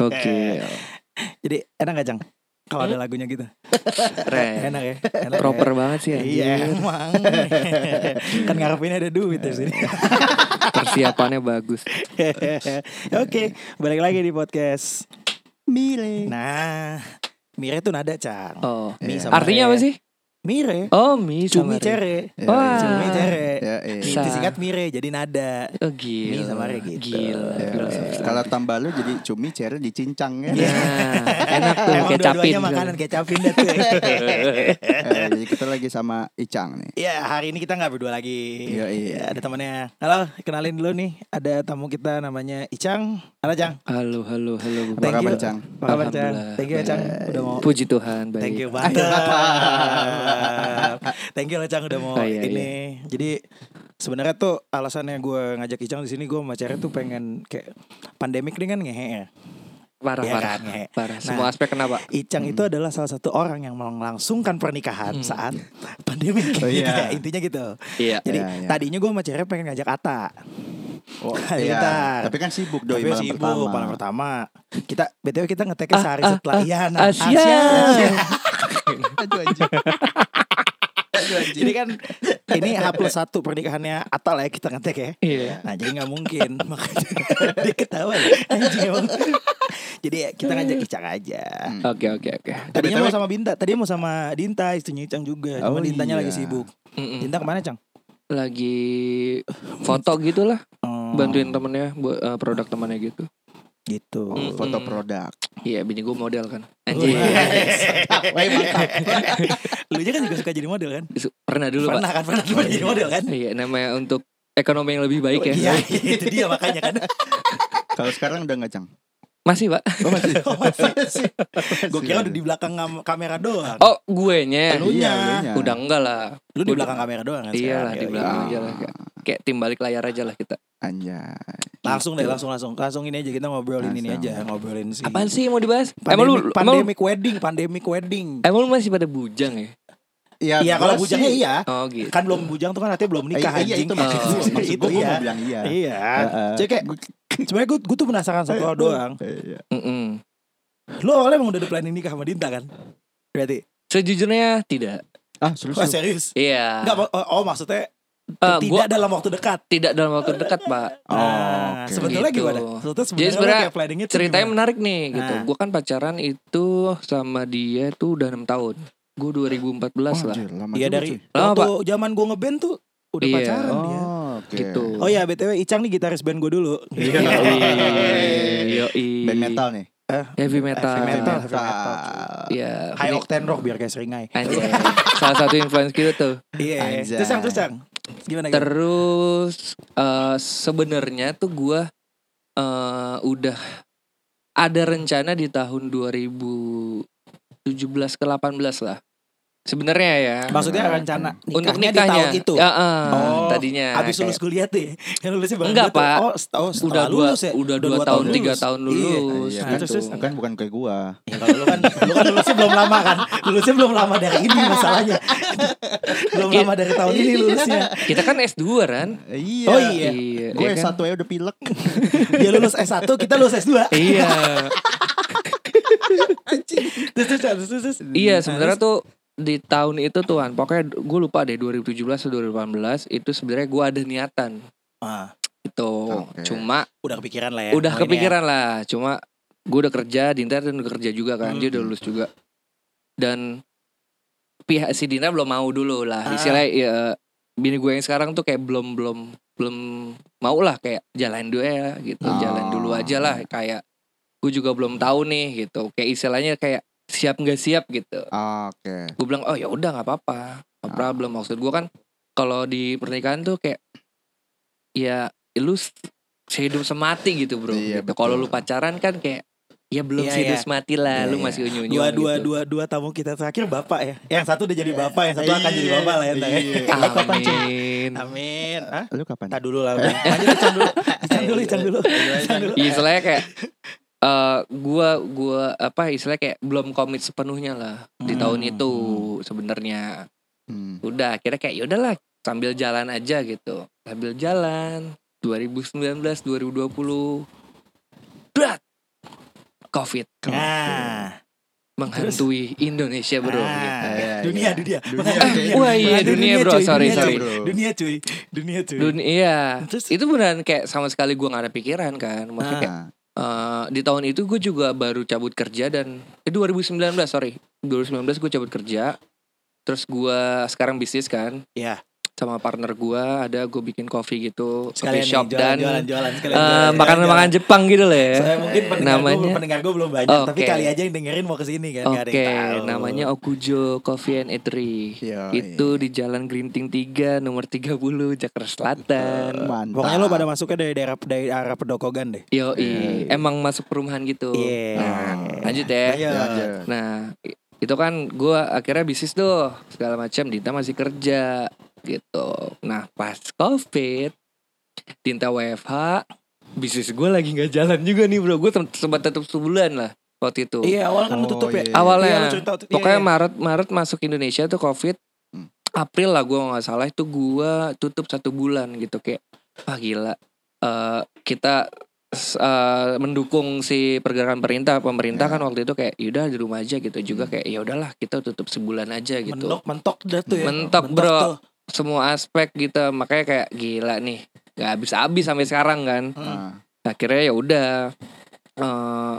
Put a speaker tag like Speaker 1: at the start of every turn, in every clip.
Speaker 1: Oke.
Speaker 2: Jadi enak gak Cang? Kalau
Speaker 3: Eh?
Speaker 2: ada lagunya gitu
Speaker 1: Keren.
Speaker 2: Enak ya Enak ya?
Speaker 1: Proper banget sih anjir.
Speaker 2: Iya emang Kan ngarepin ada duit di sini
Speaker 1: Persiapannya bagus.
Speaker 2: Oke Balik lagi di podcast
Speaker 3: Mile.
Speaker 2: Nah Mire tuh nada Cang
Speaker 1: Oh.
Speaker 2: Mi
Speaker 3: Iya.
Speaker 2: sama
Speaker 1: Artinya
Speaker 2: re.
Speaker 1: apa sih?
Speaker 2: Mire
Speaker 1: Oh, mi
Speaker 2: Cumi
Speaker 1: sama re.
Speaker 2: cere
Speaker 3: Ya,
Speaker 1: Wah.
Speaker 2: Cumi cere
Speaker 3: Ya, iya.
Speaker 2: Itu singkat mire jadi nada
Speaker 1: Oh, gila.
Speaker 2: Mi sama re gitu.
Speaker 1: Gila.
Speaker 3: Ya,
Speaker 1: filosofis
Speaker 3: iya.
Speaker 1: lagi.
Speaker 3: Kalau tambah lu jadi cumi cere dicincang kan.
Speaker 2: Iya.
Speaker 1: Nah, enak tuh
Speaker 2: Emang
Speaker 1: kecapin.
Speaker 2: dua-duanya makanan kecapin dah tuh
Speaker 3: Eh, jadi kita lagi sama Icang nih.
Speaker 2: Ya hari ini kita nggak berdua lagi
Speaker 3: Iya, iya.
Speaker 2: Ya, Ada temannya Halo kenalin dulu nih Ada tamu kita namanya Icang Halo Cang
Speaker 1: Halo, halo, halo.
Speaker 3: Apa
Speaker 2: Thank
Speaker 3: kabar
Speaker 2: you.
Speaker 3: Cang?
Speaker 2: Apa kabar Cang?
Speaker 1: Alhamdulillah.
Speaker 2: Thank you Cang udah mau
Speaker 1: Puji Tuhan, baik.
Speaker 2: Thank you banget. Thank you loh Cang udah mau
Speaker 1: Oh, iya,
Speaker 2: ini. Jadi sebenarnya tuh alasannya gue ngajak Icang di sini gue sama Cere tuh pengen kayak pandemik ini kan ngehe ya.
Speaker 1: Parah,
Speaker 2: Iya
Speaker 1: parah.
Speaker 2: kan, ngehe.
Speaker 1: Parah.
Speaker 2: Nah,
Speaker 1: Semua aspek kenapa?
Speaker 2: Icang
Speaker 1: Hmm.
Speaker 2: itu adalah salah satu orang yang melangsungkan pernikahan saat pandemi
Speaker 3: Oh, iya.
Speaker 2: intinya gitu.
Speaker 1: Iya.
Speaker 2: Jadi
Speaker 3: Iya, iya.
Speaker 2: tadinya gue sama Cere pengen ngajak Ata.
Speaker 3: Oh,
Speaker 2: Ayo, bentar.
Speaker 3: Tapi kan sibuk doi
Speaker 2: Tapi
Speaker 3: malam
Speaker 2: sibuk,
Speaker 3: pertama.
Speaker 2: malam pertama. Kita BTW kita ngeteknya
Speaker 1: Ah,
Speaker 2: sehari
Speaker 1: ah,
Speaker 2: setelah
Speaker 1: ah,
Speaker 2: iya nah,
Speaker 1: ah, siap.
Speaker 2: siap.
Speaker 3: Aduh anjing. Aduh anjing.
Speaker 2: Jadi kan ini H plus satu pernikahannya Atta lah ya kita ngetek ya.
Speaker 1: Iya.
Speaker 2: Nah jadi nggak mungkin makanya dia ketawa ya. Anjing emang. Jadi ya, kita ngajak Icang aja.
Speaker 3: Hmm.
Speaker 1: Oke, oke, oke.
Speaker 2: Tadinya
Speaker 3: Tapi-
Speaker 2: mau sama Binta, tadi mau sama Dinta istrinya Icang juga. Cuma
Speaker 3: Oh,
Speaker 2: Dintanya
Speaker 3: iya.
Speaker 2: lagi sibuk.
Speaker 1: Mm-mm.
Speaker 2: Dinta kemana Cang?
Speaker 1: Lagi foto gitu lah,
Speaker 2: Oh,
Speaker 1: bantuin temennya buat eh, produk temennya gitu.
Speaker 2: gitu.
Speaker 1: Mm.
Speaker 3: Foto produk.
Speaker 1: Iya, bini gue model kan. Anjir.
Speaker 2: Oh, iya. Wah. iya,
Speaker 3: Wah, mantap.
Speaker 2: Lu juga kan juga suka jadi model kan?
Speaker 1: Su- Pernah dulu, Pak.
Speaker 2: pernah kan pernah pernah jadi model kan?
Speaker 1: Iya, namanya untuk ekonomi yang lebih baik
Speaker 2: Iya,
Speaker 1: ya.
Speaker 2: itu dia makanya kan.
Speaker 3: Kalau sekarang udah nggak Cang?
Speaker 1: Masih, Pak.
Speaker 3: Oh, masih.
Speaker 2: Oh, masih sih. Gue kira udah di belakang kam- kamera doang.
Speaker 1: Oh, gue nya.
Speaker 2: Lu-
Speaker 3: Iya,
Speaker 2: Lunya.
Speaker 3: lunya.
Speaker 1: Udah enggak lah.
Speaker 2: Lu di belakang kamera doang kan?
Speaker 1: Iya
Speaker 2: sekarang?
Speaker 1: lah, di
Speaker 2: Yoi.
Speaker 1: belakang
Speaker 3: iya.
Speaker 1: aja lah. Kayak- Kayak tim balik layar aja lah kita.
Speaker 3: Anjay.
Speaker 2: Langsung deh,
Speaker 1: Gitu.
Speaker 2: langsung langsung. Langsung ini aja kita ngobrolin ini
Speaker 3: Langsung.
Speaker 2: aja, ngobrolin sih.
Speaker 1: Apaan sih yang mau dibahas? Emang lu,
Speaker 2: Pandemic,
Speaker 1: emang lu,
Speaker 2: pandemic wedding, pandemic wedding.
Speaker 1: emang lu masih pada bujang ya?
Speaker 2: Iya, kalau
Speaker 3: gua
Speaker 2: bujangnya
Speaker 3: sih-
Speaker 2: iya.
Speaker 1: Oh gitu.
Speaker 2: Kan belum bujang tuh kan artinya belum nikah
Speaker 3: Iya,
Speaker 2: anjing.
Speaker 3: itu maksud
Speaker 1: Oh.
Speaker 3: gua. Maksud
Speaker 2: Itu
Speaker 3: gua, gua
Speaker 2: iya.
Speaker 3: mau bilang iya.
Speaker 2: Iya.
Speaker 3: Heeh.
Speaker 2: Jadi kayak sebenarnya gue gue tuh penasaran satu hal doang.
Speaker 3: Iya.
Speaker 1: Mm-mm.
Speaker 2: Lu awalnya emang udah ada planning nikah sama Dinta kan? Berarti.
Speaker 1: Sejujurnya tidak.
Speaker 3: Ah, serius.
Speaker 2: Wah,
Speaker 3: lu?
Speaker 2: serius.
Speaker 1: Iya.
Speaker 2: Enggak, oh, oh, maksudnya
Speaker 1: Eh,
Speaker 2: tidak
Speaker 1: gua
Speaker 2: dalam waktu dekat.
Speaker 1: tidak dalam waktu dekat, Pak.
Speaker 3: Oh,
Speaker 2: Nah,
Speaker 3: oke.
Speaker 2: sebetulnya
Speaker 1: Gitu.
Speaker 2: gimana? Sebetulnya
Speaker 1: Jadi sebenarnya
Speaker 2: sebenarnya kayak planningnya tuh
Speaker 1: Ceritanya
Speaker 2: gimana?
Speaker 1: menarik nih gitu.
Speaker 2: Nah.
Speaker 1: Gua kan pacaran itu sama dia tuh udah 6 tahun. Gua 2014 lah.
Speaker 3: Anjir, Oh, lama
Speaker 2: Iya
Speaker 3: juga,
Speaker 2: dari
Speaker 3: cuy.
Speaker 1: Lama,
Speaker 2: waktu zaman gue ngeband tuh udah
Speaker 1: Iya.
Speaker 2: pacaran dia.
Speaker 3: Oh, oke.
Speaker 1: Gitu.
Speaker 2: Oh ya btw Icang nih gitaris band gue dulu.
Speaker 3: Iya.
Speaker 1: Yoi. Yoi.
Speaker 3: Band metal nih.
Speaker 1: Heavy metal.
Speaker 2: Heavy metal.
Speaker 3: Band metal.
Speaker 1: Iya.
Speaker 2: High octane rock biar kayak seringai.
Speaker 1: Anjay. Salah satu influence kita tuh.
Speaker 2: Iya.
Speaker 3: Anjay.
Speaker 2: Terus Cang, terus Cang. Gimana? gimana?
Speaker 1: Terus eh, sebenarnya tuh gua eh, udah ada rencana di tahun 2017 ke 18 lah. Sebenarnya ya.
Speaker 2: Maksudnya rencana nikahnya,
Speaker 1: untuk
Speaker 2: di tahun
Speaker 1: nikahnya
Speaker 2: itu.
Speaker 1: Ya, eh,
Speaker 2: Oh,
Speaker 1: tadinya.
Speaker 2: Abis lulus
Speaker 1: kayak,
Speaker 2: kuliah tuh ya? Yang lulusnya baru
Speaker 1: Enggak,
Speaker 2: dua tuh.
Speaker 1: Pak.
Speaker 2: Oh, set- oh setelah
Speaker 1: udah dua,
Speaker 2: lulus ya?
Speaker 1: udah
Speaker 2: Udah
Speaker 1: dua
Speaker 2: dua
Speaker 1: tahun,
Speaker 2: tahun
Speaker 1: tiga
Speaker 2: lulus.
Speaker 1: tahun
Speaker 2: Iya.
Speaker 1: lulus. Gitu.
Speaker 3: Iya,
Speaker 2: Nah,
Speaker 3: kan,
Speaker 2: terus, terus.
Speaker 3: kan bukan kayak gua.
Speaker 2: Ya, kalau lu kan, lu kan lulusnya belum lama kan? Lulusnya belum lama dari ini masalahnya. belum lama dari tahun ini lulusnya.
Speaker 1: Kita kan S2 kan?
Speaker 3: Iya.
Speaker 2: Oh iya.
Speaker 1: Iya.
Speaker 3: Gue
Speaker 1: iya kan?
Speaker 3: satu aja udah pilek.
Speaker 2: Dia lulus S1, kita lulus S2.
Speaker 1: Iya.
Speaker 2: Terus terus terus terus. terus. Nah,
Speaker 1: Iya, sebenarnya tuh di tahun itu tuan, pokoknya gue lupa deh 2017 atau 2018 itu sebenarnya gue ada niatan
Speaker 2: Ah,
Speaker 1: gitu.
Speaker 3: Oke.
Speaker 1: Cuma
Speaker 2: udah kepikiran lah ya.
Speaker 1: udah
Speaker 2: Oh, ini
Speaker 1: kepikiran lah. Cuma gue udah kerja, Dinta dan udah kerja juga kan,
Speaker 2: Hmm.
Speaker 1: dia udah lulus juga. Dan pihak si Dinta belum mau dulu
Speaker 2: Ah.
Speaker 1: lah. Istilahnya ya, bini gue yang sekarang tuh kayak belum belum belum mau lah kayak jalan dulu ya gitu,
Speaker 3: Ah.
Speaker 1: jalan dulu
Speaker 2: Oh.
Speaker 1: aja lah kayak gue juga belum tahu nih gitu. Kayak istilahnya kayak siap nggak siap gitu.
Speaker 3: Oke.
Speaker 1: Gue bilang oh ya udah nggak apa-apa,
Speaker 3: Ah.
Speaker 1: no problem. Maksud gue kan kalau di pernikahan tuh kayak ya lu s- sehidup semati gitu bro.
Speaker 3: Iya,
Speaker 1: gitu.
Speaker 3: betul.
Speaker 1: Kalau lu pacaran kan kayak ya belum
Speaker 2: Iya,
Speaker 1: sehidup
Speaker 2: iya.
Speaker 1: semati lah,
Speaker 3: Iya,
Speaker 1: lu
Speaker 3: iya.
Speaker 1: masih gitu. unyu unyu.
Speaker 2: Dua dua dua dua tamu kita terakhir bapak ya. Yang satu udah jadi bapak, yang satu akan jadi
Speaker 3: Iya,
Speaker 2: bapak lah ya. Tang, ya.
Speaker 3: iya.
Speaker 1: Amin.
Speaker 2: Amin. Hah?
Speaker 3: Lu kapan?
Speaker 2: Kita dulu lah. udah. Lanjut Ican dulu. Ican dulu, Ican dulu. Ican dulu.
Speaker 1: Iya, istilahnya kayak eh gua gua apa istilahnya kayak belum komit sepenuhnya lah di
Speaker 2: Hmm.
Speaker 1: tahun itu sebenarnya.
Speaker 3: Hmm.
Speaker 1: Udah akhirnya kayak yaudahlah sambil jalan aja gitu. Sambil jalan 2019 2020. Drat. COVID
Speaker 2: Nah,
Speaker 1: menghantui Indonesia bro.
Speaker 2: nah.
Speaker 3: Iya,
Speaker 2: dunia,
Speaker 3: iya.
Speaker 2: dunia,
Speaker 3: Dunia,
Speaker 2: Makanya
Speaker 3: oke.
Speaker 2: dunia.
Speaker 1: Wah, iya,
Speaker 2: Makanya
Speaker 1: dunia, bro.
Speaker 2: cuy,
Speaker 1: Sorry,
Speaker 2: dunia,
Speaker 1: sorry.
Speaker 2: cuy. Dunia cuy, dunia cuy.
Speaker 1: Dunia, iya.
Speaker 2: Terus
Speaker 1: itu beneran kayak sama sekali gue nggak ada pikiran kan. Maksudnya kayak,
Speaker 3: Nah,
Speaker 2: Ah.
Speaker 1: eh, di tahun itu gue juga baru cabut kerja dan eh, 2019 sorry 2019 gue cabut kerja. Terus gue sekarang bisnis kan.
Speaker 2: Iya.
Speaker 1: Sama partner gue ada gue bikin coffee gitu,
Speaker 2: sekalian
Speaker 1: coffee shop
Speaker 2: nih,
Speaker 1: dan
Speaker 2: jualan, jualan,
Speaker 1: eh,
Speaker 2: sekalian jualan, jualan.
Speaker 1: makanan-makanan Jepang gitu loh ya.
Speaker 2: Saya mungkin pendengar
Speaker 1: namanya-
Speaker 2: gue pendengar gue belum banyak, tapi
Speaker 1: Oke.
Speaker 2: kali aja yang dengerin mau kesini kan. nggak ada
Speaker 1: Oke,
Speaker 2: yang tahu. Oh,
Speaker 1: namanya Okujo Coffee and Eatery.
Speaker 3: yoi.
Speaker 1: itu
Speaker 2: iya.
Speaker 1: di Jalan Grinting 3 nomor 30 Jakarta Selatan.
Speaker 3: Mantap.
Speaker 2: Pokoknya lo pada masuknya dari daerah dari arah pedokogan deh.
Speaker 1: Yo,
Speaker 3: Iya.
Speaker 1: emang masuk perumahan gitu.
Speaker 2: Iya.
Speaker 3: Nah.
Speaker 1: Lanjut ya.
Speaker 2: Ayo.
Speaker 3: Ya, ya.
Speaker 1: Nah, i- itu kan gua akhirnya bisnis tuh segala macam Dinta masih kerja gitu. Nah, pas Covid Dinta WFH, bisnis gua lagi nggak jalan juga nih, Bro. Gue sempat tutup sebulan lah waktu itu.
Speaker 2: Iya, awal kan lo
Speaker 3: Oh,
Speaker 2: tutup ya.
Speaker 3: iya.
Speaker 1: Awalnya.
Speaker 2: Iya, lo cerita waktu itu,
Speaker 1: Pokoknya
Speaker 2: iya, iya.
Speaker 1: Maret Maret masuk Indonesia tuh Covid.
Speaker 3: Hmm.
Speaker 1: April lah gue nggak salah itu gua tutup satu bulan gitu kayak wah gila. Eh, kita s- eh, mendukung si pergerakan perintah pemerintah
Speaker 3: Ya.
Speaker 1: kan waktu itu kayak yaudah di rumah aja gitu juga kayak ya udahlah kita tutup sebulan aja gitu
Speaker 2: mentok mentok dah tuh ya.
Speaker 1: Mentok,
Speaker 2: tuh.
Speaker 1: bro. semua aspek gitu makanya kayak gila nih nggak habis habis sampai sekarang kan
Speaker 3: Nah,
Speaker 1: akhirnya ya udah eh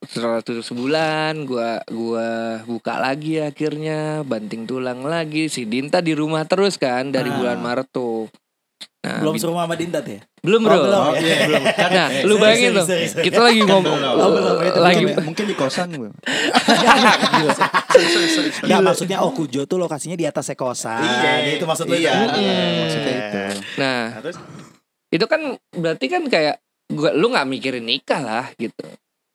Speaker 1: setelah tutup sebulan gua gua buka lagi akhirnya banting tulang lagi si Dinta di rumah terus kan dari
Speaker 2: Ah.
Speaker 1: bulan Maret tuh nah,
Speaker 2: Belum
Speaker 1: Bin-
Speaker 2: serumah sama Dinda tuh ya.
Speaker 1: belum bro
Speaker 2: Oh, belum.
Speaker 3: Oh, iya.
Speaker 2: Belum.
Speaker 1: nah
Speaker 2: Eh,
Speaker 1: lu
Speaker 2: sorry,
Speaker 1: bayangin
Speaker 2: sorry,
Speaker 1: tuh
Speaker 2: sorry, sorry.
Speaker 1: kita lagi ngomong
Speaker 3: Oh,
Speaker 2: belum. Iya. Itu
Speaker 1: lagi
Speaker 3: mungkin, mungkin di kosan gue.
Speaker 2: Nggak, maksudnya Okujo tuh lokasinya di atas sekosan.
Speaker 4: Iya.
Speaker 2: itu maksud lo
Speaker 4: Iya.
Speaker 2: itu.
Speaker 1: Mm-mm.
Speaker 3: Maksudnya itu.
Speaker 1: Mm. nah
Speaker 4: Nah, terus
Speaker 1: itu kan berarti kan kayak gua lu nggak mikirin nikah lah gitu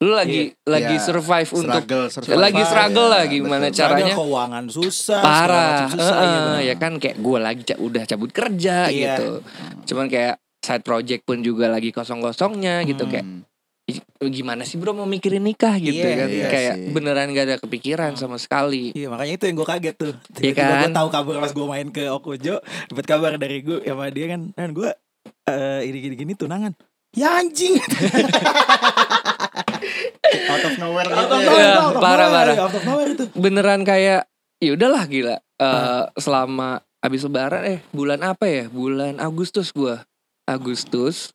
Speaker 1: lu lagi lagi
Speaker 3: Iya.
Speaker 1: survive untuk
Speaker 3: Struggle, survival.
Speaker 1: lagi struggle
Speaker 3: Iya,
Speaker 1: lah gimana
Speaker 3: betul.
Speaker 1: cara- Caranya-
Speaker 2: Ada keuangan susah, segala
Speaker 1: parah
Speaker 2: macam susah,
Speaker 1: Heeh,
Speaker 2: iya benar.
Speaker 1: ya kan kayak gue lagi ca- udah cabut kerja
Speaker 2: Iya.
Speaker 1: gitu cuman kayak side project pun juga lagi kosong kosongnya gitu
Speaker 2: Hmm.
Speaker 1: kayak "Ih, gimana sih bro mau mikirin nikah gitu
Speaker 2: Iya,
Speaker 1: kan
Speaker 3: iya
Speaker 1: kayak
Speaker 3: sih.
Speaker 1: beneran gak ada kepikiran sama sekali
Speaker 2: Iya makanya itu yang gue kaget tuh.
Speaker 3: Iya
Speaker 2: Tiba-tiba
Speaker 1: kan?
Speaker 2: gue tahu kabar pas gue main ke Okujo, dapat kabar dari gue sama dia kan, dan gue eh ini gini gini tunangan. Ya anjing.
Speaker 3: Iya, Out of nowhere
Speaker 2: Out
Speaker 3: gitu
Speaker 2: of nowhere,
Speaker 3: ya.
Speaker 1: Iya,
Speaker 2: out of
Speaker 1: parah,
Speaker 2: nowhere,
Speaker 1: parah.
Speaker 2: iya, Out of nowhere itu.
Speaker 1: beneran kayak ya udahlah gila Eh,
Speaker 3: Ah.
Speaker 1: selama abis lebaran eh bulan apa ya bulan Agustus gua Agustus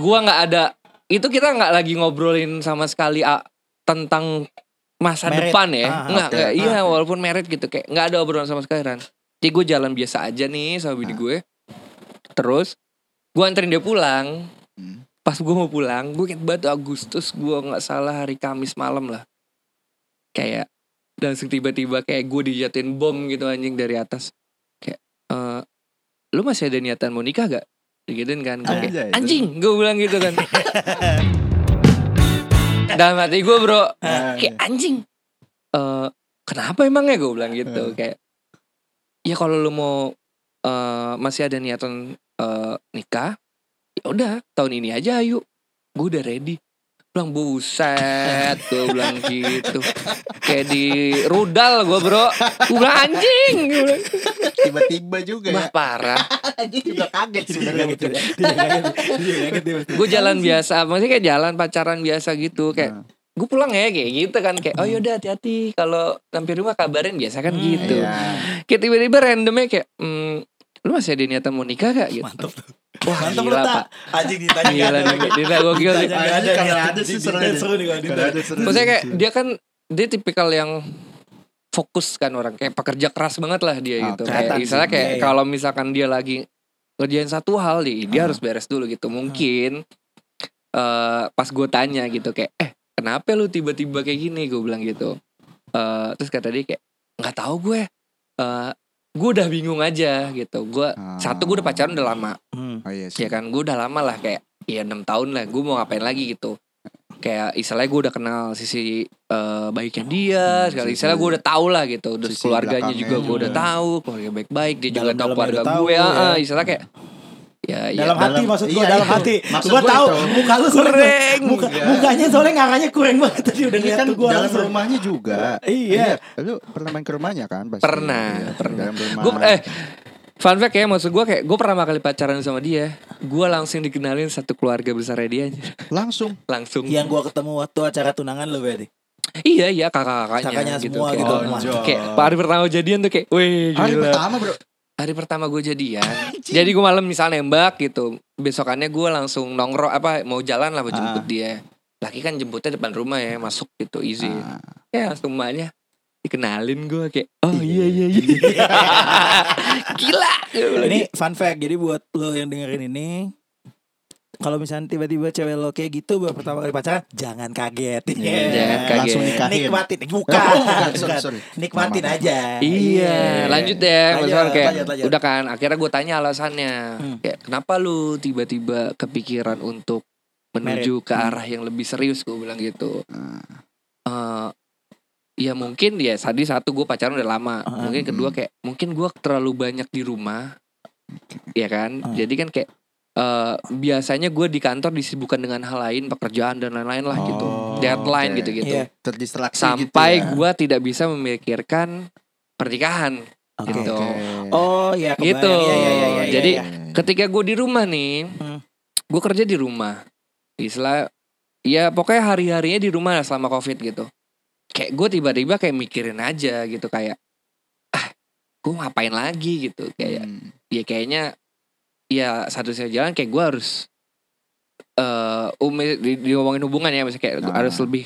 Speaker 1: gua nggak ada itu kita nggak lagi ngobrolin sama sekali ah, tentang masa
Speaker 2: Merit.
Speaker 1: depan ya
Speaker 2: Ah,
Speaker 1: nggak
Speaker 3: oke.
Speaker 1: nggak, iya
Speaker 3: Ah.
Speaker 1: walaupun merit gitu kayak nggak ada obrolan sama sekali kan jadi gue jalan biasa aja nih sama bini
Speaker 3: Ah.
Speaker 1: gue terus gua anterin dia pulang
Speaker 3: Hmm.
Speaker 1: pas gue mau pulang gue inget banget Agustus gue nggak salah hari Kamis malam lah kayak langsung tiba-tiba kayak gue dijatuhin bom gitu anjing dari atas kayak eh lu masih ada niatan mau nikah gak digituin kan Gua kayak,
Speaker 3: Anjay.
Speaker 1: anjing gue bilang gitu kan dalam hati gue bro
Speaker 3: Nah, Iya.
Speaker 1: kayak anjing eh kenapa emangnya gue bilang gitu kayak ya kalau lu mau eh, masih ada niatan eh, nikah ya udah tahun ini aja ayo gue udah ready bilang buset gue bilang gitu kayak di rudal gue bro gue bilang anjing gue bilang
Speaker 3: Tiba-tiba juga ya.
Speaker 1: wah parah
Speaker 3: Anjing juga kaget
Speaker 2: Dia kaget,
Speaker 3: gitu.
Speaker 2: dia kaget, dia kaget, dia kaget.
Speaker 1: gue jalan biasa maksudnya kayak jalan pacaran biasa gitu kayak
Speaker 3: Nah.
Speaker 1: gue pulang ya kayak gitu kan kayak oh yaudah hati-hati kalau sampai rumah kabarin biasa kan
Speaker 2: Hmm,
Speaker 1: gitu
Speaker 3: Iya.
Speaker 1: kayak tiba-tiba randomnya kayak "Hmm, lu masih ada niatan mau nikah
Speaker 3: Iya.
Speaker 1: gak gitu
Speaker 2: Mantap tuh.
Speaker 1: wah
Speaker 2: Mantap lu
Speaker 1: gila
Speaker 2: tak.
Speaker 1: pak
Speaker 2: Anjing ditanya.
Speaker 1: gila
Speaker 2: nggak
Speaker 1: dia dia gokil
Speaker 2: ada,
Speaker 1: sih.
Speaker 2: nggak ada,
Speaker 3: Anjing, kalau
Speaker 2: nggak
Speaker 3: ada sih
Speaker 2: Di-
Speaker 3: seru
Speaker 2: di-
Speaker 3: aja.
Speaker 2: seru nih kalau di-
Speaker 3: Kalau ada seru.
Speaker 1: maksudnya kayak dia kan dia tipikal yang fokus kan orang kayak pekerja keras banget lah dia
Speaker 3: Ah,
Speaker 1: gitu
Speaker 3: kelihatan
Speaker 1: kayak
Speaker 3: sih.
Speaker 1: misalnya kayak
Speaker 2: Iya, iya.
Speaker 1: kalau misalkan dia lagi ngerjain satu hal nih dia
Speaker 3: Ah.
Speaker 1: harus beres dulu gitu mungkin eh, pas gue tanya gitu kayak eh kenapa lu tiba-tiba kayak gini gue bilang gitu Eh, terus kata dia kayak nggak tahu gue Eh, gue udah bingung aja gitu gue
Speaker 3: Ah.
Speaker 1: satu gue udah pacaran udah lama
Speaker 2: Hmm.
Speaker 3: Oh iya sih.
Speaker 1: ya kan gue udah lama lah kayak ya enam tahun lah gue mau ngapain lagi gitu kayak istilahnya gue udah kenal sisi eh, baiknya dia
Speaker 3: Hmm,
Speaker 1: sekali
Speaker 3: sisi-
Speaker 1: istilahnya gue udah tahu lah gitu udah
Speaker 3: sisi
Speaker 1: keluarganya
Speaker 3: belakangnya
Speaker 1: juga gue udah
Speaker 2: juga.
Speaker 1: tahu keluarga baik-baik dia juga tahu
Speaker 2: Dalam-dalamnya
Speaker 1: keluarga
Speaker 2: udah tahu,
Speaker 1: gue
Speaker 2: ya.
Speaker 1: ah, istilahnya kayak ya ya
Speaker 2: dalam hati
Speaker 3: dalam-
Speaker 2: maksud gue
Speaker 3: iya,
Speaker 2: dalam
Speaker 3: iya.
Speaker 2: hati
Speaker 3: Maksud
Speaker 2: gue
Speaker 3: gua
Speaker 2: tahu
Speaker 3: itu.
Speaker 2: muka lu
Speaker 1: Kureng.
Speaker 2: kureng muka
Speaker 3: Iya.
Speaker 2: mukanya soalnya ngarahnya kurang banget tadi udah
Speaker 3: Ini
Speaker 2: lihat
Speaker 3: kan
Speaker 2: tuh gue
Speaker 3: dalam
Speaker 2: langsung
Speaker 3: rumahnya juga.
Speaker 2: Iya.
Speaker 3: Lu pernah main ke rumahnya kan? Pasti.
Speaker 1: Pernah,
Speaker 3: Iya,
Speaker 1: pernah.
Speaker 3: Dalam rumah.
Speaker 1: gue eh Fun fact ya maksud gue kayak gue pertama kali pacaran sama dia, gue langsung dikenalin satu keluarga besarnya dia anjir.
Speaker 3: Langsung.
Speaker 1: langsung.
Speaker 2: Yang gua ketemu waktu acara tunangan lo berarti.
Speaker 1: Iya iya kakak-kakaknya
Speaker 2: Kakaknya
Speaker 1: gitu.
Speaker 2: semua
Speaker 1: kayak,
Speaker 2: gitu.
Speaker 3: Oh,
Speaker 2: Mantap.
Speaker 3: Jo.
Speaker 1: kayak hari pertama jadian tuh kayak, wih
Speaker 3: Hari
Speaker 1: gila.
Speaker 3: pertama bro.
Speaker 1: Hari pertama gue jadian. Jadi gue malam misal nembak gitu, besokannya gue langsung nongkrong apa mau jalan lah mau jemput dia. Laki kan jemputnya depan rumah ya, masuk gitu easy.
Speaker 3: Ah.
Speaker 1: Ya langsung emaknya dikenalin gue kayak, oh iya iya iya. gila.
Speaker 2: Ini fun fact. Jadi buat lo yang dengerin ini kalau misalnya tiba-tiba cewek lo kayak gitu baru pertama kali pacaran, jangan kaget.
Speaker 1: Iya, jangan kaget.
Speaker 3: Langsung nikahin.
Speaker 2: Nikmatin, bukan.
Speaker 3: Oh, bukan. Sorry, sorry.
Speaker 2: Nikmatin
Speaker 3: Mama.
Speaker 2: aja.
Speaker 1: Iya, lanjut deh. Mas
Speaker 2: Lanjut,
Speaker 1: Wan, kayak
Speaker 2: lanjut, lanjut.
Speaker 1: udah kan. Akhirnya gue tanya alasannya,
Speaker 2: Hmm.
Speaker 1: kayak kenapa lu tiba-tiba kepikiran untuk menuju ke
Speaker 2: Hmm.
Speaker 1: arah yang lebih serius? Gue bilang gitu. Eh, ya mungkin ya tadi satu gue pacaran udah lama.
Speaker 2: Hmm.
Speaker 1: Mungkin kedua kayak mungkin gue terlalu banyak di rumah, ya kan.
Speaker 2: Hmm.
Speaker 1: Jadi kan kayak eh, biasanya gue di kantor disibukkan dengan hal lain, pekerjaan dan lain-lain lah gitu,
Speaker 3: Oh,
Speaker 1: deadline
Speaker 3: oke.
Speaker 1: gitu-gitu.
Speaker 2: Iya.
Speaker 3: Eh, Terdistraksi
Speaker 1: Sampai
Speaker 3: gitu ya.
Speaker 1: gue tidak bisa memikirkan pernikahan
Speaker 2: Oke.
Speaker 1: Gitu.
Speaker 3: Oke.
Speaker 2: Oh ya kebayang.
Speaker 1: Gitu.
Speaker 2: Iya, iya, iya, iya,
Speaker 1: Jadi,
Speaker 2: iya.
Speaker 1: ketika gue di rumah nih
Speaker 2: Hmm.
Speaker 1: gue kerja di rumah istilah ya pokoknya hari harinya di rumah lah selama covid gitu kayak gue tiba-tiba kayak mikirin aja gitu kayak ah gue ngapain lagi gitu kayak
Speaker 3: Hmm.
Speaker 1: ya kayaknya ya satu satu jalan kayak gue harus eh umi di, diomongin hubungan ya maksudnya kayak gua
Speaker 3: Ah.
Speaker 1: harus lebih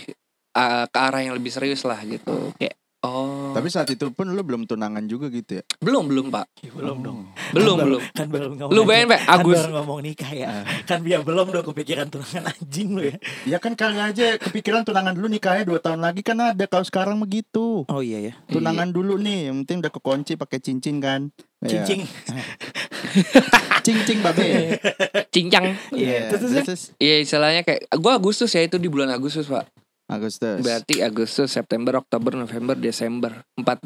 Speaker 1: eh, ke arah yang lebih serius lah gitu kayak oh
Speaker 3: Tapi saat itu pun lu belum tunangan juga gitu ya?
Speaker 1: belum belum pak
Speaker 2: Ih, belum dong.
Speaker 1: belum
Speaker 2: Kan baru-
Speaker 1: belum
Speaker 2: Kan baru ngomong.
Speaker 1: lu bayangin pak
Speaker 2: Kan
Speaker 1: Agus Ah.
Speaker 2: baru ngomong nikah ya. Kan biar belum dong kepikiran tunangan anjing lu ya.
Speaker 3: Ya kan kali aja kepikiran tunangan dulu nikahnya dua tahun lagi kan ada kalau sekarang begitu.
Speaker 2: Oh iya ya.
Speaker 3: Tunangan dulu nih, yang penting udah kekunci pakai cincin kan. Ya.
Speaker 2: Cincing.
Speaker 3: Cincin
Speaker 1: Iya.
Speaker 3: babe.
Speaker 1: cincang
Speaker 2: Iya. Terus, terus,
Speaker 3: This
Speaker 2: terus.
Speaker 3: is
Speaker 1: Iya istilahnya kayak gua Agustus ya itu di bulan Agustus pak
Speaker 3: Agustus.
Speaker 1: Berarti Agustus, September, Oktober, November, Desember Empat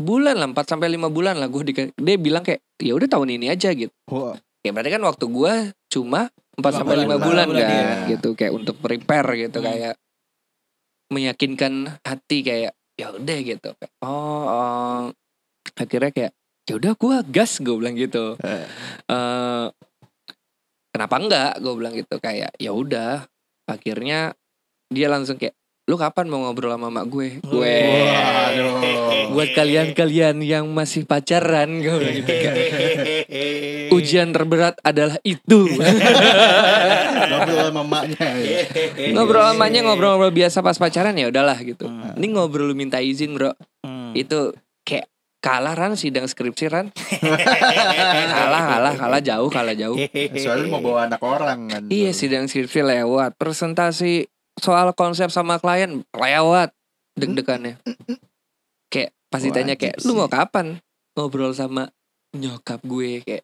Speaker 1: bulan lah, empat sampai lima bulan lah gua di, Dia bilang kayak ya udah tahun ini aja gitu
Speaker 3: Wah,
Speaker 1: Ya berarti kan waktu gua cuma empat
Speaker 2: Lima
Speaker 1: sampai lima
Speaker 2: bulan,
Speaker 1: bulan,
Speaker 2: lima bulan,
Speaker 1: kan
Speaker 3: iya.
Speaker 1: gitu Kayak untuk prepare gitu
Speaker 2: Hmm.
Speaker 1: kayak Meyakinkan hati kayak ya udah gitu Kayak, oh, oh. Akhirnya kayak ya udah gua gas gue bilang gitu
Speaker 3: Eh.
Speaker 1: Eh, kenapa enggak gue bilang gitu kayak ya udah akhirnya dia langsung kayak lu kapan mau ngobrol sama mak gue gue
Speaker 3: Waduh.
Speaker 1: buat kalian-kalian yang masih pacaran gue bilang gitu kayak, ujian terberat adalah itu
Speaker 3: Ngobrol sama emaknya. ya.
Speaker 1: ngobrol amanya ngobrol-ngobrol biasa pas pacaran ya udahlah gitu
Speaker 2: Iya, Hmm.
Speaker 1: ini ngobrol lu minta izin bro
Speaker 2: Hmm.
Speaker 1: itu kayak kalah ran sidang skripsi ran kalah kalah kalah jauh kalah jauh
Speaker 2: Iya,
Speaker 3: Soalnya mau bawa anak orang kan.
Speaker 1: Iya sidang skripsi lewat Presentasi soal konsep sama klien lewat Deg-degannya Kayak pasti
Speaker 3: Wajib
Speaker 1: tanya kayak Lu
Speaker 3: sih.
Speaker 1: mau kapan ngobrol sama nyokap gue Kayak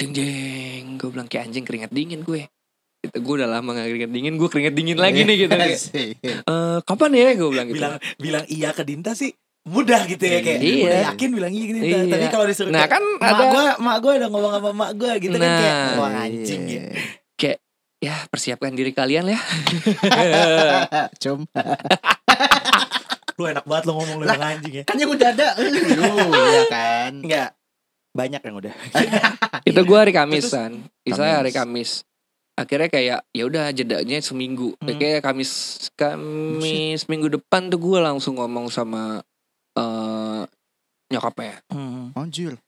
Speaker 1: jeng jeng Gue bilang kayak anjing keringat dingin gue gitu, Gue udah lama gak keringat dingin Gue keringat dingin lagi
Speaker 2: Iya.
Speaker 1: nih gitu Kayak,
Speaker 3: Asik.
Speaker 1: "Eh, Kapan ya gue bilang gitu
Speaker 2: bilang bilang iya ke Dinta sih mudah gitu ya kayak
Speaker 1: Iya.
Speaker 2: udah yakin bilang iya ke Dinta
Speaker 1: Iya.
Speaker 2: tapi kalau disuruh
Speaker 1: Nah
Speaker 2: kayak,
Speaker 1: kan
Speaker 2: mak
Speaker 1: ada
Speaker 2: gue mak gue udah ngomong sama mak gue gitu kan kayak
Speaker 1: Nah.
Speaker 2: wah anjing ya
Speaker 3: Iya.
Speaker 1: Ya persiapkan diri kalian ya
Speaker 3: Ah, Cum.
Speaker 2: lu enak banget lo ngomong lu
Speaker 3: Lah.
Speaker 2: bilang anjing ya
Speaker 3: Kan yang udah ada lu ya kan.
Speaker 2: enggak banyak yang udah Ah,
Speaker 1: Itu
Speaker 2: iya.
Speaker 1: gue hari Kamisan Misalnya hari
Speaker 3: Kamis.
Speaker 1: Kamis Akhirnya kayak ya udah jedanya seminggu
Speaker 2: Hmm.
Speaker 1: Kayak Kamis Kamis minggu depan tuh gue langsung ngomong sama eh Nyokapnya
Speaker 3: Anjir.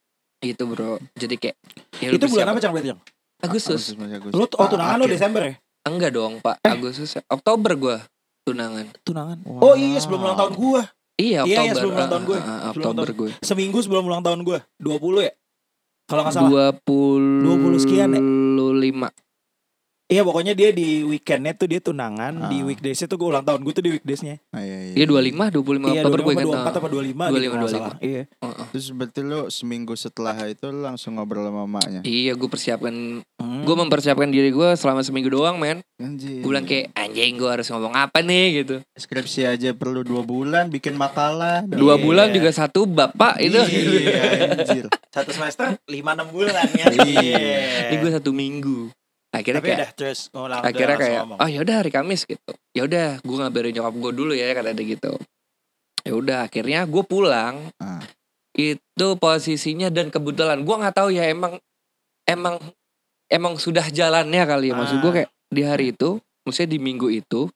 Speaker 1: Gitu bro Jadi kayak ya lu
Speaker 2: Hmm. itu bulan
Speaker 1: bersiap-
Speaker 2: apa cang berarti Cang?
Speaker 1: Agustus
Speaker 3: Agustus.
Speaker 2: lu oh tunangan lu
Speaker 3: Akhir.
Speaker 2: Desember ya
Speaker 1: Enggak dong pak
Speaker 2: Eh.
Speaker 1: Agustus Oktober gue tunangan
Speaker 2: tunangan
Speaker 3: Wow.
Speaker 2: oh iya sebelum ulang tahun gue
Speaker 1: Iya
Speaker 2: Iya, iya,
Speaker 1: Oktober
Speaker 2: sebelum ulang tahun gue.
Speaker 1: Ah, ah, ah,
Speaker 2: Sebelum
Speaker 1: Oktober gue
Speaker 2: seminggu sebelum ulang tahun gue 20 ya kalau nggak salah
Speaker 1: 20
Speaker 2: 20 sekian ya?
Speaker 1: 25
Speaker 2: iya pokoknya dia di weekendnya tuh dia tunangan di
Speaker 3: Ah.
Speaker 2: weekdaysnya tuh gue ulang tahun gue tuh di weekdaysnya
Speaker 3: Ah, Iya,
Speaker 1: Iya
Speaker 3: iya.
Speaker 1: 25 25
Speaker 2: iya
Speaker 1: Oktober
Speaker 2: 25,
Speaker 1: gue ingat
Speaker 2: 24 apa 25 gitu
Speaker 1: 25,
Speaker 2: kalau nggak salah. iya
Speaker 1: Ah, ah.
Speaker 3: Terus berarti lu seminggu setelah itu lu langsung ngobrol sama emaknya.
Speaker 1: Iya gue persiapkan
Speaker 2: Hmm.
Speaker 1: Gue mempersiapkan diri gue selama seminggu doang men
Speaker 3: Anjir.
Speaker 1: Gue bilang kayak
Speaker 2: Iya.
Speaker 1: anjing gue harus ngomong apa nih gitu
Speaker 3: skripsi aja perlu dua bulan bikin makalah.
Speaker 1: Dua
Speaker 2: Iya.
Speaker 1: bulan juga satu bapak gitu. itu
Speaker 3: Iya, anjir.
Speaker 2: satu semester lima enam bulan ya.
Speaker 3: Iya.
Speaker 1: Ini gue satu minggu Akhirnya
Speaker 2: Tapi
Speaker 1: kayak
Speaker 2: udah terus oh, lang- udah
Speaker 1: Akhirnya
Speaker 2: langsung
Speaker 1: kayak
Speaker 2: ngomong.
Speaker 1: Oh yaudah hari Kamis gitu Yaudah gue ya," ngabarin nyokap gue dulu ya Kata dia gitu Yaudah akhirnya gue pulang
Speaker 3: Ah.
Speaker 1: Itu itu posisinya dan kebetulan gua nggak tahu ya emang emang emang sudah jalannya kali ya maksud
Speaker 3: Ah.
Speaker 1: gua kayak di hari itu maksudnya di minggu itu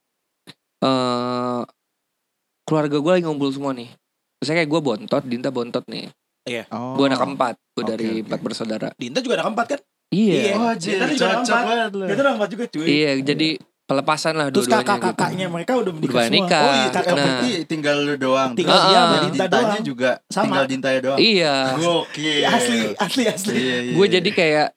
Speaker 1: eh keluarga gua lagi ngumpul semua nih Maksudnya kayak gua bontot Dinta bontot nih
Speaker 2: Oh.
Speaker 1: Gua anak keempat Gua
Speaker 3: Oke,
Speaker 1: dari
Speaker 3: oke.
Speaker 1: empat bersaudara
Speaker 2: Dinta juga ada keempat kan?
Speaker 1: Iya
Speaker 3: Oh, anjir,
Speaker 2: Dia tadi juga
Speaker 3: cocok
Speaker 2: empat.
Speaker 3: banget lu.
Speaker 2: Dia tuh empat juga cuy.
Speaker 1: Iya jadi pelepasan lah
Speaker 2: Terus
Speaker 1: dua-duanya gitu.
Speaker 2: kakak-kakaknya mereka udah menikah
Speaker 1: Udah
Speaker 2: semua.
Speaker 1: nikah. Ah,
Speaker 2: Oh iya,
Speaker 3: Eh,
Speaker 2: kakak
Speaker 1: Nah.
Speaker 3: berarti tinggal lu doang.
Speaker 2: Tinggal
Speaker 1: dia sama
Speaker 3: Jadi
Speaker 2: Dinta
Speaker 3: Dintanya
Speaker 2: doang.
Speaker 3: juga
Speaker 2: Sama.
Speaker 3: tinggal Dintanya doang.
Speaker 1: Iya
Speaker 3: Gokil.
Speaker 2: Asli, asli, asli.
Speaker 3: Iya, iya,
Speaker 1: gue
Speaker 3: iya.
Speaker 1: jadi kayak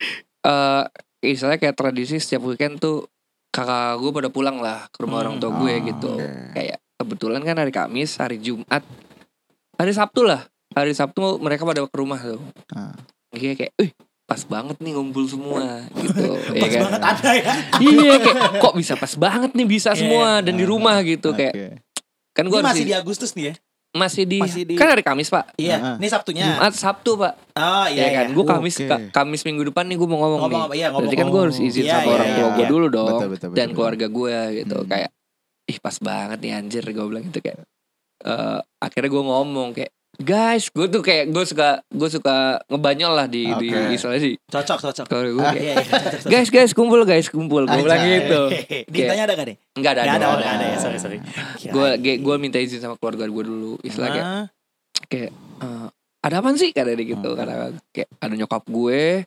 Speaker 1: eh istilahnya kayak tradisi setiap weekend tuh kakak gue pada pulang lah ke rumah
Speaker 2: Hmm.
Speaker 1: orang tua gue
Speaker 3: Ah,
Speaker 1: gitu
Speaker 3: oke.
Speaker 1: kayak kebetulan kan hari Kamis hari Jumat hari Sabtu lah hari Sabtu mereka pada ke rumah tuh
Speaker 2: Hmm.
Speaker 3: Ah.
Speaker 1: Iya kayak eh pas banget nih ngumpul semua gitu ya
Speaker 2: Pas
Speaker 1: kan?
Speaker 2: banget ada ya.
Speaker 1: iya kayak kok bisa pas banget nih bisa
Speaker 2: Iya,
Speaker 1: semua dan di
Speaker 3: Ah,
Speaker 1: rumah gitu kayak
Speaker 3: Oke.
Speaker 1: kan gue
Speaker 2: Ini
Speaker 1: harus
Speaker 2: masih
Speaker 1: di-
Speaker 2: di Agustus nih ya.
Speaker 1: Ah, masih di
Speaker 2: masih di-
Speaker 1: kan hari Kamis pak
Speaker 2: Iya,
Speaker 3: Heeh.
Speaker 2: ini Sabtunya.
Speaker 1: Jumat Sabtu pak
Speaker 2: Oh iya,
Speaker 1: ya kan
Speaker 2: iya.
Speaker 1: gue Kamis
Speaker 3: Oke.
Speaker 1: Ka- Kamis minggu depan nih gue mau ngomong,
Speaker 2: Ngomong
Speaker 1: nih
Speaker 2: apa? Iya, ngomong.
Speaker 1: Berarti kan gue harus izin
Speaker 2: Iya,
Speaker 1: sama
Speaker 2: iya,
Speaker 1: orang tua
Speaker 2: iya.
Speaker 1: gue dulu dong
Speaker 3: Betul, betul,
Speaker 1: dan
Speaker 3: betul,
Speaker 1: keluarga gue gitu
Speaker 3: Hmm.
Speaker 1: kayak ih pas banget nih anjir gue bilang gitu kayak eh, akhirnya gue ngomong kayak guys gue tuh kayak gue suka gue suka ngebanyol lah di di
Speaker 3: Oke.
Speaker 1: istilahnya sih
Speaker 2: Cocok, cocok.
Speaker 1: kalau gue
Speaker 2: Iya,
Speaker 1: kayak
Speaker 2: iya, cocok, cocok.
Speaker 1: guys guys kumpul guys kumpul gue bilang
Speaker 3: Anjay.
Speaker 1: gitu
Speaker 2: Hehehe. Dintanya ada gak nih?
Speaker 1: nggak ada
Speaker 2: Gak ada,
Speaker 1: nggak
Speaker 2: oh,
Speaker 1: ada.
Speaker 2: gak ada ya. Sorry, sorry.
Speaker 1: gue gue- gue minta izin sama keluarga gue dulu istilahnya kayak
Speaker 2: Ah,
Speaker 1: eh, ada apa sih kata dia gitu
Speaker 3: Hmm.
Speaker 1: karena kayak ada nyokap gue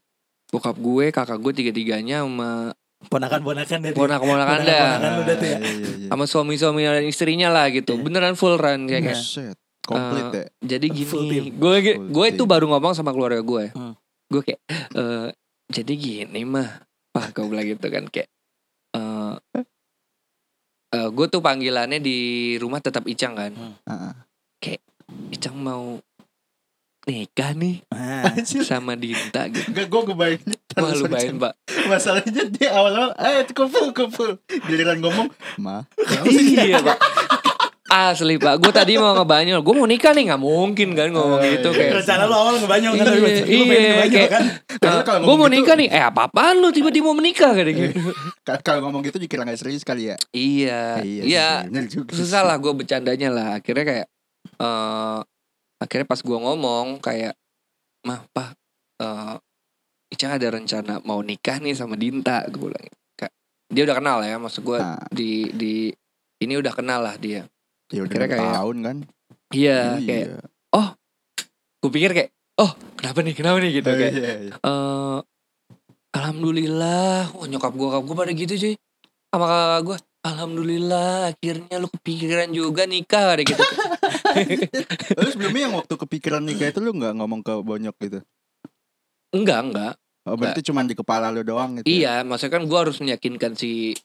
Speaker 1: bokap gue kakak gue tiga tinganya sama
Speaker 2: Ponakan-ponakan dari.
Speaker 1: ponak-ponakan anda
Speaker 2: Ponakan-ponakan. Kan udah tuh ya.
Speaker 3: Ah, iya, iya, iya.
Speaker 1: sama suami-suami dan istrinya lah gitu
Speaker 2: Iya.
Speaker 1: beneran full run kayak kayak
Speaker 3: Buset, komplit
Speaker 1: Eh,
Speaker 3: ya.
Speaker 1: jadi
Speaker 2: Full team.
Speaker 1: gini gue
Speaker 3: Full
Speaker 1: gue itu
Speaker 3: team.
Speaker 1: baru ngomong sama keluarga gue
Speaker 2: Hmm.
Speaker 1: gue kayak eh, jadi gini mah pak gue bilang gitu kan kayak eh eh, gue tuh panggilannya di rumah tetap Icang kan
Speaker 2: Hmm.
Speaker 3: Heeh.
Speaker 1: Icang mau nikah nih
Speaker 2: Ah.
Speaker 3: Anjir,
Speaker 1: sama Dinta gitu
Speaker 3: Enggak, gue kebayangin
Speaker 1: wah lu
Speaker 3: Sorry,
Speaker 1: bayangin pak
Speaker 3: sorry. Masalahnya dia awal-awal Eh kumpul kumpul Giliran ngomong Ma
Speaker 1: iya pak asli pak gue tadi mau ngebanyol gue mau nikah nih nggak mungkin kan
Speaker 2: Iya,
Speaker 1: ngomong
Speaker 3: Eh,
Speaker 1: gitu kayak
Speaker 2: Rencana lu awal ngebanyol kan?
Speaker 1: Iya,
Speaker 2: tapi maksud lu pengen
Speaker 1: iya,
Speaker 2: ngebanyol
Speaker 1: kayak-
Speaker 2: kan?
Speaker 1: gue
Speaker 3: Padahal kalau
Speaker 1: mau
Speaker 3: ngomong gitu- Iya.
Speaker 1: nikah nih eh apa apaan lu tiba-tiba mau menikah kayak gitu
Speaker 3: Ka- Kalau ngomong gitu dikira gak serius kali ya
Speaker 1: iya iya
Speaker 3: sih, bener juga sih.
Speaker 1: susah lah gue bercandanya lah akhirnya kayak eh akhirnya pas gue ngomong kayak mah pak eh Ica ada rencana mau nikah nih sama Dinta gue bilang gitu. Kayak, dia udah kenal ya maksud gue
Speaker 3: Ah.
Speaker 1: di di ini udah kenal lah dia
Speaker 3: Ya udah
Speaker 1: Akhirnya
Speaker 3: enam
Speaker 1: kayak-
Speaker 3: tahun kan
Speaker 1: iya kayak gue pikir kayak oh kenapa nih kenapa nih gitu
Speaker 3: Iya,
Speaker 1: kayak
Speaker 3: iya, iya.
Speaker 1: eh alhamdulillah Wah, nyokap gue gue pada gitu cuy sama kakak gue alhamdulillah akhirnya lu kepikiran juga nikah kayak gitu
Speaker 3: Lalu sebelumnya yang waktu kepikiran nikah itu lu gak ngomong ke bonyok gitu
Speaker 1: enggak enggak
Speaker 3: Oh berarti cuman di kepala lu doang gitu
Speaker 1: Iya,
Speaker 3: ya?
Speaker 1: maksudnya kan gue harus meyakinkan si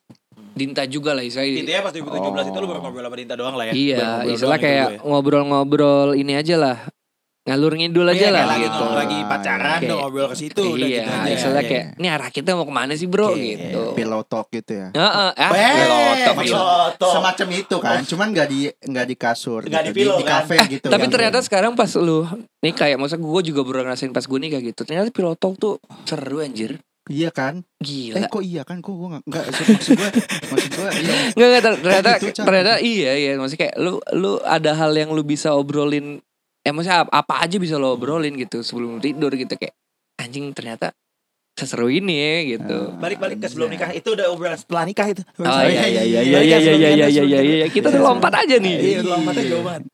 Speaker 1: Dinta juga lah istilahnya.
Speaker 2: Intinya pas 2017 itu lu baru
Speaker 3: Oh.
Speaker 2: ngobrol sama Dinta doang lah ya. Baru
Speaker 1: Iya,
Speaker 2: ngobrol doang
Speaker 1: istilah
Speaker 2: itu
Speaker 1: kayak
Speaker 2: dulu ya.
Speaker 1: ngobrol-ngobrol ini aja lah, ngalur ngidul aja
Speaker 2: Iya,
Speaker 1: lah
Speaker 2: kayak lagi
Speaker 1: gitu.
Speaker 2: ngomong lagi pacaran
Speaker 1: Kayak-
Speaker 2: udah ngobrol ke situ udah
Speaker 1: iya,
Speaker 2: gitu aja.
Speaker 1: istilah
Speaker 2: Iya.
Speaker 1: kayak ini arah kita mau kemana sih bro
Speaker 2: Oke,
Speaker 1: gitu.
Speaker 3: Pillow talk gitu ya
Speaker 1: Heeh, ah,
Speaker 2: Weh,
Speaker 1: pilotok,
Speaker 2: maksud-
Speaker 1: iya.
Speaker 2: Pilotok.
Speaker 3: Semacam itu kan Cuman gak di nggak di kasur
Speaker 2: Nggak di
Speaker 3: gitu.
Speaker 2: pillow,
Speaker 3: Di,
Speaker 2: kan?
Speaker 3: kafe gitu
Speaker 1: Tapi
Speaker 3: kan.
Speaker 1: ternyata sekarang pas lu nikah ya, maksudnya gue juga baru ngerasain pas gue nikah gitu. Ternyata pilotok tuh seru anjir.
Speaker 3: Iya kan Eh
Speaker 1: Gila.
Speaker 3: kok iya kan Kok gue gak Enggak maksud gue Maksud gue iya
Speaker 1: Enggak enggak ter- ternyata
Speaker 3: gitu, Cak.
Speaker 1: ternyata iya iya maksudnya kayak lu lu ada hal yang lu bisa obrolin eh maksudnya ap- apa aja bisa lo obrolin gitu sebelum tidur gitu kayak anjing ternyata seseru ini ya
Speaker 2: Oh,
Speaker 1: gitu.
Speaker 2: Balik-balik ke sebelum nikah itu udah obrolan setelah nikah itu.
Speaker 1: Oh iya iya iya iya
Speaker 2: Balik
Speaker 1: iya
Speaker 2: ke sebelum nikah,
Speaker 1: iya iya iya
Speaker 2: sebelum
Speaker 1: iya
Speaker 2: nikah.
Speaker 1: iya kita
Speaker 3: Iya,
Speaker 1: udah lompat aja
Speaker 2: Iya,
Speaker 1: nih.
Speaker 2: lu lompatnya jauh banget.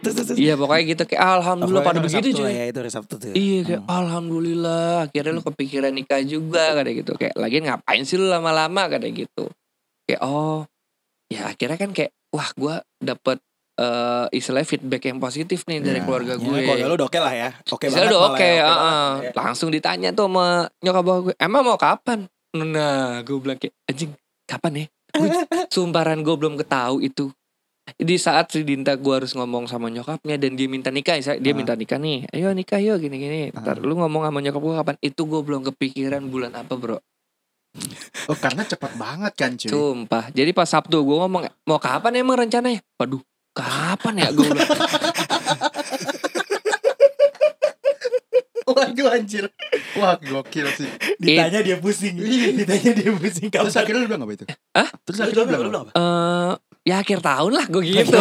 Speaker 2: Terus terus. terus.
Speaker 1: Iya pokoknya gitu kayak alhamdulillah pada
Speaker 2: Apalagi hari
Speaker 1: begitu
Speaker 2: Sabtu lah
Speaker 1: cuy.
Speaker 2: Ya itu hari Sabtu tuh. Hmm.
Speaker 1: Iya kayak alhamdulillah akhirnya lu kepikiran nikah juga kayak gitu kayak lagi ngapain sih lu lama-lama kayak gitu. Kayak oh ya akhirnya kan kayak wah gua dapet eh istilahnya feedback yang positif nih dari
Speaker 3: Ya,
Speaker 1: keluarga
Speaker 2: Ya,
Speaker 1: gue.
Speaker 2: keluarga lu udah oke lah ya. Oke banget.
Speaker 1: Saya udah
Speaker 2: malah
Speaker 1: oke,
Speaker 2: ya,
Speaker 1: ah,
Speaker 2: banget.
Speaker 1: ah.
Speaker 2: Ya.
Speaker 1: langsung ditanya tuh sama nyokap bokap gue, emang mau kapan? Nah, gue bilang kayak anjing, kapan ya? Gue, sumparan gue belum ketahu itu. Di saat si Dinta gue harus ngomong sama nyokapnya dan dia minta nikah, saya- dia
Speaker 3: Ah.
Speaker 1: minta nikah nih, ayo nikah yuk gini-gini.
Speaker 2: Ah.
Speaker 1: Ntar lu ngomong sama nyokap gue kapan? Itu gue belum kepikiran bulan apa bro.
Speaker 3: Oh karena cepat banget kan cuy
Speaker 1: Sumpah. Jadi pas Sabtu gue ngomong mau kapan emang rencananya? Waduh, kapan ya gue?
Speaker 3: Waduh anjir Wah gokil sih
Speaker 2: Ditanya dia pusing.
Speaker 1: Iya.
Speaker 2: Ditanya dia pusing.
Speaker 3: Terus
Speaker 2: Kapan?
Speaker 3: akhirnya lu bilang apa itu?
Speaker 1: Hah?
Speaker 3: Terus
Speaker 2: Lu
Speaker 3: akhirnya lu
Speaker 2: bilang,
Speaker 3: bilang
Speaker 2: lu
Speaker 3: apa?
Speaker 2: bilang apa?
Speaker 1: Eh, ya akhir tahun lah gue gitu.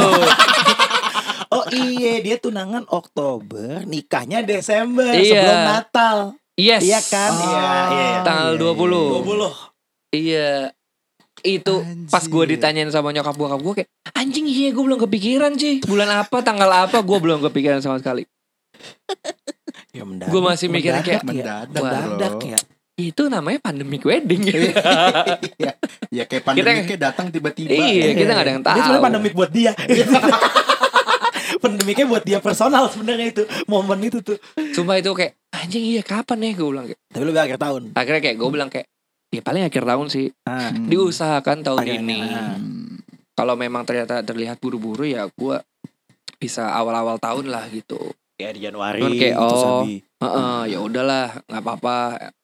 Speaker 2: Oh iya dia tunangan Oktober Nikahnya Desember
Speaker 1: Iya.
Speaker 2: Sebelum Natal
Speaker 1: Yes.
Speaker 2: Iya kan
Speaker 3: Oh.
Speaker 2: Iya iya.
Speaker 1: Ah, Tanggal
Speaker 3: Iya, iya,
Speaker 1: 20.
Speaker 3: iya.
Speaker 2: 20
Speaker 1: Iya. Itu pas gue
Speaker 3: Anjir.
Speaker 1: ditanyain sama nyokap bokap gue kayak anjing iya gue belum kepikiran sih bulan apa tanggal apa gue belum kepikiran sama sekali.
Speaker 2: ya, mendadak,
Speaker 1: Gue masih mikir
Speaker 2: mendadak
Speaker 1: kayak
Speaker 2: ya.
Speaker 3: mendadak,
Speaker 2: Mendadak
Speaker 3: bro.
Speaker 2: ya
Speaker 1: itu namanya pandemic wedding.
Speaker 3: Iya. ya, ya kayak pandemi kayak datang tiba-tiba.
Speaker 1: Iya, kita nggak ada yang
Speaker 2: Dia sebenarnya
Speaker 1: tahu.
Speaker 2: pandemik buat dia. Pandemiknya buat dia personal sebenarnya itu momen itu tuh.
Speaker 1: Sumpah itu kayak anjing iya kapan ya gue bilang kayak.
Speaker 2: Tapi lebih akhir tahun.
Speaker 1: Akhirnya kayak gue bilang kayak ya paling akhir tahun sih
Speaker 2: Ah,
Speaker 3: Hmm.
Speaker 1: diusahakan tahun
Speaker 2: Akhirnya,
Speaker 1: ini.
Speaker 2: ah.
Speaker 3: Hmm.
Speaker 1: Kalau memang ternyata terlihat buru-buru ya gue bisa awal-awal tahun lah gitu.
Speaker 2: ya di Januari.
Speaker 1: Cuman kayak,
Speaker 2: terus
Speaker 1: oh.
Speaker 2: Abi.
Speaker 1: Heeh, ya udahlah, nggak apa-apa.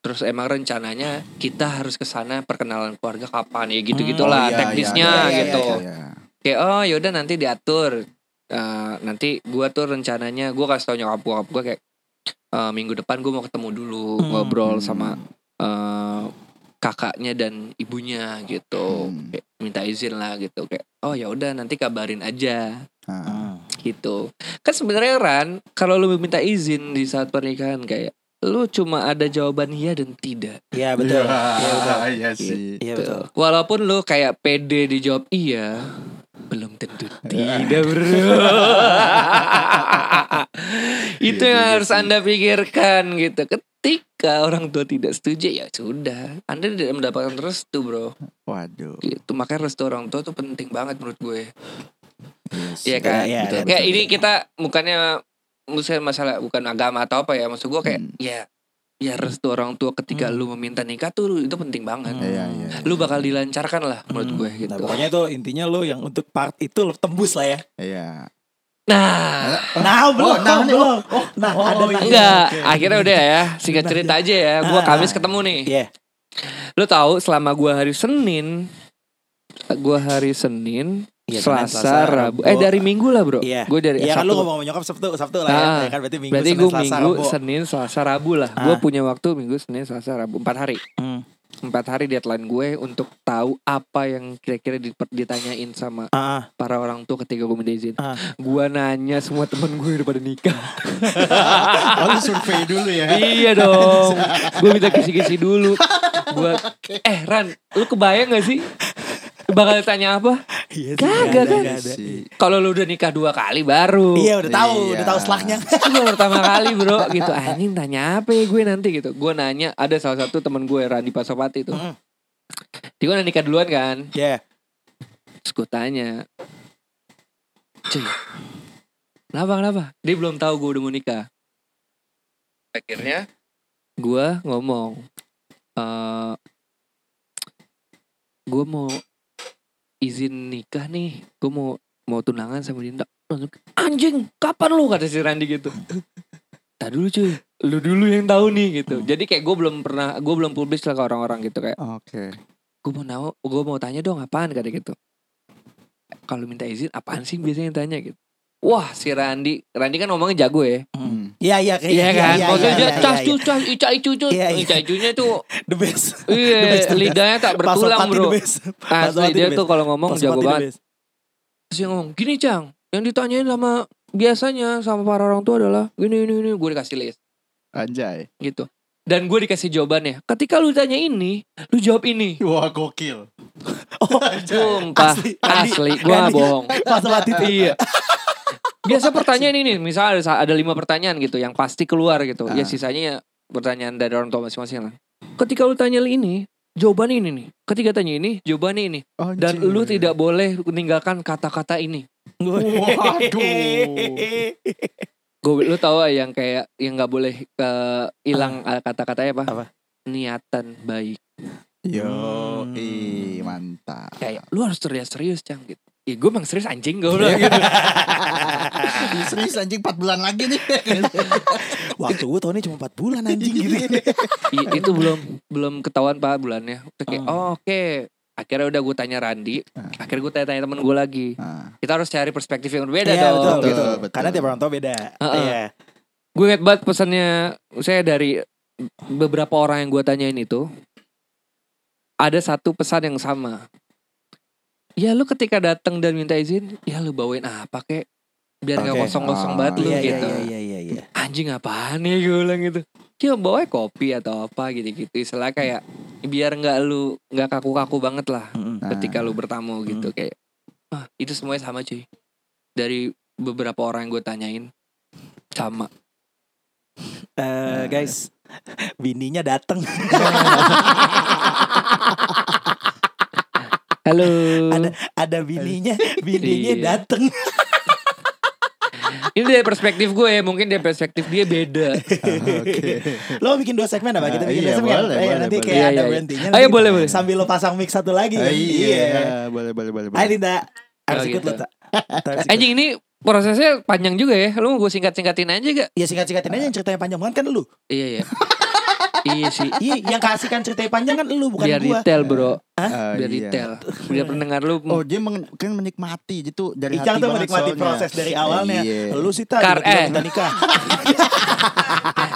Speaker 1: Terus emang rencananya kita harus ke sana perkenalan keluarga kapan ya gitu-gitulah
Speaker 3: Oh, iya,
Speaker 1: teknisnya
Speaker 3: iya, iya,
Speaker 1: gitu.
Speaker 3: iya, iya.
Speaker 1: Kayak oh yaudah nanti diatur. Eh, nanti gua tuh rencananya gua kasih tau nyokap gua, nyokap gua kayak eh, minggu depan gua mau ketemu dulu
Speaker 2: Hmm.
Speaker 1: ngobrol sama eh, kakaknya dan ibunya gitu.
Speaker 3: Hmm.
Speaker 1: Kayak minta izin lah gitu kayak oh ya udah nanti kabarin aja
Speaker 3: Ah.
Speaker 2: Ah.
Speaker 1: gitu kan sebenarnya Ran kalau lu minta izin di saat pernikahan kayak lu cuma ada jawaban iya dan tidak
Speaker 2: Iya betul.
Speaker 3: Iya,
Speaker 2: Iya betul.
Speaker 3: Iya sih.
Speaker 2: Iya
Speaker 1: Tuh.
Speaker 2: betul.
Speaker 1: walaupun lu kayak pede dijawab iya belum tentu tidak bro itu
Speaker 3: Iya
Speaker 1: yang
Speaker 3: juga
Speaker 1: harus
Speaker 3: sih.
Speaker 1: anda pikirkan gitu ketika orang tua tidak setuju ya sudah anda tidak mendapatkan restu bro
Speaker 3: Waduh.
Speaker 1: gitu makanya restu orang tua tuh penting banget menurut gue
Speaker 3: Iya
Speaker 1: Iya kan?
Speaker 2: Iya,
Speaker 1: betul.
Speaker 2: iya,
Speaker 1: Kayak
Speaker 2: betul.
Speaker 1: ini kita bukannya bukan masalah bukan agama atau apa ya maksud gua kayak
Speaker 3: Hmm.
Speaker 1: ya ya restu orang tua ketika lu meminta nikah tuh itu penting banget.
Speaker 2: Hmm.
Speaker 3: Iya, iya. iya.
Speaker 1: Lu bakal dilancarkan lah menurut gue gitu.
Speaker 2: Nah, pokoknya itu intinya lo yang untuk part itu lo tembus lah ya.
Speaker 3: Iya.
Speaker 1: Nah,
Speaker 2: Nah, belum,
Speaker 3: nah, nih,
Speaker 2: belum. nah,
Speaker 3: oh,
Speaker 2: ada
Speaker 3: iya.
Speaker 2: nah.
Speaker 1: enggak,
Speaker 3: oke.
Speaker 1: akhirnya udah ya. Singkat
Speaker 2: Nah,
Speaker 1: cerita aja ya. Gua
Speaker 2: Ah.
Speaker 1: Kamis ketemu nih.
Speaker 2: Iya.
Speaker 1: Lu tahu selama gua hari Senin gua hari Senin,
Speaker 2: Iya, Senin,
Speaker 1: Selasa,
Speaker 2: Selasa,
Speaker 1: Rabu.
Speaker 2: Rabu.
Speaker 1: Eh dari Minggu lah, Bro.
Speaker 2: Iya.
Speaker 1: Gue dari
Speaker 2: Iya kan
Speaker 1: Sabtu.
Speaker 2: lo ngomong sama nyokap Sabtu, Sabtu lah
Speaker 1: Ah.
Speaker 2: ya. Kan berarti Minggu,
Speaker 1: Berarti
Speaker 2: Senin,
Speaker 1: gue
Speaker 2: Selasa,
Speaker 1: minggu,
Speaker 2: Rabu.
Speaker 1: Senin, Selasa, Rabu lah. Gue
Speaker 2: Ah.
Speaker 1: punya waktu minggu, Senin, Selasa, Rabu. Empat hari.
Speaker 2: Hmm.
Speaker 1: Empat hari deadline gue untuk tahu apa yang kira-kira dip- ditanyain sama
Speaker 2: Ah,
Speaker 1: para orang tua ketika gue minta izin.
Speaker 2: Ah.
Speaker 1: Gue nanya semua temen gue udah pada nikah.
Speaker 3: Oh, lu survei dulu ya.
Speaker 1: iya dong. Gue minta kisi-kisi dulu. Gue, eh Ran, lu kebayang gak sih? Bakal tanya apa?
Speaker 2: iya sih,
Speaker 1: Kagak,
Speaker 2: nggak ada,
Speaker 1: kan?
Speaker 2: nggak ada.
Speaker 3: Sih.
Speaker 1: Kalau lu udah nikah dua kali baru.
Speaker 2: Iya udah tahu,
Speaker 3: Iya.
Speaker 2: udah tahu selaknya.
Speaker 1: Itu baru pertama kali bro gitu Anjing tanya apa ya gue nanti gitu Gue nanya Ada salah satu temen gue Randi Pasopati tuh
Speaker 2: Mm.
Speaker 1: Dia udah nikah duluan kan
Speaker 2: Iya.
Speaker 1: Terus gue tanya Cuy Kenapa kenapa Dia belum tahu gue udah mau nikah Akhirnya Gue ngomong eh Gue mau Izin nikah nih Gue mau mau tunangan sama Dinda Langsung, Anjing kapan lu kata si Randi gitu Tak dulu cuy Lu dulu yang tahu nih gitu Jadi kayak gue belum pernah Gue belum publish lah ke orang-orang gitu kayak
Speaker 3: Oke.
Speaker 1: gue mau tahu gue mau tanya dong apaan kata gitu kalau minta izin apaan sih biasanya yang tanya gitu wah si Randi Randi kan ngomongnya jago ya
Speaker 3: Hmm.
Speaker 2: Iya iya kayak
Speaker 1: iya kan
Speaker 2: iya,
Speaker 1: maksudnya
Speaker 2: iya,
Speaker 1: dia
Speaker 2: iya,
Speaker 1: cas
Speaker 2: iya.
Speaker 1: cus cas ica icu cus
Speaker 2: Iya, iya.
Speaker 1: ica icunya tuh
Speaker 2: the best. The
Speaker 1: iya
Speaker 2: best, the best.
Speaker 1: lidahnya tak bertulang
Speaker 2: Pasopati
Speaker 1: bro
Speaker 2: the best.
Speaker 1: asli
Speaker 2: Pasopati
Speaker 1: dia
Speaker 2: the best.
Speaker 1: tuh kalau ngomong
Speaker 2: Pasopati
Speaker 1: jago
Speaker 2: the
Speaker 1: banget
Speaker 2: best.
Speaker 1: terus dia ngomong gini cang yang ditanyain sama biasanya sama para orang tua adalah gini ini ini gue dikasih list
Speaker 3: Anjay.
Speaker 1: gitu dan gue dikasih jawabannya ketika lu tanya ini lu jawab ini
Speaker 3: Wah, gokil.
Speaker 2: Oh,
Speaker 1: Sumpah
Speaker 2: Asli, Randi.
Speaker 1: Asli, gue
Speaker 2: Randi.
Speaker 1: bohong
Speaker 2: Pasopati tuh.
Speaker 1: iya. Biasa pertanyaan ini, misalnya ada, ada lima pertanyaan gitu yang pasti keluar gitu. Ya
Speaker 3: Ah.
Speaker 1: sisanya ya pertanyaan dari orang tua masing-masing lah. Ketika lu tanya ini, jawaban ini nih. Ketika tanya ini, jawabannya ini. Dan
Speaker 3: Anjay.
Speaker 1: lu tidak boleh meninggalkan kata-kata ini.
Speaker 3: Waduh.
Speaker 1: Gue lu tahu ah, yang kayak yang nggak boleh eh, hilang eh, kata-katanya apa?
Speaker 2: Apa?
Speaker 1: Niatan baik.
Speaker 3: Yo,
Speaker 2: Hmm.
Speaker 3: ih, mantap.
Speaker 1: Kayak lu harus terlihat serius, Cang gitu. Ya gue emang serius anjing gue bilang gitu.
Speaker 3: Ih, Serius anjing 4 bulan lagi nih.
Speaker 2: Waktu gue tahunnya cuma 4 bulan anjing gitu.
Speaker 1: I- itu belum belum ketahuan pak bulannya Terus kayak, oh, oke akhirnya udah gue tanya Randi
Speaker 3: Ah.
Speaker 1: akhirnya gue tanya-tanya temen gue lagi
Speaker 3: Ah,
Speaker 1: kita harus cari perspektif yang berbeda
Speaker 2: Iya betul,
Speaker 1: dong
Speaker 3: Betul,
Speaker 2: betul.
Speaker 3: betul.
Speaker 2: Karena tiap orang tua beda.
Speaker 1: Heeh.
Speaker 2: Iya.
Speaker 1: gue ingat banget pesannya saya dari beberapa orang yang gue tanyain itu ada satu pesan yang sama ya lu ketika datang dan minta izin ya lu bawain apa kek biar nggak
Speaker 2: Oke.
Speaker 1: kosong-kosong
Speaker 4: Ah.
Speaker 1: banget lu
Speaker 2: Iya iya
Speaker 1: gitu.
Speaker 2: iya, iya iya iya.
Speaker 1: Anjing apaan nih gue bilang gitu. Ya bawa kopi atau apa gitu-gitu. Istilah kayak biar nggak lu nggak kaku-kaku banget lah
Speaker 2: Mm-mm.
Speaker 4: Nah.
Speaker 1: ketika lu bertamu gitu kayak. Ah, itu semuanya sama cuy. Dari beberapa orang yang gue tanyain sama.
Speaker 2: Eh,
Speaker 1: Nah.
Speaker 2: guys, bininya dateng.
Speaker 1: Halo.
Speaker 2: ada ada bininya, bininya
Speaker 1: Iya.
Speaker 2: dateng.
Speaker 1: Ini dari perspektif gue ya, mungkin dari perspektif dia beda. Ah,
Speaker 3: Oke.
Speaker 2: Lo bikin dua segmen apa? Kita
Speaker 3: Ah,
Speaker 2: bikin
Speaker 3: iya,
Speaker 2: dua segmen.
Speaker 3: boleh,
Speaker 2: Eh,
Speaker 3: boleh,
Speaker 2: nanti
Speaker 3: boleh.
Speaker 2: kayak
Speaker 1: Iya,
Speaker 2: ada
Speaker 1: iya.
Speaker 2: berhentinya.
Speaker 1: Ayo
Speaker 2: lagi.
Speaker 1: boleh boleh.
Speaker 2: Sambil lo pasang mic satu lagi.
Speaker 3: Ah,
Speaker 2: kan?
Speaker 3: Iya, boleh boleh boleh
Speaker 2: Ayo
Speaker 3: boleh.
Speaker 2: Dinda, harus
Speaker 1: Oh,
Speaker 2: ikut lo
Speaker 1: gitu.
Speaker 2: tak. Harus ikut.
Speaker 1: Anjing ini prosesnya panjang juga ya. Lu mau gue singkat-singkatin aja gak?
Speaker 2: Ya singkat-singkatin aja yang ceritanya panjang banget kan lu.
Speaker 1: Iya ya. iya sih.
Speaker 2: Iya, yang kasih kan ceritanya panjang kan lu bukan
Speaker 1: biar
Speaker 2: gua. Eh,
Speaker 1: detail bro,
Speaker 3: Ah,
Speaker 1: biar
Speaker 3: iya.
Speaker 1: detail. Biar pendengar lu
Speaker 3: Oh dia meng- kan menikmati gitu dari
Speaker 2: Ijang
Speaker 3: hati
Speaker 2: tuh
Speaker 3: banget
Speaker 2: menikmati
Speaker 3: soalnya.
Speaker 2: proses dari awalnya.
Speaker 3: Iya.
Speaker 2: Lu sih tak
Speaker 1: Kar-
Speaker 2: tiba-tiba
Speaker 1: eh.
Speaker 2: kita nikah.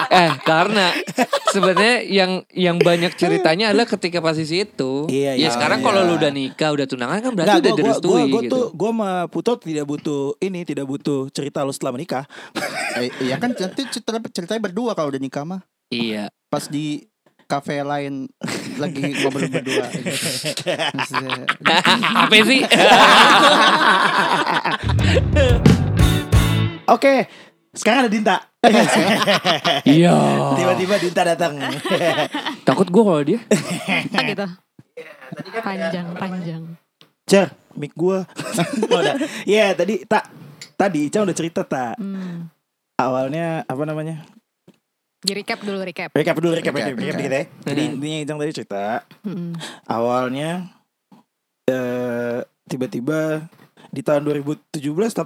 Speaker 1: eh karena sebenarnya yang yang banyak ceritanya adalah ketika posisi itu.
Speaker 2: Iya, iya.
Speaker 1: Ya sekarang
Speaker 2: Iya.
Speaker 1: kalau lu udah nikah, udah tunangan kan berarti
Speaker 2: Nggak,
Speaker 1: udah
Speaker 2: gua- gua-
Speaker 1: direstui
Speaker 2: gua- gua
Speaker 1: gitu.
Speaker 2: tuh gua sama Puto tidak butuh ini, tidak butuh cerita lu setelah menikah.
Speaker 3: Eh, iya kan nanti cerita ceritanya berdua kalau udah nikah mah.
Speaker 1: Iya.
Speaker 3: Pas di kafe lain lagi ngobrol berdua.
Speaker 1: Apa sih?
Speaker 2: Oke, sekarang ada Dinta.
Speaker 1: Iya.
Speaker 2: Tiba-tiba Dinta datang.
Speaker 1: Takut gue kalau dia.
Speaker 5: Ah, gitu.
Speaker 2: Iya, kan
Speaker 5: Panjang, panjang.
Speaker 2: Cer, mic gua. Oh, udah. Iya, tadi tak tadi Ica udah cerita tak.
Speaker 5: Hmm.
Speaker 2: Awalnya apa namanya?
Speaker 5: Di recap dulu recap.
Speaker 2: Recap dulu, recap, recap,
Speaker 3: Recap,
Speaker 2: recap,
Speaker 3: recap.
Speaker 2: dikit ya. Jadi intinya Ijang tadi cerita
Speaker 5: Hmm.
Speaker 2: awalnya eh tiba-tiba di tahun 2017 18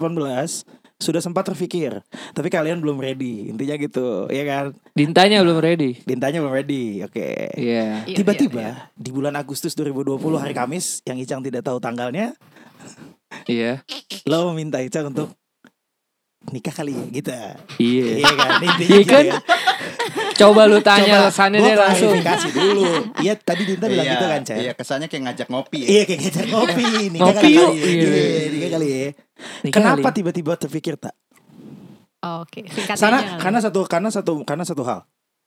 Speaker 2: sudah sempat terpikir tapi kalian belum ready intinya gitu ya kan
Speaker 1: Dintanya belum ready.
Speaker 2: Dintanya belum ready oke
Speaker 1: Iya.
Speaker 5: Iya,
Speaker 2: tiba-tiba
Speaker 5: iya,
Speaker 2: di bulan Agustus 2020 hari Kamis yang Icang tidak tahu tanggalnya
Speaker 1: Iya.
Speaker 2: lo meminta Icang untuk nikah kali ya gitu
Speaker 1: Iya.
Speaker 2: iya kan intinya
Speaker 1: Iya
Speaker 2: gitu
Speaker 1: kan?
Speaker 2: ya.
Speaker 1: Coba lu
Speaker 2: Coba
Speaker 1: tanya alasannya
Speaker 2: gua
Speaker 1: dia langsung.
Speaker 2: klarifikasi dulu iya tadi Dinta bilang
Speaker 3: Iya,
Speaker 2: gitu kan Cah
Speaker 3: Iya kesannya kayak ngajak ngopi. ya.
Speaker 2: Iya kayak gitu ngopi nikah
Speaker 1: Ngopi
Speaker 2: kali
Speaker 1: yuk.
Speaker 2: ya.
Speaker 1: Iya.
Speaker 2: Iya, nikah kali ya.
Speaker 1: Nikah
Speaker 2: Kenapa
Speaker 1: kali.
Speaker 2: tiba-tiba terpikir tak?
Speaker 5: Oh, Oke, singkat aja
Speaker 2: Karena
Speaker 5: kali.
Speaker 2: karena satu karena satu karena satu hal.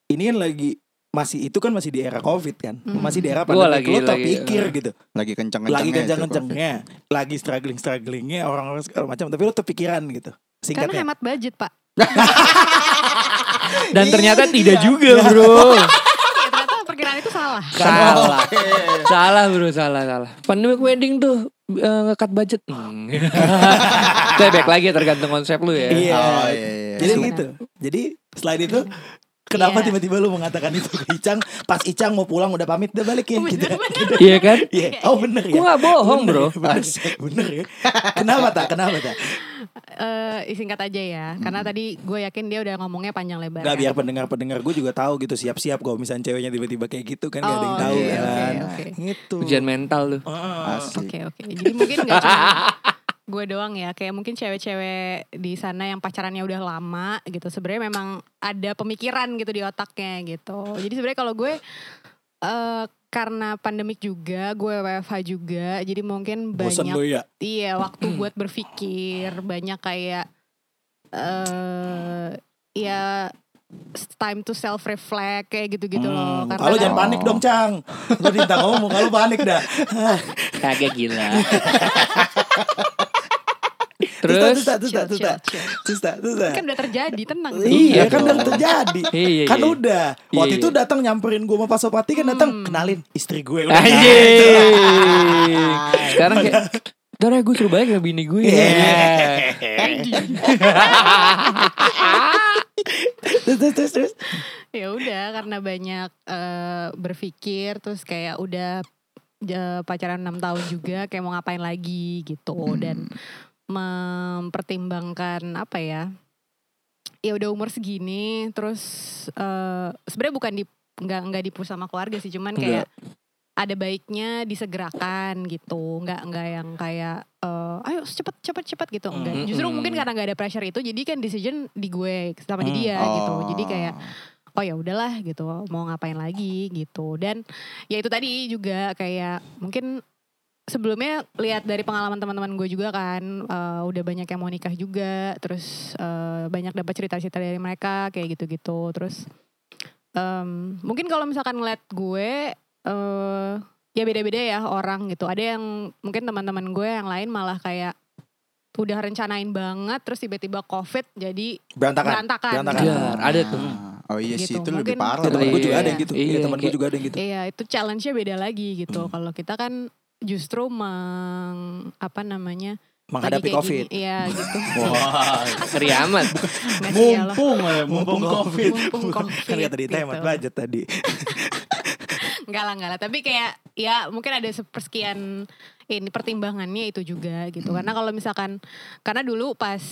Speaker 2: Ini kan lagi masih itu kan masih di era covid kan,
Speaker 5: Hmm.
Speaker 2: masih di era
Speaker 1: Gua
Speaker 2: pandemi.
Speaker 1: lagi-
Speaker 2: Lo
Speaker 1: lagi- eh.
Speaker 2: terpikir gitu,
Speaker 3: Lagi kencang-kencangnya.
Speaker 2: lagi
Speaker 3: itu,
Speaker 2: kencang-kencangnya, lagi struggling strugglingnya orang-orang segala macam. Tapi lo terpikiran gitu.
Speaker 5: karena
Speaker 2: Singkatnya.
Speaker 5: hemat budget, Pak.
Speaker 1: Dan
Speaker 2: Iya,
Speaker 1: ternyata
Speaker 2: iya.
Speaker 1: tidak juga bro.
Speaker 5: Ya, ternyata perkiraan itu salah.
Speaker 1: salah. salah bro, salah, salah. Pandemic wedding tuh eh, ngekat budget. Hmm. Tapi baik lagi ya, tergantung konsep lu ya.
Speaker 2: Iya.
Speaker 3: Oh, iya, iya.
Speaker 2: Jadi
Speaker 5: Benar.
Speaker 2: gitu. Jadi selain itu Kenapa
Speaker 5: Iya.
Speaker 2: tiba-tiba lu mengatakan itu ke Icang Pas Icang mau pulang udah pamit Udah balik ya gitu kan.
Speaker 1: Iya kan?
Speaker 2: Iya. Oh bener ya
Speaker 1: Gue gak bohong
Speaker 2: Bener,
Speaker 1: bro.
Speaker 2: bener, bener ya Kenapa tak Kenapa tak
Speaker 5: Eh, singkat aja ya. Karena tadi gue yakin dia udah ngomongnya panjang lebar.
Speaker 2: Gak
Speaker 5: kan.
Speaker 2: biar pendengar-pendengar gue juga tahu gitu siap-siap kalau misalnya ceweknya tiba-tiba kayak gitu kan gak ada yang
Speaker 5: Oh,
Speaker 2: tahu
Speaker 5: oke,
Speaker 2: kan.
Speaker 5: oke, oke.
Speaker 2: Gitu.
Speaker 1: Ujian mental lu.
Speaker 2: Heeh.
Speaker 3: Asik.
Speaker 5: Oke, oke. Jadi mungkin gak cuma gue doang ya. Kayak mungkin cewek-cewek di sana yang pacarannya udah lama gitu. Sebenarnya memang ada pemikiran gitu di otaknya gitu. Jadi sebenarnya kalau gue eh karena pandemik juga, gue WFH juga. Jadi mungkin
Speaker 2: Bosen
Speaker 5: banyak
Speaker 2: lu ya.
Speaker 5: Iya, waktu buat berpikir banyak kayak eh ya time to self reflect kayak gitu-gitu loh.
Speaker 2: Hmm,
Speaker 5: Karena
Speaker 2: Kalau jangan
Speaker 5: kan-
Speaker 2: panik dong, Cang. Lu minta ngomong kalau panik dah.
Speaker 1: Kagak gila.
Speaker 2: Terus
Speaker 1: Terus?
Speaker 2: tak, terus tak, terus
Speaker 5: Chill,
Speaker 2: tak. Terus tak, terus tak.
Speaker 5: kan udah terjadi, tenang.
Speaker 2: Iya,
Speaker 1: Iya
Speaker 2: kan
Speaker 1: dong.
Speaker 2: udah terjadi.
Speaker 1: Iya,
Speaker 2: Kan
Speaker 1: iya.
Speaker 2: udah. Waktu
Speaker 1: Iya,
Speaker 2: itu
Speaker 1: iya.
Speaker 2: datang nyamperin gue sama Pak Sopati kan
Speaker 5: Hmm.
Speaker 2: datang kenalin istri gue. Udah.
Speaker 1: Iya. Anjing. Sekarang kayak Ntar ya gue suruh balik sama bini gue
Speaker 2: Iya.
Speaker 1: ya.
Speaker 2: Terus terus terus. terus.
Speaker 5: Ya udah karena banyak eh, berpikir terus kayak udah eh, pacaran 6 tahun juga kayak mau ngapain lagi gitu dan mempertimbangkan apa ya? Ya udah umur segini terus eh, sebenarnya bukan di nggak nggak dipus sama keluarga sih cuman kayak ada baiknya disegerakan gitu nggak nggak yang kayak eh, ayo cepet cepet cepet gitu enggak
Speaker 1: Mm,
Speaker 5: justru
Speaker 1: mm.
Speaker 5: mungkin karena nggak ada pressure itu jadi kan decision di gue sama di
Speaker 2: Mm,
Speaker 5: dia gitu jadi kayak
Speaker 3: Oh.
Speaker 5: oh ya udahlah gitu mau ngapain lagi gitu dan ya itu tadi juga kayak mungkin sebelumnya lihat dari pengalaman teman-teman gue juga kan eh, udah banyak yang mau nikah juga terus eh, banyak dapat cerita-cerita dari mereka kayak gitu-gitu terus em, mungkin kalau misalkan ngeliat gue eh ya beda-beda ya orang gitu ada yang mungkin teman-teman gue yang lain malah kayak udah rencanain banget terus tiba-tiba covid jadi
Speaker 2: Berantakan.
Speaker 5: berantakan,
Speaker 2: Berantakan.
Speaker 5: gitu.
Speaker 1: Iya, ada tuh.
Speaker 3: Ah, Oh iya sih
Speaker 5: Gitu,
Speaker 3: itu lebih
Speaker 5: mungkin-
Speaker 3: parah.
Speaker 2: Ya, temen gue juga
Speaker 1: Iya.
Speaker 2: ada yang gitu.
Speaker 1: Iya,
Speaker 2: Iya, temen gue
Speaker 1: kayak-
Speaker 2: juga ada yang gitu.
Speaker 5: Iya, itu challenge-nya beda lagi
Speaker 2: Hmm.
Speaker 5: gitu. Kalau kita kan justru meng apa namanya?
Speaker 2: Menghadapi
Speaker 5: tadi kayak
Speaker 2: COVID.
Speaker 5: gini, Iya, gitu.
Speaker 3: Wah,
Speaker 1: Ngeri amat.
Speaker 5: Nggak sih, ya Allah.
Speaker 3: mumpung ya, mumpung covid.
Speaker 5: Mumpung COVID.
Speaker 2: Kan kata di tema
Speaker 5: gitu.
Speaker 2: budget tadi.
Speaker 5: Enggak lah, enggak lah. Tapi kayak ya mungkin ada sepersekian ini pertimbangannya itu juga gitu.
Speaker 2: Hmm.
Speaker 5: Karena kalau misalkan karena dulu pas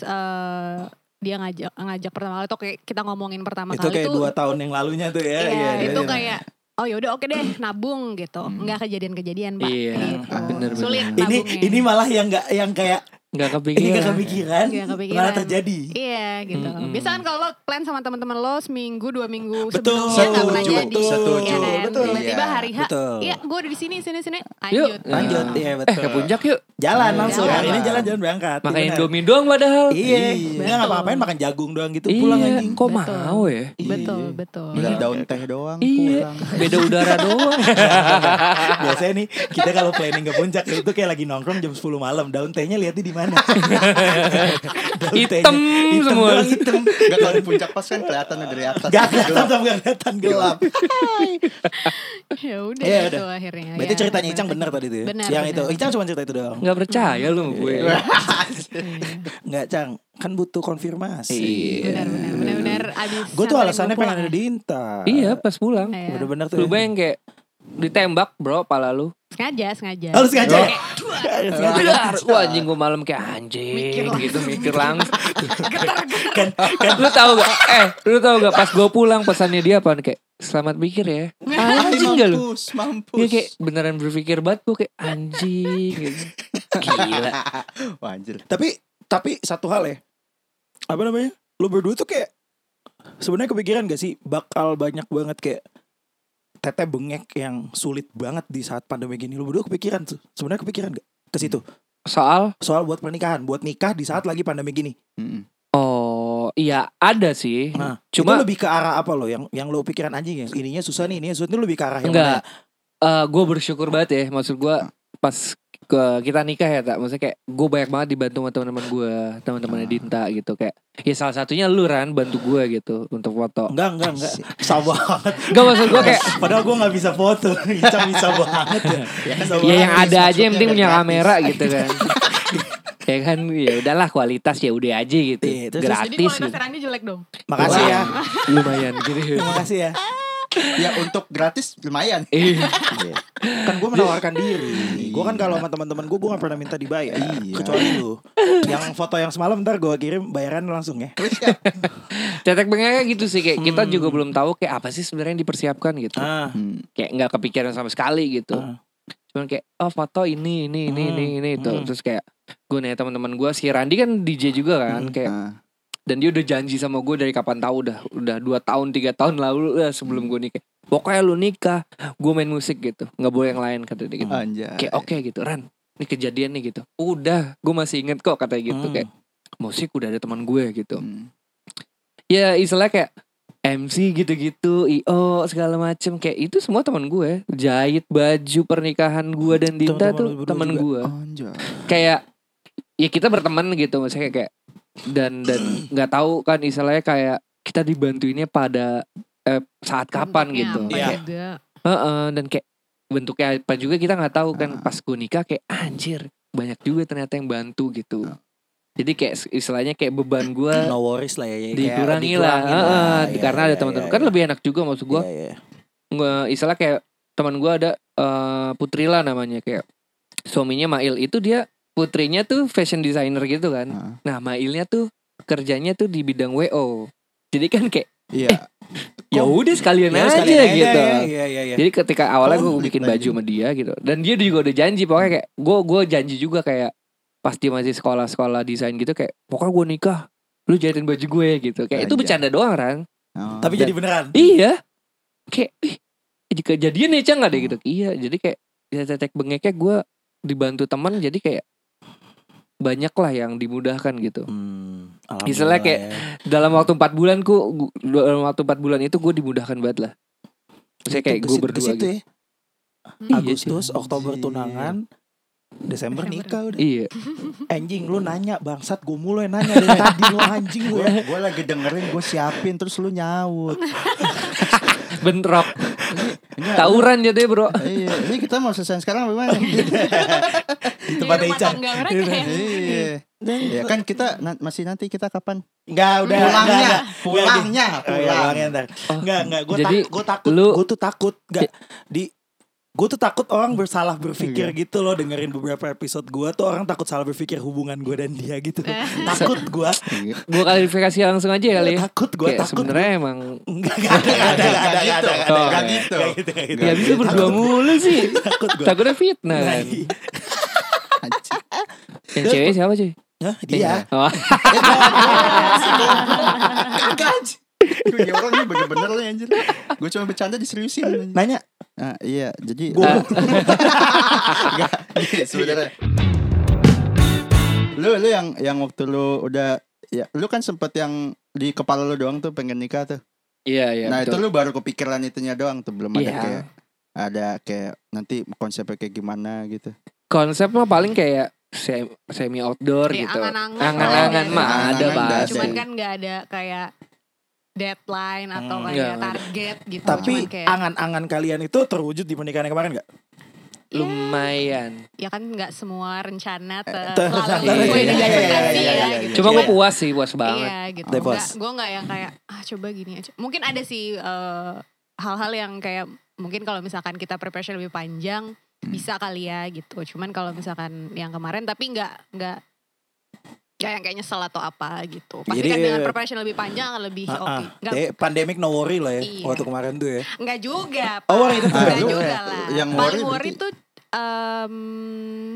Speaker 5: eh, dia ngajak ngajak pertama kali atau kayak kita ngomongin pertama
Speaker 2: itu
Speaker 5: kali
Speaker 2: kayak dua tahun yang lalunya tuh ya. Hmm.
Speaker 5: Iya,
Speaker 2: iya,
Speaker 5: itu
Speaker 2: iya.
Speaker 5: kayak oh yaudah oke deh nabung gitu. Enggak kejadian-kejadian, Pak.
Speaker 1: Iya,
Speaker 5: gitu.
Speaker 1: bener-bener.
Speaker 5: Sulit
Speaker 2: Ah, ini
Speaker 5: nabungnya.
Speaker 2: ini malah yang nggak yang kayak
Speaker 1: Nggak
Speaker 2: ini
Speaker 1: kepikiran.
Speaker 2: gak kepikiran,
Speaker 5: Nggak kepikiran.
Speaker 2: kan? malah terjadi.
Speaker 5: Iya gitu.
Speaker 1: Mm-mm.
Speaker 5: Biasa kan kalau lo plan sama teman-teman lo seminggu dua minggu
Speaker 2: Betul.
Speaker 5: sebelumnya nggak pernah
Speaker 2: Setuju,
Speaker 5: jadi.
Speaker 3: setuju,
Speaker 5: ya kan?
Speaker 3: betul.
Speaker 5: Tiba-tiba hari H,
Speaker 2: Betul.
Speaker 5: iya gue udah di sini sini sini.
Speaker 1: Yuk.
Speaker 5: Lanjut.
Speaker 2: Lanjut, iya
Speaker 1: Eh
Speaker 2: betul.
Speaker 1: ke puncak yuk.
Speaker 2: Jalan langsung
Speaker 5: Jalan.
Speaker 2: hari ini jalan-jalan berangkat.
Speaker 1: Makan
Speaker 2: Iya, benar.
Speaker 1: Indomie doang padahal.
Speaker 2: Iya,
Speaker 3: Iya.
Speaker 2: nggak ngapa-ngapain makan jagung doang gitu pulang
Speaker 1: Iya,
Speaker 2: anjing.
Speaker 1: kok
Speaker 5: Betul.
Speaker 1: mau ya?
Speaker 5: Betul
Speaker 2: Iya.
Speaker 5: betul.
Speaker 3: Beli daun teh doang
Speaker 1: Iya,
Speaker 3: pulang.
Speaker 1: beda udara doang.
Speaker 2: Biasanya nih kita kalau planning ke puncak itu kayak lagi nongkrong jam 10 malam, daun tehnya lihatnya di mana? Daun tehnya.
Speaker 1: Hitam
Speaker 2: doang,
Speaker 1: semua.
Speaker 2: hitam.
Speaker 3: Enggak kalau di puncak pas kan kelihatan dari atas.
Speaker 2: Gak kelihatan tapi gak kelihatan gelap.
Speaker 5: Iya, Ya udah
Speaker 2: Iya,
Speaker 5: itu
Speaker 2: udah.
Speaker 5: akhirnya.
Speaker 2: Berarti
Speaker 5: ya.
Speaker 2: ceritanya Icang benar tadi tuh. ya?
Speaker 5: Benar,
Speaker 2: Yang
Speaker 5: benar.
Speaker 2: itu Icang cuma cerita itu doang.
Speaker 1: Nggak percaya lu sama gue.
Speaker 2: Enggak, Cang. Kan butuh konfirmasi.
Speaker 1: Iya.
Speaker 5: Benar-benar benar-benar abis.
Speaker 2: Gue ya? tuh
Speaker 5: sama
Speaker 2: alasannya
Speaker 5: ibu pulang
Speaker 2: pengen ada
Speaker 5: ya.
Speaker 2: di Inta.
Speaker 1: Iya, pas pulang.
Speaker 5: Iya.
Speaker 2: Bener-bener tuh.
Speaker 1: Lu bayang kayak ditembak bro pala lu.
Speaker 5: Sengaja sengaja.
Speaker 2: Harus sengaja. Iya,
Speaker 5: Kayak,
Speaker 1: Dar, Wah anjing gue malam kayak anjing
Speaker 5: Mikir langsung.
Speaker 1: gitu mikir langsung.
Speaker 2: kan kan
Speaker 1: lu tahu gak? Eh, lu tahu gak pas gue pulang pesannya dia apaan kayak selamat pikir ya. Anjing gak lu?
Speaker 3: Ah, Mampus, mampus.
Speaker 1: Dia kayak beneran berpikir banget gue kayak anjing gitu. Gila.
Speaker 3: Wah, anjir.
Speaker 2: tapi tapi satu hal ya. Apa namanya? Lu berdua tuh kayak sebenarnya kepikiran gak sih bakal banyak banget kayak tete bengek yang sulit banget di saat pandemi gini. Lu berdua kepikiran tuh. Sebenarnya kepikiran gak ke situ?
Speaker 1: Soal
Speaker 2: Soal buat pernikahan, buat nikah di saat lagi pandemi gini.
Speaker 3: Mm-mm.
Speaker 1: oh iya ada sih.
Speaker 2: Nah,
Speaker 1: Cuma
Speaker 2: itu lebih ke arah apa lo yang yang lo pikiran anjing ya? Ininya susah nih, ininya susah. Itu lebih ke arah yang mana?
Speaker 1: Enggak. Eh, gue bersyukur banget ya. Maksud gue pas ke kita nikah ya tak. Maksudnya kayak gue banyak banget dibantu sama teman-teman gue, teman-temannya
Speaker 2: Ah.
Speaker 1: Dinta gitu kayak. Ya salah satunya lu Ran bantu gue gitu untuk foto.
Speaker 2: Enggak, enggak, enggak. Susah banget.
Speaker 1: Gak maksud gue kayak
Speaker 2: Padahal gue gak bisa foto. Icang bisa banget ya. Bisa
Speaker 1: ya
Speaker 2: banget.
Speaker 1: yang ada aja yang penting punya
Speaker 3: Iya, Maksudnya
Speaker 1: kamera gitu kan. ya kan ya udahlah kualitas ya udah aja gitu.
Speaker 2: Iya, terus-
Speaker 5: Jadi
Speaker 1: Gratis
Speaker 5: kualitas
Speaker 1: gitu.
Speaker 5: serangnya jelek dong.
Speaker 2: Makasih ya.
Speaker 1: Lumayan gitu.
Speaker 2: Makasih ya.
Speaker 3: Ya untuk gratis lumayan.
Speaker 1: Ih, Iya.
Speaker 2: Kan gue menawarkan diri. Gue kan kalau sama teman-teman gue, gue gak pernah minta dibayar.
Speaker 3: Iya.
Speaker 2: Kecuali lu. Yang foto yang semalam ntar gue kirim bayaran langsung ya.
Speaker 1: Cetek bengeknya gitu sih kayak kita juga
Speaker 2: Hmm.
Speaker 1: belum tahu kayak apa sih sebenarnya yang dipersiapkan gitu.
Speaker 2: Ah,
Speaker 3: Hmm.
Speaker 1: kayak nggak kepikiran sama sekali gitu.
Speaker 2: Ah.
Speaker 1: Cuman kayak oh foto ini ini ini
Speaker 2: Hmm,
Speaker 1: ini ini itu
Speaker 2: hmm.
Speaker 1: terus kayak gue nanya teman-teman gue si Randi kan DJ juga kan
Speaker 2: Hmm,
Speaker 1: kayak
Speaker 3: ah.
Speaker 1: dan dia udah janji sama gue dari kapan tahu udah udah dua tahun tiga tahun lalu lah sebelum gue nikah pokoknya lu nikah gue main musik gitu nggak boleh yang lain kata dia gitu
Speaker 3: Ah, Anjay.
Speaker 1: kayak oke gitu Ran ini kejadian nih gitu udah gue masih inget kok katanya gitu
Speaker 2: Hmm.
Speaker 1: kayak musik udah ada teman gue gitu
Speaker 3: Hmm.
Speaker 1: ya istilah kayak MC gitu-gitu, IO segala macem kayak itu semua teman gue jahit baju pernikahan gue dan Dinta
Speaker 2: Teman-teman lu
Speaker 1: tuh
Speaker 2: berdua
Speaker 1: teman
Speaker 2: juga.
Speaker 1: gue
Speaker 3: Anjay.
Speaker 1: kayak ya kita berteman gitu maksudnya kayak dan dan nggak tahu kan istilahnya kayak kita dibantuinnya pada eh, saat kapan
Speaker 5: Bentuknya
Speaker 1: gitu
Speaker 5: apa
Speaker 2: Iya.
Speaker 5: juga.
Speaker 1: Heeh, dan kayak bentuknya apa juga kita nggak tahu kan
Speaker 2: Ah.
Speaker 1: pas gue nikah kayak anjir banyak juga ternyata yang bantu gitu
Speaker 2: Ah.
Speaker 1: jadi kayak istilahnya kayak beban gue
Speaker 2: no worries lah ya. ya. Kayak
Speaker 1: dikurangi lah,
Speaker 2: dikurangin
Speaker 1: Heeh,
Speaker 2: Iya,
Speaker 1: karena ada
Speaker 2: iya,
Speaker 1: teman-teman
Speaker 2: iya,
Speaker 1: kan
Speaker 2: iya.
Speaker 1: lebih enak juga maksud gue
Speaker 2: Iya, iya.
Speaker 1: nge- istilah kayak teman gue ada eh, Putri lah namanya kayak suaminya Mail itu dia putrinya tuh fashion designer gitu kan
Speaker 3: Ah.
Speaker 1: nah Mailnya tuh kerjanya tuh di bidang WO jadi kan kayak
Speaker 3: Iya.
Speaker 1: ya udah sekalian
Speaker 2: Ya,
Speaker 1: aja
Speaker 2: sekalian aja,
Speaker 1: gitu
Speaker 2: Iya, iya, iya, iya.
Speaker 1: jadi ketika awalnya gue
Speaker 3: Konflik
Speaker 1: bikin
Speaker 3: lagi.
Speaker 1: baju sama dia gitu dan dia juga udah janji pokoknya kayak gue gue janji juga kayak pas dia masih sekolah-sekolah desain gitu kayak pokoknya gue nikah lu jahitin baju gue gitu kayak itu
Speaker 3: Anjay.
Speaker 1: bercanda doang kan
Speaker 3: Oh.
Speaker 2: Tapi jadi beneran.
Speaker 1: Iya. Kayak ih, kejadian ya Cang ada gitu. Iya, jadi kayak ya tetek bengeknya gue dibantu teman jadi kayak banyak lah yang dimudahkan gitu.
Speaker 2: Hmm,
Speaker 1: Misalnya kayak-
Speaker 2: alhamdulillah ya.
Speaker 1: Dalam waktu 4 bulan ku gu- dalam waktu 4 bulan itu gue dimudahkan banget lah.
Speaker 2: ya.
Speaker 1: Maksudnya kayak
Speaker 2: Itu
Speaker 1: gue
Speaker 2: ke- ke
Speaker 1: berdua
Speaker 2: situ
Speaker 1: gitu.
Speaker 2: ya.
Speaker 1: Iya,
Speaker 2: Agustus,
Speaker 1: cuy.
Speaker 2: Oktober
Speaker 3: Anjing.
Speaker 2: tunangan, Desember
Speaker 5: Desember.
Speaker 2: nikah udah.
Speaker 1: Iya.
Speaker 2: Anjing lu nanya bangsat gue mulu yang nanya dari tadi lu anjing lu.
Speaker 3: gue
Speaker 5: Iya,
Speaker 3: gue lagi dengerin gue siapin terus lu nyaut
Speaker 1: Bentrok.
Speaker 3: Enggak,
Speaker 1: Tawuran jadinya, Bro.
Speaker 3: iya ini kita mau selesai sekarang memang
Speaker 5: Di
Speaker 2: tempat
Speaker 5: Iya, rumah
Speaker 2: Ican.
Speaker 5: tangga mereka ya.
Speaker 3: iya ya kan kita na- masih nanti kita kapan
Speaker 2: Enggak udah enggak,
Speaker 3: Iya, pulangnya
Speaker 2: enggak. Oh iya,
Speaker 3: pulangnya
Speaker 2: pulangnya
Speaker 3: pulangnya
Speaker 2: ntar.
Speaker 1: Oh,
Speaker 2: Enggak, enggak. Gue
Speaker 1: jadi
Speaker 2: takut.
Speaker 1: lu-
Speaker 2: Gue tuh takut. Enggak. Di Gue tuh takut orang bersalah berpikir gitu loh dengerin beberapa episode gue tuh orang takut salah berpikir hubungan gue dan dia gitu takut gue
Speaker 3: iya,
Speaker 1: Gue klarifikasi langsung aja kali ya.
Speaker 2: takut gue
Speaker 1: Kayak
Speaker 2: takut
Speaker 1: sebenarnya emang
Speaker 2: enggak enggak ada enggak ada enggak ada, enggak ada, enggak ada.
Speaker 3: Gak gitu.
Speaker 2: Enggak gitu enggak gitu
Speaker 1: Ya bisa berdua mulu sih.
Speaker 2: takut gue
Speaker 1: Takutnya fitnah
Speaker 2: Nah,
Speaker 1: kan.
Speaker 2: iya.
Speaker 3: gitu.
Speaker 1: Yang cewek siapa sih?
Speaker 2: Hah, dia
Speaker 1: Oh,
Speaker 3: Kagak. Ini orang nih bener-bener lah anjir. Gue cuma bercanda diseriusin. anjir.
Speaker 2: nanya
Speaker 3: Nah, iya, jadi
Speaker 2: Gua-
Speaker 3: Enggak, gini, sebenarnya. Lu lu yang yang waktu lu udah ya lu kan sempet yang di kepala lu doang tuh pengen nikah tuh.
Speaker 1: Iya, iya.
Speaker 3: nah,
Speaker 1: betul.
Speaker 3: itu lu baru kepikiran itunya doang tuh belum ada
Speaker 1: Iya.
Speaker 3: kayak ada kayak nanti konsepnya kayak gimana gitu.
Speaker 1: konsep mah paling kayak semi, semi outdoor
Speaker 5: Iya,
Speaker 1: gitu.
Speaker 5: angan-angan.
Speaker 1: Angan-angan mah ada
Speaker 3: Angan-angan
Speaker 1: bahas.
Speaker 5: Cuman
Speaker 3: Pasti.
Speaker 5: kan nggak ada kayak deadline atau
Speaker 2: Hmm,
Speaker 1: nggak,
Speaker 5: kayak
Speaker 1: nggak ada.
Speaker 5: target gitu.
Speaker 2: tapi
Speaker 5: Cuman kayak
Speaker 2: angan-angan kalian itu terwujud di pernikahan yang kemarin nggak
Speaker 1: Lumayan.
Speaker 5: ya kan nggak semua rencana ter-
Speaker 2: Eh, Ter-
Speaker 5: selalu
Speaker 1: iya, iya,
Speaker 5: sesuai dengan
Speaker 2: iya, iya,
Speaker 5: ekspektasi
Speaker 2: iya, iya,
Speaker 5: ya.
Speaker 2: iya,
Speaker 5: gitu.
Speaker 1: Cuma gue
Speaker 5: Cuman-
Speaker 1: puas sih, puas banget.
Speaker 5: Iya gitu.
Speaker 2: Deh, bos.
Speaker 5: Gue nggak yang kayak ah coba gini aja. Mungkin ada sih eh, hal-hal yang kayak mungkin kalau misalkan kita preparation lebih panjang
Speaker 2: Hmm.
Speaker 5: bisa kali ya gitu. Cuman kalau misalkan yang kemarin tapi nggak nggak ya yang kayak nyesel atau apa gitu. Pasti
Speaker 2: Jadi,
Speaker 5: kan dengan
Speaker 2: eh,
Speaker 5: preparation lebih panjang akan lebih
Speaker 2: Ah,
Speaker 5: oke.
Speaker 2: ah.
Speaker 5: Nggak
Speaker 2: Eh, pandemic no worry lah ya
Speaker 5: Iya.
Speaker 2: waktu kemarin tuh ya
Speaker 5: nggak juga.
Speaker 2: Oh,
Speaker 5: Pak.
Speaker 2: worry tetap
Speaker 5: Nggak
Speaker 3: ya?
Speaker 5: juga lah.
Speaker 3: Yang worry
Speaker 5: Paling worry
Speaker 3: berarti-
Speaker 5: tuh em,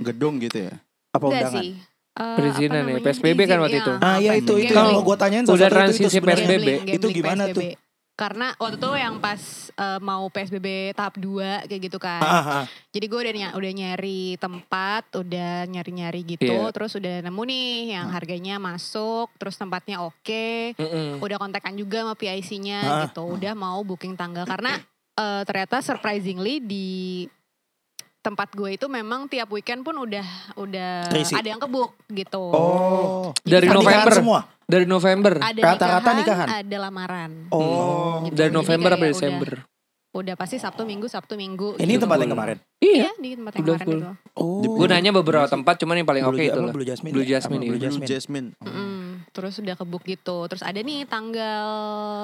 Speaker 3: Gedung gitu ya.
Speaker 2: apa
Speaker 5: nggak
Speaker 2: undangan
Speaker 5: sih. Eh, apa
Speaker 1: Perizinan ya,
Speaker 5: namanya?
Speaker 1: PSBB kan
Speaker 5: Izin,
Speaker 1: waktu
Speaker 5: iya.
Speaker 1: itu.
Speaker 2: Ah ya itu itu
Speaker 5: Gambling.
Speaker 2: yang mau gue tanyain salah
Speaker 1: Udah
Speaker 2: satu itu, itu
Speaker 1: transisi
Speaker 2: sebenarnya.
Speaker 1: PSBB.
Speaker 2: Itu gimana
Speaker 5: PSBB.
Speaker 2: tuh?
Speaker 5: Karena waktu itu yang pas eh, mau PSBB tahap 2 kayak gitu kan.
Speaker 2: Ah, ah.
Speaker 5: Jadi gue udah, ny- udah nyari tempat, udah nyari-nyari gitu.
Speaker 1: Iya.
Speaker 5: Terus udah nemu nih
Speaker 2: Ah.
Speaker 5: yang harganya masuk, terus tempatnya oke.
Speaker 2: Hmm.
Speaker 1: Mm-mm.
Speaker 5: Udah kontekan juga sama PIC-nya
Speaker 2: Ah.
Speaker 5: gitu. Udah mau booking tanggal. Karena eh, ternyata surprisingly di tempat gue itu memang tiap weekend pun udah udah
Speaker 2: Terisi.
Speaker 5: ada yang kebook gitu.
Speaker 2: Oh.
Speaker 1: Dari
Speaker 2: Pernikahan
Speaker 1: November.
Speaker 2: semua.
Speaker 1: Dari November.
Speaker 5: Ada
Speaker 2: Rata-rata nikahan?
Speaker 5: nikahan, ada lamaran.
Speaker 1: Hmm.
Speaker 2: Oh.
Speaker 5: Gitu.
Speaker 1: Dari
Speaker 5: Jadi
Speaker 1: November
Speaker 5: kayak
Speaker 1: sampai
Speaker 5: udah-
Speaker 1: Desember.
Speaker 5: Udah pasti Sabtu Minggu Sabtu Minggu.
Speaker 2: Ini
Speaker 5: gitu.
Speaker 2: tempat yang kemarin.
Speaker 1: Iya.
Speaker 5: Iya di tempat yang
Speaker 1: Udah
Speaker 5: kemarin
Speaker 1: full.
Speaker 5: gitu.
Speaker 2: Oh.
Speaker 1: Gue nanya beberapa tempat, cuman yang paling oke
Speaker 2: Blue-
Speaker 1: itu
Speaker 2: apa,
Speaker 1: lah.
Speaker 2: Blue Jasmine.
Speaker 1: Blue
Speaker 2: ya? Apa,
Speaker 1: Jasmine, iya.
Speaker 2: Blue
Speaker 3: Blue
Speaker 2: Jasmine. Oh.
Speaker 3: Jasmine.
Speaker 5: Mm-mm. Terus udah kebook gitu. Terus ada nih tanggal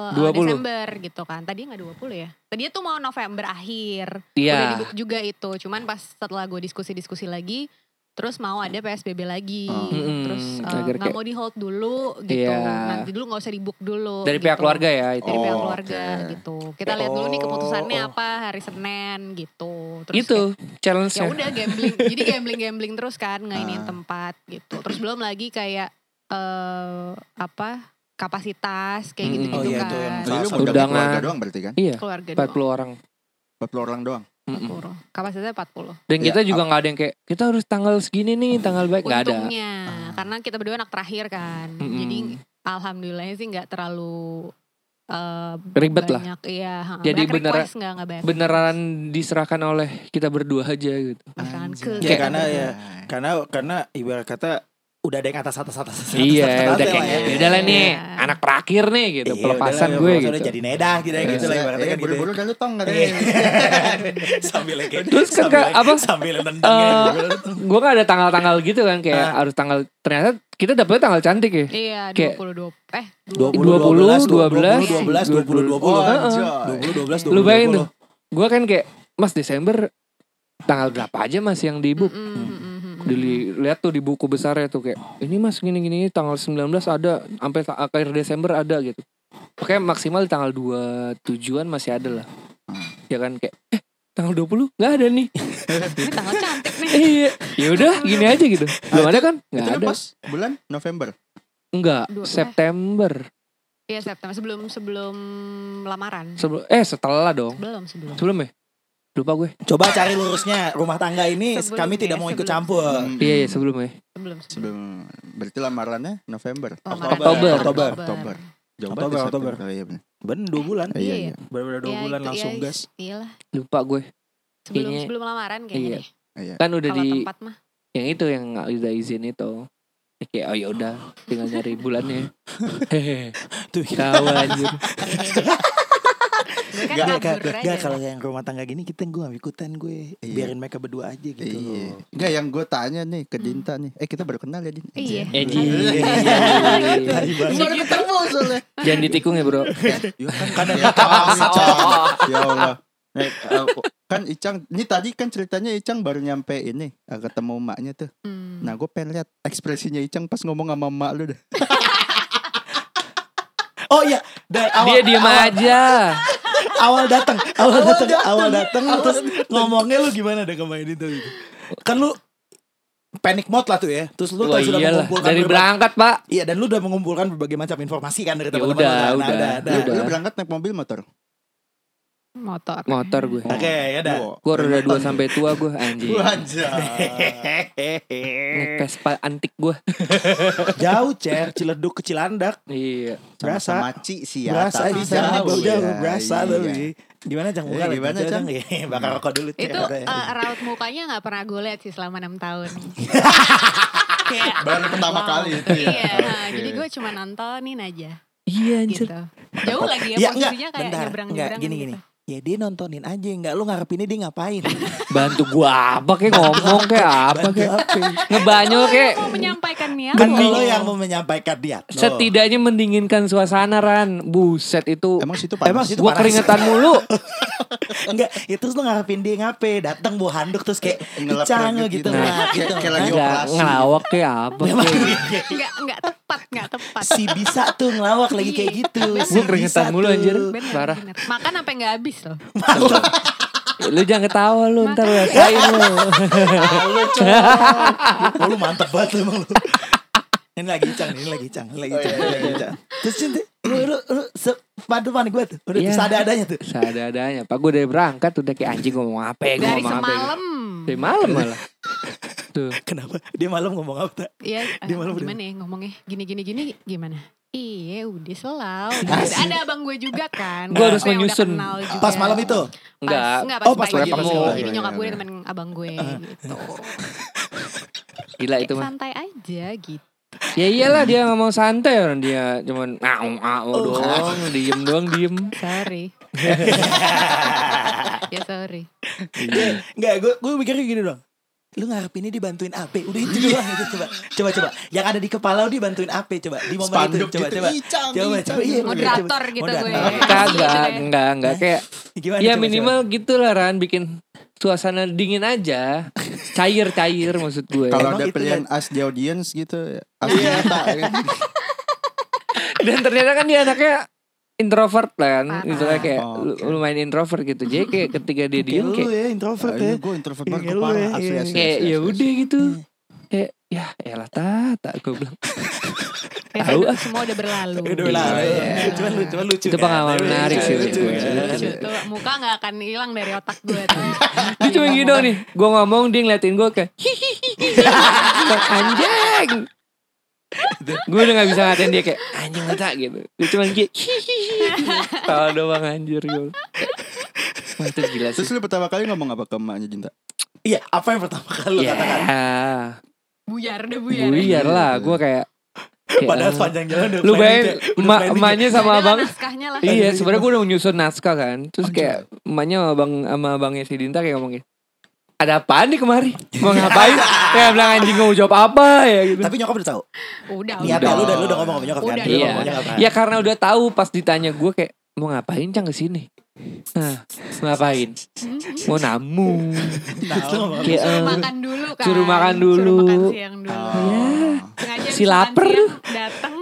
Speaker 5: eh,
Speaker 1: 20.
Speaker 5: Desember gitu kan. Tadi nggak 20 ya. Tadinya tuh mau November akhir.
Speaker 1: Iya.
Speaker 5: Udah di book juga itu. Cuman pas setelah gue diskusi-diskusi lagi. Terus mau ada PSBB lagi.
Speaker 1: Oh. Mm-mm.
Speaker 5: Terus eh,
Speaker 1: Agar
Speaker 5: nggak
Speaker 1: kayak-
Speaker 5: mau di hold dulu gitu.
Speaker 1: Iya.
Speaker 5: Nanti dulu nggak usah di book dulu.
Speaker 1: Dari pihak
Speaker 5: gitu.
Speaker 1: keluarga ya itu.
Speaker 5: Dari pihak
Speaker 3: Oh,
Speaker 5: keluarga
Speaker 3: oke.
Speaker 5: gitu. Kita lihat dulu nih keputusannya
Speaker 2: Oh.
Speaker 5: apa hari Senin gitu. Terus
Speaker 1: Itu
Speaker 5: ya
Speaker 1: challenge-nya.
Speaker 5: udah gambling jadi gambling gambling terus kan
Speaker 1: Ah.
Speaker 5: ngainin tempat gitu terus belum lagi kayak eh apa kapasitas kayak
Speaker 1: Mm-mm.
Speaker 5: gitu gitu
Speaker 2: Oh, iya,
Speaker 5: kan
Speaker 2: itu yang-
Speaker 3: Jadi lu
Speaker 2: Salah satu
Speaker 3: ngundang
Speaker 1: undangan.
Speaker 3: keluarga doang berarti kan?
Speaker 1: Iya.
Speaker 5: keluarga
Speaker 1: 40
Speaker 5: doang
Speaker 1: orang.
Speaker 3: 40 orang doang.
Speaker 1: Mm-mm.
Speaker 5: 40. kapasitasnya 40
Speaker 1: Dan
Speaker 3: Ya,
Speaker 1: kita juga nggak ada yang kayak kita harus tanggal segini nih, tanggal baik nggak ada. Ah.
Speaker 5: untungnya karena kita berdua anak terakhir kan
Speaker 1: Mm-mm.
Speaker 5: jadi alhamdulillahnya sih nggak terlalu eh,
Speaker 1: Ribet lah.
Speaker 5: banyak iya ha,
Speaker 1: Jadi
Speaker 5: banyak
Speaker 1: beneran-
Speaker 5: request nggak nggak banyak
Speaker 1: Beneran diserahkan oleh kita berdua aja gitu.
Speaker 5: Beneran
Speaker 3: Anjing.
Speaker 5: kan. ke
Speaker 2: Ya karena ya
Speaker 3: Nah,
Speaker 2: karena karena ibarat kata udah ada yang atas atas atas atas. atas,
Speaker 1: Iya,
Speaker 2: atas
Speaker 1: udah
Speaker 2: lah
Speaker 1: kayak
Speaker 2: ya.
Speaker 1: ya udah lah nih,
Speaker 5: Iya.
Speaker 1: anak terakhir nih gitu,
Speaker 2: Iya,
Speaker 1: pelepasan
Speaker 2: udah lah,
Speaker 1: gue
Speaker 2: pelepasan
Speaker 1: gitu.
Speaker 2: udah jadi nedah gitu ya gitu lah ibaratnya
Speaker 3: Iya,
Speaker 2: kan gitu.
Speaker 3: buru-buru kan lu tong nggak
Speaker 2: Iya.
Speaker 3: deh.
Speaker 2: sambil kayak gitu,
Speaker 1: Terus kan
Speaker 2: sambil-
Speaker 1: kayak apa?
Speaker 2: sambil nendang
Speaker 1: Eh,
Speaker 2: ya.
Speaker 1: gue gak ada tanggal-tanggal gitu kan kayak
Speaker 2: Ah.
Speaker 1: harus tanggal ternyata kita dapetnya tanggal cantik ya
Speaker 5: iya
Speaker 1: Kayak-
Speaker 5: 20 20 eh
Speaker 2: 12
Speaker 1: 20,
Speaker 2: 20
Speaker 3: Oh,
Speaker 2: 20
Speaker 3: anjay.
Speaker 2: 20 12
Speaker 1: lu bayangin tuh gue kan kayak mas Desember tanggal berapa aja mas yang di book
Speaker 5: mm, mm, mm, mm, mm.
Speaker 1: dilihat tuh di buku besarnya tuh kayak ini mas gini-gini tanggal 19 ada sampai ta- akhir Desember ada gitu Oke maksimal di tanggal 27-an masih ada lah
Speaker 2: Hmm.
Speaker 1: ya kan kayak eh tanggal 20 nggak ada nih
Speaker 5: ini tanggal cantik nih
Speaker 1: iya ya udah gini aja gitu belum ada kan nggak
Speaker 3: Itu lu
Speaker 1: ada
Speaker 3: pas bulan November.
Speaker 1: enggak
Speaker 5: Dua- eh.
Speaker 1: September
Speaker 5: Iya September sebelum sebelum lamaran.
Speaker 1: Sebelum- eh setelah dong
Speaker 5: Belum sebelum.
Speaker 1: sebelum ya Lupa gue.
Speaker 2: Coba cari lurusnya rumah tangga ini
Speaker 5: Sebelum
Speaker 2: kami
Speaker 5: ya,
Speaker 2: tidak mau ikut
Speaker 5: sebelum.
Speaker 2: campur.
Speaker 3: Hmm.
Speaker 1: Iya iya sebelum ya.
Speaker 5: Sebelum sebelum.
Speaker 3: Sebelum
Speaker 5: Oh,
Speaker 3: berarti lamarannya November.
Speaker 5: Lamaran.
Speaker 1: Oktober.
Speaker 2: Oktober.
Speaker 3: Oktober. Jauh
Speaker 2: Oktober,
Speaker 3: banget ya,
Speaker 2: Oktober.
Speaker 3: September. Iya, bener.
Speaker 2: Ben dua bulan,
Speaker 5: Eh,
Speaker 3: Iya,
Speaker 5: Iya.
Speaker 3: iya.
Speaker 2: benar-benar dua
Speaker 5: Ya,
Speaker 2: bulan
Speaker 5: itu-
Speaker 2: langsung
Speaker 5: ya,
Speaker 2: gas.
Speaker 5: Iyalah.
Speaker 1: Lupa gue.
Speaker 5: Sebelum
Speaker 1: Kayaknya-
Speaker 5: sebelum lamaran kayaknya
Speaker 1: Iya.
Speaker 5: deh.
Speaker 1: Kan udah
Speaker 5: Kalau
Speaker 1: di
Speaker 5: tempat mah.
Speaker 1: yang itu yang nggak udah izin itu. Oke, oh ya udah, tinggal nyari bulannya. Hehehe.
Speaker 2: Tuh,
Speaker 1: Tahu anjir.
Speaker 5: Gue kan
Speaker 3: Gak-
Speaker 2: Gak,
Speaker 5: kabur
Speaker 2: gak,
Speaker 5: aja.
Speaker 2: gak kalau yang rumah tangga gini kita gue gak ikutan gue
Speaker 3: Iya.
Speaker 2: biarin mereka berdua aja gitu
Speaker 3: Iya.
Speaker 2: loh.
Speaker 3: Enggak yang gue tanya nih ke Dinta nih. Eh kita baru kenal ya Din.
Speaker 5: Hmm. Iya.
Speaker 2: Tai
Speaker 1: Anjir. Iya,
Speaker 2: banget.
Speaker 3: Baru ketemu soalnya.
Speaker 1: Jangan ditikung ya, Bro.
Speaker 3: Ya kan kan ya Allah. Ya Allah. Eh, eh, kan Icang, ini tadi kan ceritanya Icang baru nyampe ini eh, ketemu emaknya tuh.
Speaker 5: Hmm.
Speaker 3: Nah gue pengen lihat ekspresinya Icang pas ngomong sama emak lu deh.
Speaker 2: Oh iya, dari awal
Speaker 1: Dia diem aja.
Speaker 2: awal datang, awal datang, awal datang terus ngomongnya lu gimana deh kemarin itu gitu. Kan lu panic mode lah tuh ya. Terus lu
Speaker 1: Wah
Speaker 2: kan sudah
Speaker 1: Oh, iyalah,
Speaker 2: mengumpulkan
Speaker 1: dari
Speaker 2: berbagai-
Speaker 1: berangkat, Pak.
Speaker 2: Iya, dan lu udah mengumpulkan berbagai macam informasi kan dari
Speaker 1: Ya
Speaker 2: teman-teman. lu
Speaker 1: udah,
Speaker 2: kan. Nah,
Speaker 1: udah,
Speaker 2: ada.
Speaker 1: udah.
Speaker 3: Lu, lu berangkat naik mobil motor.
Speaker 5: Motor.
Speaker 1: Motor gue.
Speaker 2: Oke, ya udah.
Speaker 3: Wow.
Speaker 1: Gue roda dua sampai tua gue anjir.
Speaker 3: Wah, anjay.
Speaker 1: Naik Vespa antik gue.
Speaker 2: Jauh, Cer, Ciledug ke Cilandak.
Speaker 1: Iya.
Speaker 2: Berasa.
Speaker 3: Sama-sama Ci sih ya.
Speaker 2: berasa
Speaker 3: tapi
Speaker 2: di sana jauh
Speaker 3: jauh
Speaker 2: jauh
Speaker 3: ya.
Speaker 2: berasa
Speaker 3: Iya.
Speaker 2: tapi gimana cang muka
Speaker 3: Eh, gimana, Cang?
Speaker 2: Iya, bakar rokok dulu Cang.
Speaker 5: Itu
Speaker 2: Katanya.
Speaker 5: eh, raut mukanya nggak pernah gue lihat sih selama enam tahun.
Speaker 3: Baru pertama kali itu ya.
Speaker 5: Iya, nah,
Speaker 3: Oke.
Speaker 5: jadi gue cuma nontonin aja
Speaker 1: Iya anjir.
Speaker 5: gitu. Jauh
Speaker 2: ya
Speaker 5: lagi ya,
Speaker 2: enggak
Speaker 5: posisinya kayak
Speaker 2: bentar enggak
Speaker 5: nyebrang-nyebrang gitu.
Speaker 2: gini gini ya dia nontonin aja enggak lu ngarepinnya dia ngapain
Speaker 1: Bantu gue apa kayak ngomong kayak apa
Speaker 2: Bantu
Speaker 1: kayak
Speaker 2: apa?
Speaker 1: ngebanyol kayak
Speaker 5: Oh, Mau menyampaikan niat
Speaker 2: kan
Speaker 5: lo.
Speaker 2: lo yang mau menyampaikan dia Lo.
Speaker 1: setidaknya mendinginkan suasana Ran. Buset itu.
Speaker 3: Emang situ panas.
Speaker 2: Emang situ-
Speaker 1: Gue
Speaker 2: panas.
Speaker 1: keringetan mulu.
Speaker 2: enggak ya terus lu ngarepin dia ngapain datang bawa handuk terus kayak
Speaker 3: Ngelap
Speaker 2: cang gitu
Speaker 3: gitu. Nah,
Speaker 2: lah gitu
Speaker 3: kayak- kayak
Speaker 2: Hah?
Speaker 3: lagi-
Speaker 1: Nggak
Speaker 3: operasi.
Speaker 1: ngelawak kayak apa.
Speaker 2: Memang
Speaker 1: kayak.
Speaker 2: dia-
Speaker 5: Enggak, enggak tepat, enggak tepat.
Speaker 2: si bisa tuh ngelawak lagi kayak gitu
Speaker 5: Iya.
Speaker 2: si
Speaker 1: Gue keringetan
Speaker 2: bisa
Speaker 1: mulu
Speaker 2: tuh.
Speaker 1: anjir.
Speaker 5: Bener,
Speaker 1: Parah.
Speaker 5: bener. Makan sampai nggak habis loh.
Speaker 1: Lu jangan ketawa lu ntar rasain lu.
Speaker 2: Oh lu mantep banget lu emang lu. Ini lagi cang, ini lagi cang, ini lagi cang, ini lagi cang. Terus cinta, lu lu lu sepadu panik gue tuh, udah
Speaker 1: Iya.
Speaker 2: yeah. ada adanya tuh.
Speaker 1: Seada-adanya. Pak gue dari berangkat udah kayak anjing ngomong apa
Speaker 2: Eh,
Speaker 1: ya. Gue
Speaker 5: Dari
Speaker 1: ngomong apa ya.
Speaker 5: semalam.
Speaker 1: Dari malam malah. Tuh.
Speaker 2: Kenapa? Dia malam ngomong apa? tak?
Speaker 5: Iya, eh,
Speaker 2: Dia malam udah-
Speaker 5: gimana ya ngomongnya? Gini gini gini gimana? Iya udah selalu
Speaker 2: Asik.
Speaker 5: Ada abang gue juga kan
Speaker 1: Gue harus
Speaker 5: Yang udah
Speaker 1: menyusun.
Speaker 5: kenal juga.
Speaker 2: Pas malam itu,
Speaker 1: Enggak.
Speaker 5: Enggak
Speaker 2: Oh, pas
Speaker 5: pas pagi
Speaker 2: pagi, pas pagi.
Speaker 5: Jadi
Speaker 3: Iya,
Speaker 5: nyokap
Speaker 3: iya,
Speaker 5: gue
Speaker 3: iya.
Speaker 5: temen abang gue
Speaker 2: Ah,
Speaker 5: gitu
Speaker 1: Gila itu
Speaker 5: Kayak
Speaker 1: mah.
Speaker 5: Santai aja gitu
Speaker 1: Ya iyalah dia ngomong santai orang dia cuman ngau ngau doang, diem doang diem.
Speaker 5: Sorry Ya sorry
Speaker 2: nggak gue gue mikirnya gini doang. Lu ngarepinnya dibantuin AP, udah itu
Speaker 1: Iya.
Speaker 2: doang itu coba. Coba coba, yang ada di kepala lu dibantuin AP coba di momen
Speaker 3: Spanduk
Speaker 2: itu coba
Speaker 3: gitu,
Speaker 2: coba.
Speaker 3: "Ih, Cang,
Speaker 2: Coba
Speaker 3: ih,
Speaker 2: coba,
Speaker 3: Cang."
Speaker 2: iya, coba,
Speaker 5: Moderator
Speaker 2: coba.
Speaker 5: gitu gue. gitu
Speaker 2: Moderator.
Speaker 1: Eh, Kagak,
Speaker 5: ya.
Speaker 1: enggak, enggak kayak
Speaker 2: Gimana?
Speaker 1: ya
Speaker 2: Nah, coba, coba?
Speaker 1: minimal gitulah Ran bikin suasana dingin aja. Cair-cair maksud gue.
Speaker 3: Kalau
Speaker 2: Emang
Speaker 3: ada
Speaker 2: itu kan.
Speaker 3: pilihan as the audience gitu, as the kita, kan.
Speaker 1: Dan ternyata kan dia anaknya introvert kan,
Speaker 5: Parah.
Speaker 1: gitu lah, kayak
Speaker 3: Oh,
Speaker 1: lu-
Speaker 3: oke.
Speaker 1: lumayan introvert gitu. Jadi kayak ketika dia
Speaker 2: Kayak
Speaker 1: diem
Speaker 2: lu
Speaker 1: kayak
Speaker 2: ya introvert ya.
Speaker 3: Iya, gue introvert
Speaker 2: Iya,
Speaker 3: banget
Speaker 2: lu
Speaker 3: kepala.
Speaker 2: ya,
Speaker 3: Asli,
Speaker 2: iya.
Speaker 3: asli,
Speaker 1: kayak
Speaker 3: asli,
Speaker 1: ya
Speaker 3: asli.
Speaker 1: udah gitu. Kayak ya elah tata gue bilang.
Speaker 5: Ya,
Speaker 1: Tahu, ah.
Speaker 5: Semua udah berlalu
Speaker 2: Udah lah,
Speaker 1: Iya.
Speaker 2: cuman lu cuman lucu.
Speaker 1: Itu
Speaker 2: kan?
Speaker 1: pengalaman
Speaker 2: Tapi
Speaker 1: menarik
Speaker 2: lucu,
Speaker 1: sih,
Speaker 2: lucu, lucu,
Speaker 1: menurut gue.
Speaker 2: lucu.
Speaker 5: Lucu tuh Muka gak akan hilang dari otak gue tuh
Speaker 1: Dia cuma gini doang nih Gue ngomong dia ngeliatin gue kayak hihihi Anjing Gue udah gak bisa ngatain dia kayak Anjing kata gitu Dia cuma kayak hihihi Tawa doang anjir gue Wah itu gila
Speaker 3: Terus
Speaker 1: sih
Speaker 3: lu pertama kali ngomong apa ke emaknya Jinta?
Speaker 2: Iya, apa yang pertama kali lu
Speaker 1: Ya
Speaker 2: katakan?
Speaker 5: Buyar deh buyar ya?
Speaker 1: Buyar lah Gue kayak kayak,
Speaker 2: Padahal
Speaker 1: ah.
Speaker 2: sepanjang jalan udah
Speaker 1: Lu
Speaker 2: planning
Speaker 1: bayangin
Speaker 2: ya, udah
Speaker 1: emak-
Speaker 2: planning ya.
Speaker 1: Emaknya
Speaker 5: Ada
Speaker 1: sama
Speaker 5: lah
Speaker 1: abang
Speaker 5: naskahnya lah
Speaker 1: Iya sebenarnya gue udah menyusun naskah kan Terus kayak Emaknya sama abang Sama abangnya si Dinta kayak ngomong gitu ada apaan nih kemari? Mau ngapain? ya bilang anjing mau jawab apa ya gitu.
Speaker 2: Tapi nyokap udah tahu.
Speaker 5: Udah
Speaker 2: Niatnya
Speaker 5: udah.
Speaker 2: lu udah lu udah ngomong sama nyokap kan. Lu
Speaker 5: Udah.
Speaker 1: Iya.
Speaker 2: ngomong sama nyokap kan?
Speaker 1: Ya karena udah tahu pas ditanya gue kayak mau ngapain cang ke sini. Nah, ngapain? Mau namu.
Speaker 2: Nah, Lu ngomong sama
Speaker 1: Kayak,
Speaker 5: Hmm, Suruh
Speaker 1: eh,
Speaker 5: makan dulu kan
Speaker 1: suruh makan
Speaker 5: Suruh makan
Speaker 1: dulu.
Speaker 5: siang dulu
Speaker 1: ya.
Speaker 5: Sengaja
Speaker 1: Si
Speaker 5: habis makan
Speaker 1: lapar.
Speaker 5: siang datang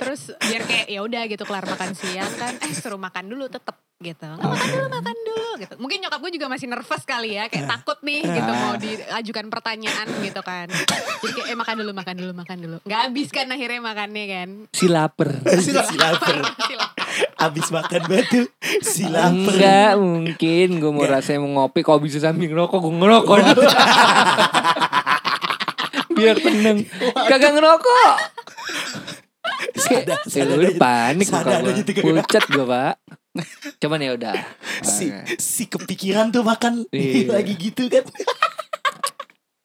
Speaker 5: terus biar kayak ya udah gitu kelar makan siang kan eh suruh makan dulu tetep gitu nggak makan dulu makan dulu gitu mungkin nyokap gue juga masih nervous kali
Speaker 1: Iya.
Speaker 5: ya kayak takut nih gitu mau diajukan pertanyaan gitu kan jadi kayak eh makan dulu makan dulu makan dulu nggak habis kan akhirnya makannya kan
Speaker 1: Si lapar.
Speaker 2: Si lapar.
Speaker 5: Masih lapar.
Speaker 2: Abis makan batu Sila
Speaker 1: Enggak mungkin Gue mau
Speaker 2: Enggak.
Speaker 1: rasanya mau ngopi Kalau bisa sambil ngerokok Gue ngerokok Biar tenang Kagak ngerokok
Speaker 2: Sadar
Speaker 1: Ya
Speaker 2: sadar
Speaker 1: udah
Speaker 2: aja.
Speaker 1: panik
Speaker 2: sadar
Speaker 1: muka
Speaker 2: aja tiga ya.
Speaker 1: gue Pucat gue pak Cuman ya udah
Speaker 2: si, si kepikiran tuh makan
Speaker 1: Iya.
Speaker 2: Lagi gitu kan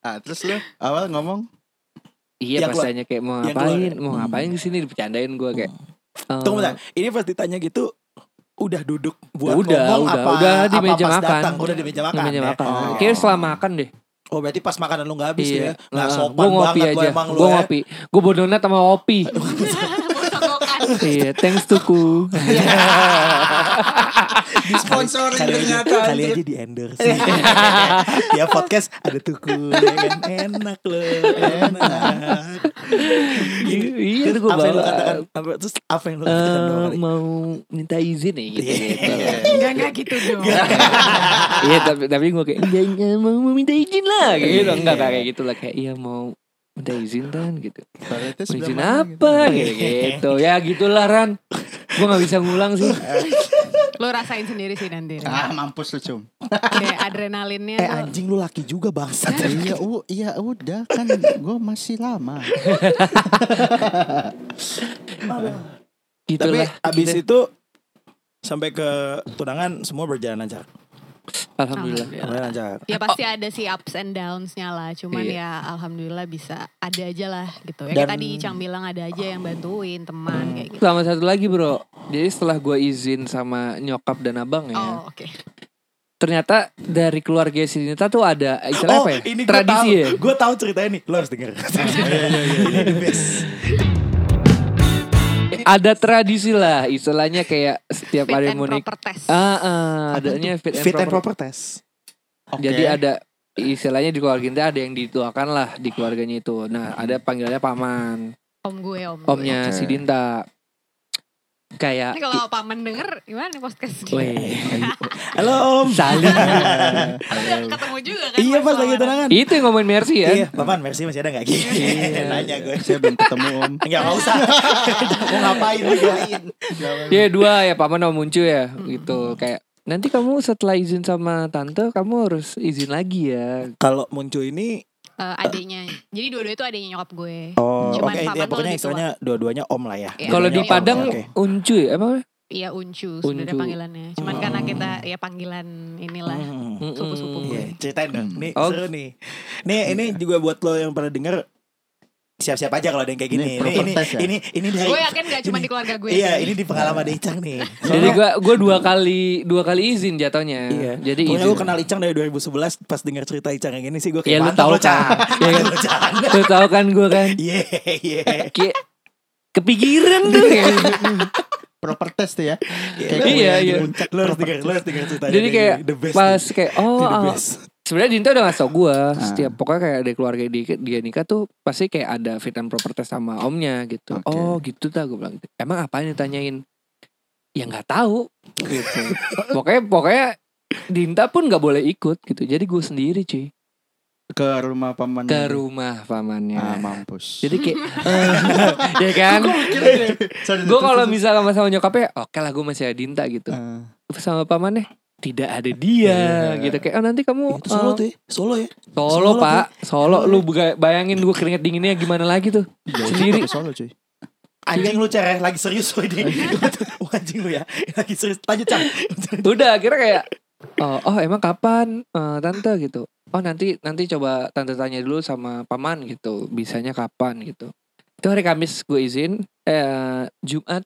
Speaker 3: Ah, terus lu awal ngomong
Speaker 2: Yang
Speaker 1: Iya pas
Speaker 2: keluar-
Speaker 1: tanya kayak mau
Speaker 2: yang
Speaker 1: ngapain
Speaker 2: keluar.
Speaker 1: Mau
Speaker 2: Hmm.
Speaker 1: ngapain kesini Dipercandain gue kayak eh,
Speaker 2: Tunggu bentar Ini pas ditanya gitu Udah duduk buat
Speaker 1: Udah,
Speaker 2: ngomong
Speaker 1: udah,
Speaker 2: apa,
Speaker 1: udah di
Speaker 2: apa
Speaker 1: meja
Speaker 2: pas
Speaker 1: makan.
Speaker 2: datang? Udah di meja makan.
Speaker 1: Namanya
Speaker 2: ya?
Speaker 1: makan
Speaker 3: Oh.
Speaker 1: Kayaknya setelah makan deh
Speaker 2: Oh berarti pas makanan lu gak habis
Speaker 1: Iya
Speaker 2: ya? Nah,
Speaker 1: Heeh.
Speaker 2: sopan
Speaker 1: Gua ngopi
Speaker 2: banget
Speaker 1: aja
Speaker 2: lu emang lu
Speaker 1: Gue
Speaker 2: ya.
Speaker 1: ngopi Gue bodonat sama kopi Iya thanks tuku Ah,
Speaker 4: Disponsori
Speaker 2: Kali aja,
Speaker 4: ternyata.
Speaker 2: kali aja di endorse. ya podcast ada tuku ya kan enak loh, enak.
Speaker 1: Iya
Speaker 2: Terus
Speaker 1: gue
Speaker 2: apa yang lu
Speaker 1: bawa
Speaker 2: katakan? Apa, terus apa yang lu katakan? dua
Speaker 1: Eh
Speaker 2: kali? Iya.
Speaker 1: mau minta izin ya gitu. gitu.
Speaker 5: Enggak, enggak gitu dong.
Speaker 1: Iya tapi tapi gue kayak enggak enggak, mau, mau minta izin lah kayak gitu enggak enggak, kayak gitu lah kayak iya mau minta izin kan gitu.
Speaker 3: toiletnya
Speaker 1: Mau
Speaker 3: sebelah
Speaker 1: izin
Speaker 3: mana gitu?
Speaker 1: apa gitu gitu. Ya gitulah Ran. Gue nggak bisa ngulang sih.
Speaker 5: Lo rasain sendiri sih nanti.
Speaker 3: Ah, mampus lu cum.
Speaker 5: Kayak adrenalinnya
Speaker 2: Eh
Speaker 5: tuh.
Speaker 2: anjing lu laki juga bangsa.
Speaker 3: iya, u- iya udah kan gue masih lama.
Speaker 2: Tapi
Speaker 1: Gitulah.
Speaker 2: abis
Speaker 1: Gitu.
Speaker 2: itu sampai ke tunangan semua berjalan lancar.
Speaker 1: Alhamdulillah.
Speaker 2: Berjalan lancar.
Speaker 5: Ya pasti ada sih ups and downs-nya lah. Cuman
Speaker 1: Iya.
Speaker 5: ya alhamdulillah bisa ada aja lah gitu. Ya kayak
Speaker 2: Dan-
Speaker 5: tadi Icang bilang ada aja yang bantuin teman kayak gitu.
Speaker 1: Sama satu lagi bro. Jadi setelah gue izin sama nyokap dan abang
Speaker 2: Iya.
Speaker 1: ya.
Speaker 5: Oh, oke.
Speaker 1: Ternyata dari keluarga Sinita tuh ada istilah apa ya?
Speaker 2: Oh, ini gue
Speaker 1: Tradisi
Speaker 2: tahu,
Speaker 1: ya. Iya,
Speaker 2: gue tahu ceritanya nih. Lo harus denger. Ini the best.
Speaker 1: ada tradisi lah istilahnya kayak setiap
Speaker 5: Fit
Speaker 1: hari
Speaker 5: and
Speaker 1: mau nik-
Speaker 5: proper test.
Speaker 1: ah, ah adanya fit, and
Speaker 2: Fit and
Speaker 1: proper.
Speaker 2: proper test.
Speaker 1: Jadi ada istilahnya di keluarga kita ada yang dituakan lah di keluarganya itu. Nah ada panggilannya paman,
Speaker 5: Om gue, om gue.
Speaker 1: omnya si Dinta. Kayak
Speaker 5: Ini kalau paman denger gimana nih podcast
Speaker 1: Weh,
Speaker 5: ini?
Speaker 2: Halo om.
Speaker 1: saling.
Speaker 5: Ketemu juga kan.
Speaker 2: Iya pas lagi
Speaker 5: soalnya.
Speaker 2: tunangan.
Speaker 1: itu yang ngomongin Mercy ya.
Speaker 2: Iya, Papan Mercy masih ada gak? Gitu.
Speaker 1: Iya.
Speaker 2: Nanya gue.
Speaker 3: Saya belum ketemu om.
Speaker 2: Enggak mau usah. mau ngapain dibeliin.
Speaker 1: Iya dua ya paman sama muncul ya gitu kayak nanti kamu setelah izin sama tante kamu harus izin lagi ya.
Speaker 2: Kalau muncul ini
Speaker 5: Eh, adiknya. Jadi dua-dua itu adiknya nyokap gue.
Speaker 2: oh, oke
Speaker 5: Cuman paman
Speaker 2: ya,
Speaker 5: tuh
Speaker 2: pokoknya
Speaker 5: lebih tua.
Speaker 2: istilahnya dua-duanya om lah ya.
Speaker 5: Iya.
Speaker 1: gitu, Kalau
Speaker 2: Dua-duanya
Speaker 1: di
Speaker 2: om,
Speaker 1: Padang
Speaker 2: oke.
Speaker 1: uncu ya apa?
Speaker 5: Iya uncu sebenarnya
Speaker 1: Uncu.
Speaker 5: panggilannya. Cuman karena kita ya panggilan inilah
Speaker 2: Hmm.
Speaker 5: sepupu-sepupu
Speaker 1: Mm-mm.
Speaker 5: gue.
Speaker 2: Iya, ceritain dong. Nih
Speaker 1: Oh.
Speaker 2: seru nih. Nih ini juga buat lo yang pernah denger siap-siap aja kalau ada yang kayak gini.
Speaker 3: Ini
Speaker 2: Ini
Speaker 3: proper
Speaker 2: ini
Speaker 3: test ya?
Speaker 2: ini, ini dari
Speaker 5: Gue yakin gak cuma di keluarga gue.
Speaker 2: Iya, ini di pengalaman Icang nih.
Speaker 1: Jadi gua gua dua kali dua kali izin jatuhnya.
Speaker 2: Iya.
Speaker 1: Jadi
Speaker 2: Pokoknya
Speaker 1: izin.
Speaker 2: gue kenal Icang dari 2011 pas denger cerita Icang yang ini sih gue
Speaker 1: Ya,
Speaker 2: kayak
Speaker 1: lu
Speaker 2: mantap
Speaker 1: tahu
Speaker 2: lo Cang.
Speaker 1: kan. Iya.
Speaker 2: Lu Cang.
Speaker 1: Lu tahu kan gue kan
Speaker 2: Iya, iya.
Speaker 1: Kayak kepikiran tuh kayak gitu.
Speaker 3: Proper test tuh ya. Kayak
Speaker 1: Iya,
Speaker 3: kuliah di
Speaker 1: iya.
Speaker 3: puncak
Speaker 2: Lo harus
Speaker 3: proper
Speaker 2: denger, lo harus denger ceritanya.
Speaker 1: Jadi
Speaker 2: nih.
Speaker 1: kayak
Speaker 2: the best.
Speaker 1: pas
Speaker 2: nih.
Speaker 1: kayak
Speaker 2: Ini
Speaker 1: oh
Speaker 2: the
Speaker 1: ah,
Speaker 2: best.
Speaker 1: sebenarnya Dinta udah ngasih tau gue setiap pokoknya kayak ada keluarga di, dia nikah tuh pasti kayak ada fit and proper test sama omnya gitu.
Speaker 3: Oke.
Speaker 1: Oh gitu tak gue bilang. Emang apa yang ditanyain? Ya nggak tahu. Gitu. pokoknya pokoknya Dinta pun nggak boleh ikut gitu. Jadi gue sendiri cuy
Speaker 3: ke rumah paman.
Speaker 1: ke rumah pamannya.
Speaker 3: Hmm. Ah, mampus.
Speaker 1: Jadi kayak ya kan. Gue kalau misalnya sama sama nyokapnya, oke lah gue masih ada Dinta gitu.
Speaker 3: Eh.
Speaker 1: sama pamannya tidak ada dia
Speaker 3: Iya.
Speaker 1: gitu kayak oh, nanti kamu
Speaker 2: Itu solo
Speaker 1: eh,
Speaker 2: tuh ya, solo ya.
Speaker 1: solo,
Speaker 2: Solo,
Speaker 1: pak solo lu buka- bayangin gue keringet dinginnya gimana lagi tuh
Speaker 3: Jauh
Speaker 1: Sendiri.
Speaker 3: juga ke Solo cuy.
Speaker 2: Anjing lu cereh lagi serius lu ini. Wah, Anjing lu ya. Lagi serius. Lanjut Cang.
Speaker 1: udah akhirnya kayak oh, oh, emang kapan eh, tante gitu oh nanti nanti coba tante tanya dulu sama paman gitu bisanya kapan gitu itu hari Kamis gue izin eh, Jumat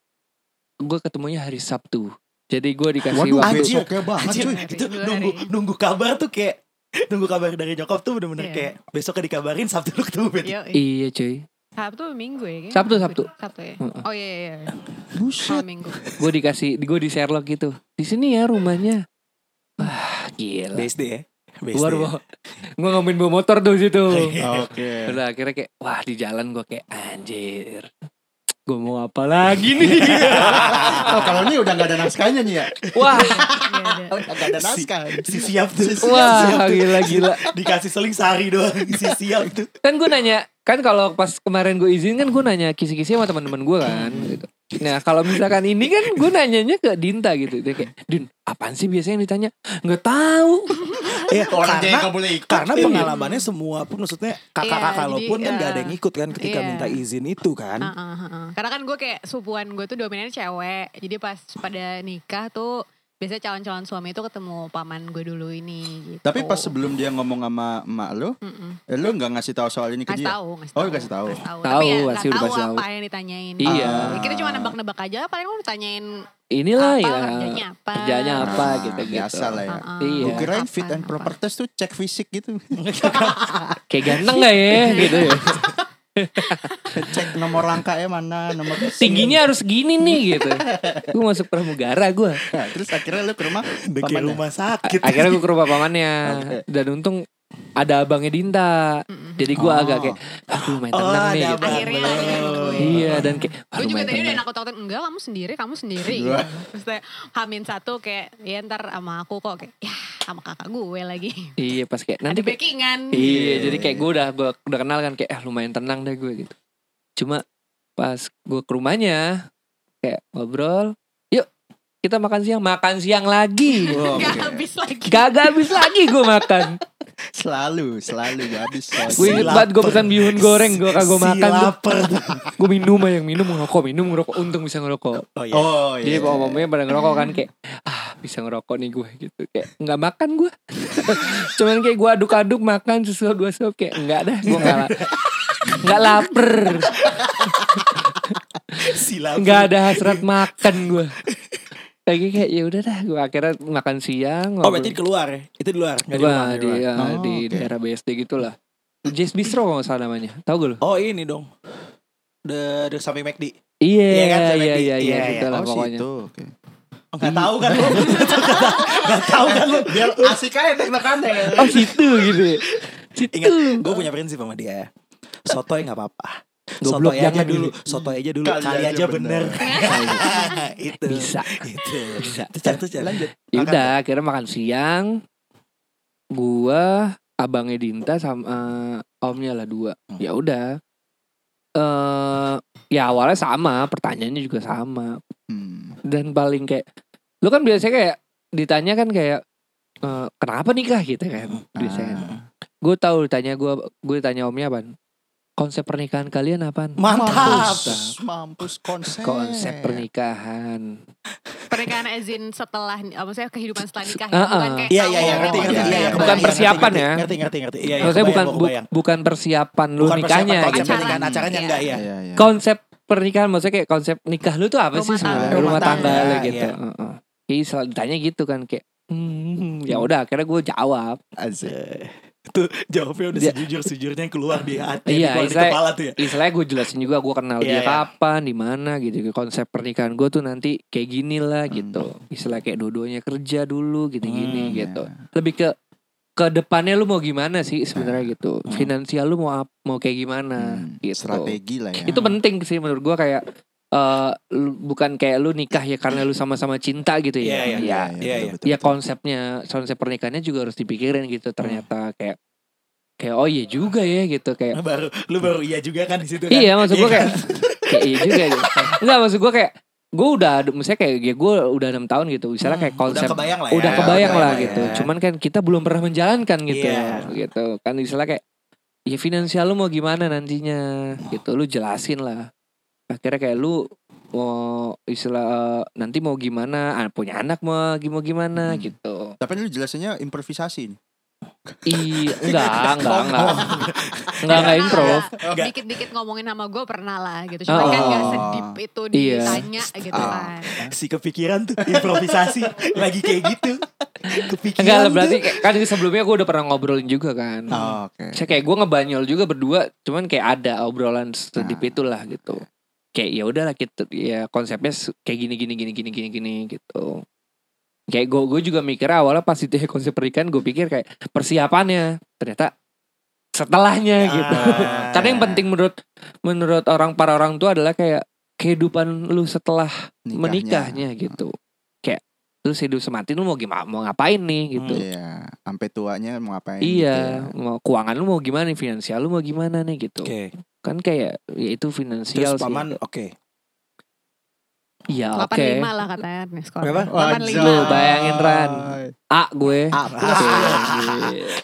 Speaker 1: gue ketemunya hari Sabtu jadi gue dikasih
Speaker 3: Waduh,
Speaker 1: waktu
Speaker 2: anjir.
Speaker 3: besoknya banget
Speaker 2: Anjir,
Speaker 3: cuy.
Speaker 5: cuy.
Speaker 2: itu nunggu nunggu kabar tuh kayak nunggu kabar dari nyokap tuh bener-bener
Speaker 5: Iya.
Speaker 2: kayak besoknya dikabarin Sabtu lu ketemu Bet.
Speaker 5: Yo, iya.
Speaker 1: iya cuy
Speaker 5: Sabtu minggu ya? kayaknya.
Speaker 1: Sabtu, Sabtu.
Speaker 5: Sabtu ya.
Speaker 1: Heeh.
Speaker 5: Oh iya iya. iya.
Speaker 3: Buset.
Speaker 5: Malam minggu.
Speaker 1: gue dikasih gue di Sherlock gitu di sini ya rumahnya wah gila
Speaker 2: BSD ya. BSD.
Speaker 1: Gua bawa Gue ngomongin bawa motor tuh situ
Speaker 3: Oke.
Speaker 2: Iya.
Speaker 1: Udah akhirnya kayak Wah di jalan gue kayak Anjir Gue mau apa lagi nih
Speaker 3: Oh, kalau ini udah gak ada naskahnya nih ya.
Speaker 1: Wah
Speaker 5: Iya, ada.
Speaker 3: Gak ada naskah.
Speaker 2: Si siap tuh. Si siap
Speaker 1: Wah
Speaker 2: tuh.
Speaker 5: gitu.
Speaker 1: gila-gila
Speaker 2: Dikasih seling sehari doang si siap tuh.
Speaker 1: Kan gue nanya Kan kalau pas kemarin gue izin kan gue nanya kisi-kisi sama teman-teman gue kan gitu. Nah kalau misalkan ini kan gue nanyanya ke Dinta gitu. Dia kayak, Din apaan sih biasanya yang ditanya? Nggak tahu.
Speaker 2: Iya,
Speaker 4: Orang
Speaker 2: karena
Speaker 4: jadi nggak boleh ikut.
Speaker 2: karena pengalamannya semua pun maksudnya kakak-kakak
Speaker 5: Iya,
Speaker 2: lo
Speaker 5: jadi,
Speaker 2: pun kan gak ada yang
Speaker 5: iya.
Speaker 2: ikut kan ketika
Speaker 5: Iya. Ah.
Speaker 2: minta izin itu kan.
Speaker 5: Heeh, heeh. Uh-uh, Karena kan gue kayak supuan gue tuh dominannya cewek. Jadi pas pada nikah tuh biasanya calon-calon suami itu ketemu paman gue dulu ini gitu.
Speaker 3: Tapi pas sebelum dia ngomong sama emak lo,
Speaker 5: Mm-mm.
Speaker 3: eh, lo nggak ngasih tahu soal ini ke
Speaker 5: Kasih
Speaker 3: dia?
Speaker 5: tahu, ngasih
Speaker 3: Oh, kasih tahu.
Speaker 5: tahu.
Speaker 1: Tahu,
Speaker 5: Tapi ya nggak
Speaker 1: pasti udah
Speaker 5: tahu
Speaker 1: kasih tahu.
Speaker 5: apa yang ditanyain.
Speaker 1: Iya.
Speaker 5: Ya, Kita cuma nebak-nebak aja, paling mau ditanyain
Speaker 1: Inilah
Speaker 5: apa,
Speaker 1: ya.
Speaker 5: kerjanya apa.
Speaker 1: kerjanya apa
Speaker 3: Ah,
Speaker 1: gitu gitu.
Speaker 3: biasa lah ya.
Speaker 5: Heeh.
Speaker 1: Iya.
Speaker 3: Gue kirain fit
Speaker 5: Apa,
Speaker 3: and
Speaker 5: apa.
Speaker 3: proper test tuh cek fisik gitu,
Speaker 1: Kayak ganteng gak ya gitu ya.
Speaker 3: cek nomor langkahnya mana, nomor
Speaker 1: Tingginya harus gini nih gitu. Gue masuk pramugara gue.
Speaker 3: Nah, terus akhirnya lo ke rumah
Speaker 2: Udah kayak
Speaker 3: pamannya.
Speaker 2: rumah sakit.
Speaker 1: ah, Akhirnya gue ke rumah pamannya.
Speaker 3: Oke.
Speaker 1: Dan untung ada abangnya Dinta. Jadi gue
Speaker 3: Oh.
Speaker 1: agak kayak, aku lumayan
Speaker 2: Oh,
Speaker 1: tenang nih
Speaker 2: ada
Speaker 1: gitu.
Speaker 2: abang.
Speaker 5: Akhirnya ada yang gue.
Speaker 1: Iya dan kayak, wah,
Speaker 5: Gue juga
Speaker 1: lumayan
Speaker 5: tadi udah
Speaker 1: tenang.
Speaker 5: nakut-nakutin enggak kamu sendiri, kamu sendiri. gitu.
Speaker 3: Gua.
Speaker 5: Terus kayak Hamin satu kayak ya ntar sama aku kok kayak ya sama kakak gue lagi.
Speaker 1: Iya pas kayak, nanti
Speaker 5: Ada
Speaker 1: kayak,
Speaker 5: backingan.
Speaker 1: Iya, jadi kayak gue udah gua udah kenal kan kayak eh lumayan tenang deh gue gitu. Cuma pas gue ke rumahnya kayak ngobrol, yuk kita makan siang, makan siang lagi.
Speaker 3: Wow,
Speaker 5: Gak
Speaker 3: Oh, oke.
Speaker 5: habis lagi.
Speaker 1: Kagak habis lagi gue makan.
Speaker 3: Selalu, selalu gak habis. selalu.
Speaker 1: Gue inget banget gue pesan bihun goreng, gue kagak makan.
Speaker 2: Si
Speaker 1: Gue,
Speaker 2: lapar.
Speaker 1: gue minum aja yang minum ngerokok, minum ngerokok. Untung bisa ngerokok.
Speaker 2: Oh iya.
Speaker 3: Oh iya.
Speaker 1: Jadi pokoknya pada ngerokok kan kayak ah bisa ngerokok nih gue gitu kayak nggak makan gue. Cuman kayak gue aduk-aduk makan sesuap dua suap kayak enggak dah gue nggak la- nggak lapar.
Speaker 2: Si lapar.
Speaker 1: nggak ada hasrat makan gue lagi kayak ya udah dah gue akhirnya makan siang
Speaker 2: Oh berarti keluar ya? Itu di luar. nggak di
Speaker 1: gue
Speaker 2: rumah,
Speaker 1: di,
Speaker 2: di luar.
Speaker 1: ya,
Speaker 3: Oh,
Speaker 1: di
Speaker 3: oke.
Speaker 1: daerah BSD gitulah Jazz Bistro kalau nggak salah namanya tau gak lu
Speaker 2: Oh ini dong. The, the samping McD.
Speaker 1: iya
Speaker 2: Iya kan,
Speaker 1: iya
Speaker 2: sampai
Speaker 1: iya
Speaker 2: di- iya,
Speaker 1: iya
Speaker 2: iya.
Speaker 1: gitu lah
Speaker 3: Oh,
Speaker 1: pokoknya
Speaker 3: situ. Oke.
Speaker 2: Oh,
Speaker 1: Iya.
Speaker 2: gak tahu kan lu. gak tahu kan lu.
Speaker 5: Ya,
Speaker 4: Biar asik aja teknokannya.
Speaker 1: oh situ gitu ya.
Speaker 2: Ingat, gue punya prinsip sama dia. Sotoy gak apa-apa.
Speaker 1: Goblok,
Speaker 2: Sotoy aja
Speaker 1: jangan
Speaker 2: dulu.
Speaker 1: gitu.
Speaker 2: Sotoy aja dulu.
Speaker 4: Kali
Speaker 2: Kali,
Speaker 4: aja
Speaker 2: aja bener. Gitu. itu.
Speaker 1: Bisa.
Speaker 2: Itu.
Speaker 1: Bisa.
Speaker 2: Terus jalan, terus jalan.
Speaker 3: Lanjut.
Speaker 1: ya udah akhirnya makan siang gua abangnya Dinta sama eh, omnya lah dua
Speaker 2: Hmm.
Speaker 1: ya udah eh ya awalnya sama pertanyaannya juga sama
Speaker 3: Hmm.
Speaker 1: dan paling kayak lu kan biasanya kayak ditanya kan kayak e, kenapa nikah gitu kan
Speaker 2: Hmm.
Speaker 1: biasanya
Speaker 2: Ah.
Speaker 1: gue tahu ditanya gue gue ditanya omnya apa konsep pernikahan kalian apa
Speaker 2: Mantap.
Speaker 3: Mampus, mampus
Speaker 2: Eh.
Speaker 3: konsep.
Speaker 1: konsep pernikahan
Speaker 5: Pernikahan azin setelah, eh, maksudnya kehidupan setelah nikah.
Speaker 1: Ah,
Speaker 5: ya, bukan
Speaker 1: ah.
Speaker 5: kayak
Speaker 2: Iya iya iya
Speaker 5: awal.
Speaker 2: ngerti ngerti. iya,
Speaker 3: Iya, iya.
Speaker 2: kebayang,
Speaker 1: Bukan
Speaker 5: gitu.
Speaker 2: ngerti,
Speaker 1: persiapan
Speaker 2: ngerti,
Speaker 1: ya.
Speaker 2: Ngerti ngerti ngerti. Iya iya,
Speaker 1: maksudnya
Speaker 2: kebayang,
Speaker 1: bukan
Speaker 2: gua
Speaker 1: bu-
Speaker 2: kebayang.
Speaker 1: bukan persiapan lu
Speaker 2: Bukan persiapan,
Speaker 1: nikahnya
Speaker 2: konsep
Speaker 1: gitu
Speaker 5: Acara.
Speaker 2: pernikahan, acaranya
Speaker 5: Iya.
Speaker 2: enggak ya.
Speaker 3: Iya, iya.
Speaker 1: konsep pernikahan maksudnya kayak konsep nikah lu tuh apa sih
Speaker 5: Rumah
Speaker 1: sebenarnya
Speaker 3: tangga.
Speaker 1: rumah tangga
Speaker 2: Rumah
Speaker 1: lu
Speaker 2: tangga,
Speaker 1: gitu
Speaker 2: iya.
Speaker 1: Heeh. jadi selalu ditanya gitu kan kayak hmm, ya udah akhirnya gue jawab
Speaker 3: Asik.
Speaker 2: Tuh jawabnya udah
Speaker 1: Dia-
Speaker 2: sejujur-sejurnya yang keluar di hati,
Speaker 1: Iya,
Speaker 2: keluar di
Speaker 1: saya-
Speaker 2: kepala tuh ya.
Speaker 1: istilahnya gue jelasin juga gue kenal
Speaker 2: Iya,
Speaker 1: dia
Speaker 2: iya.
Speaker 1: kapan di mana gitu konsep pernikahan gue tuh nanti kayak gini lah gitu istilah kayak dua-duanya kerja dulu gini-gini
Speaker 2: Hmm,
Speaker 1: gitu lebih ke ke depannya lu mau gimana sih sebenarnya gitu finansial lu mau ap- mau kayak gimana
Speaker 3: Hmm,
Speaker 1: gitu
Speaker 3: Strategi lah
Speaker 2: Iya.
Speaker 3: ya.
Speaker 1: itu penting sih menurut gue kayak eh, lu- bukan kayak lu nikah ya karena lu sama-sama cinta gitu
Speaker 2: Iya, iya.
Speaker 1: ya
Speaker 2: Iya,
Speaker 1: Ya,
Speaker 3: betul,
Speaker 2: iya.
Speaker 3: betul,
Speaker 1: ya
Speaker 3: betul.
Speaker 1: konsepnya konsep pernikahannya juga harus dipikirin
Speaker 2: Hmm.
Speaker 1: gitu ternyata kayak kayak oh iya juga ya gitu kayak
Speaker 2: Baru lu baru iya juga kan di situ kan.
Speaker 1: Iya maksud gue
Speaker 2: kan?
Speaker 1: kayak Kayak iya juga gitu Enggak maksud gue kayak Gue udah Misalnya kayak ya Gue udah 6 tahun gitu Misalnya kayak
Speaker 2: Hmm,
Speaker 1: konsep
Speaker 2: udah kebayang lah ya.
Speaker 1: udah
Speaker 3: ya,
Speaker 1: kebayang
Speaker 3: udah
Speaker 1: lah
Speaker 3: kebayang
Speaker 1: gitu
Speaker 2: ya.
Speaker 1: Cuman kan kita belum pernah menjalankan gitu
Speaker 2: Iya.
Speaker 1: Gitu Kan misalnya kayak Ya finansial lu mau gimana nantinya Gitu Lu jelasin lah Akhirnya kayak lu Mau istilah eh, Nanti mau gimana ah, Punya anak mau gimana, gimana
Speaker 3: Hmm.
Speaker 1: gitu
Speaker 3: Tapi lu jelasannya improvisasi nih.
Speaker 1: Iya Enggak Enggak Enggak Enggak Enggak
Speaker 5: Pernah
Speaker 1: improv
Speaker 3: Iya.
Speaker 5: lah, Dikit-dikit ngomongin sama gue pernah lah gitu. Cuma
Speaker 1: Oh.
Speaker 5: kan gak sedip itu
Speaker 1: Iya.
Speaker 5: ditanya gitu
Speaker 3: Ah.
Speaker 5: kan.
Speaker 2: si kepikiran tuh improvisasi lagi kayak gitu. Kepikiran.
Speaker 1: Enggak lah
Speaker 2: tuh.
Speaker 1: berarti kayak- Kan sebelumnya gue udah pernah ngobrolin juga kan
Speaker 3: Iya. Oh, Oke.
Speaker 1: Saya kayak gue ngebanyol juga berdua, cuman kayak ada obrolan sedip
Speaker 3: Nah.
Speaker 1: itulah gitu. Kayak ya udahlah gitu, ya konsepnya se- kayak gini gini gini gini gini gini gitu. Kayak gue gue juga mikir awalnya pas itu ya konsep pernikahan gue pikir kayak persiapannya ternyata setelahnya gitu.
Speaker 2: Ah.
Speaker 1: Karena yang penting menurut menurut orang para orang tua adalah kayak kehidupan lu setelah
Speaker 3: Nikahnya.
Speaker 1: menikahnya gitu. Kayak lu hidup semati lu mau gimana mau ngapain nih gitu.
Speaker 3: Iya, sampai tuanya mau ngapain?
Speaker 2: gitu
Speaker 3: gitu
Speaker 1: Iya,
Speaker 3: ya.
Speaker 1: mau keuangan lu mau gimana nih, finansial lu mau gimana nih gitu.
Speaker 2: ya. Oke.
Speaker 1: Kan kayak ya itu
Speaker 2: Terus
Speaker 1: finansial sih.
Speaker 2: paman oke.
Speaker 1: Iya, oke.
Speaker 5: 85 lah katanya nih skornya.
Speaker 2: Berapa?
Speaker 5: 85.
Speaker 1: Lu ya. bayangin Ran. A gue.
Speaker 3: A plus.
Speaker 2: Ah,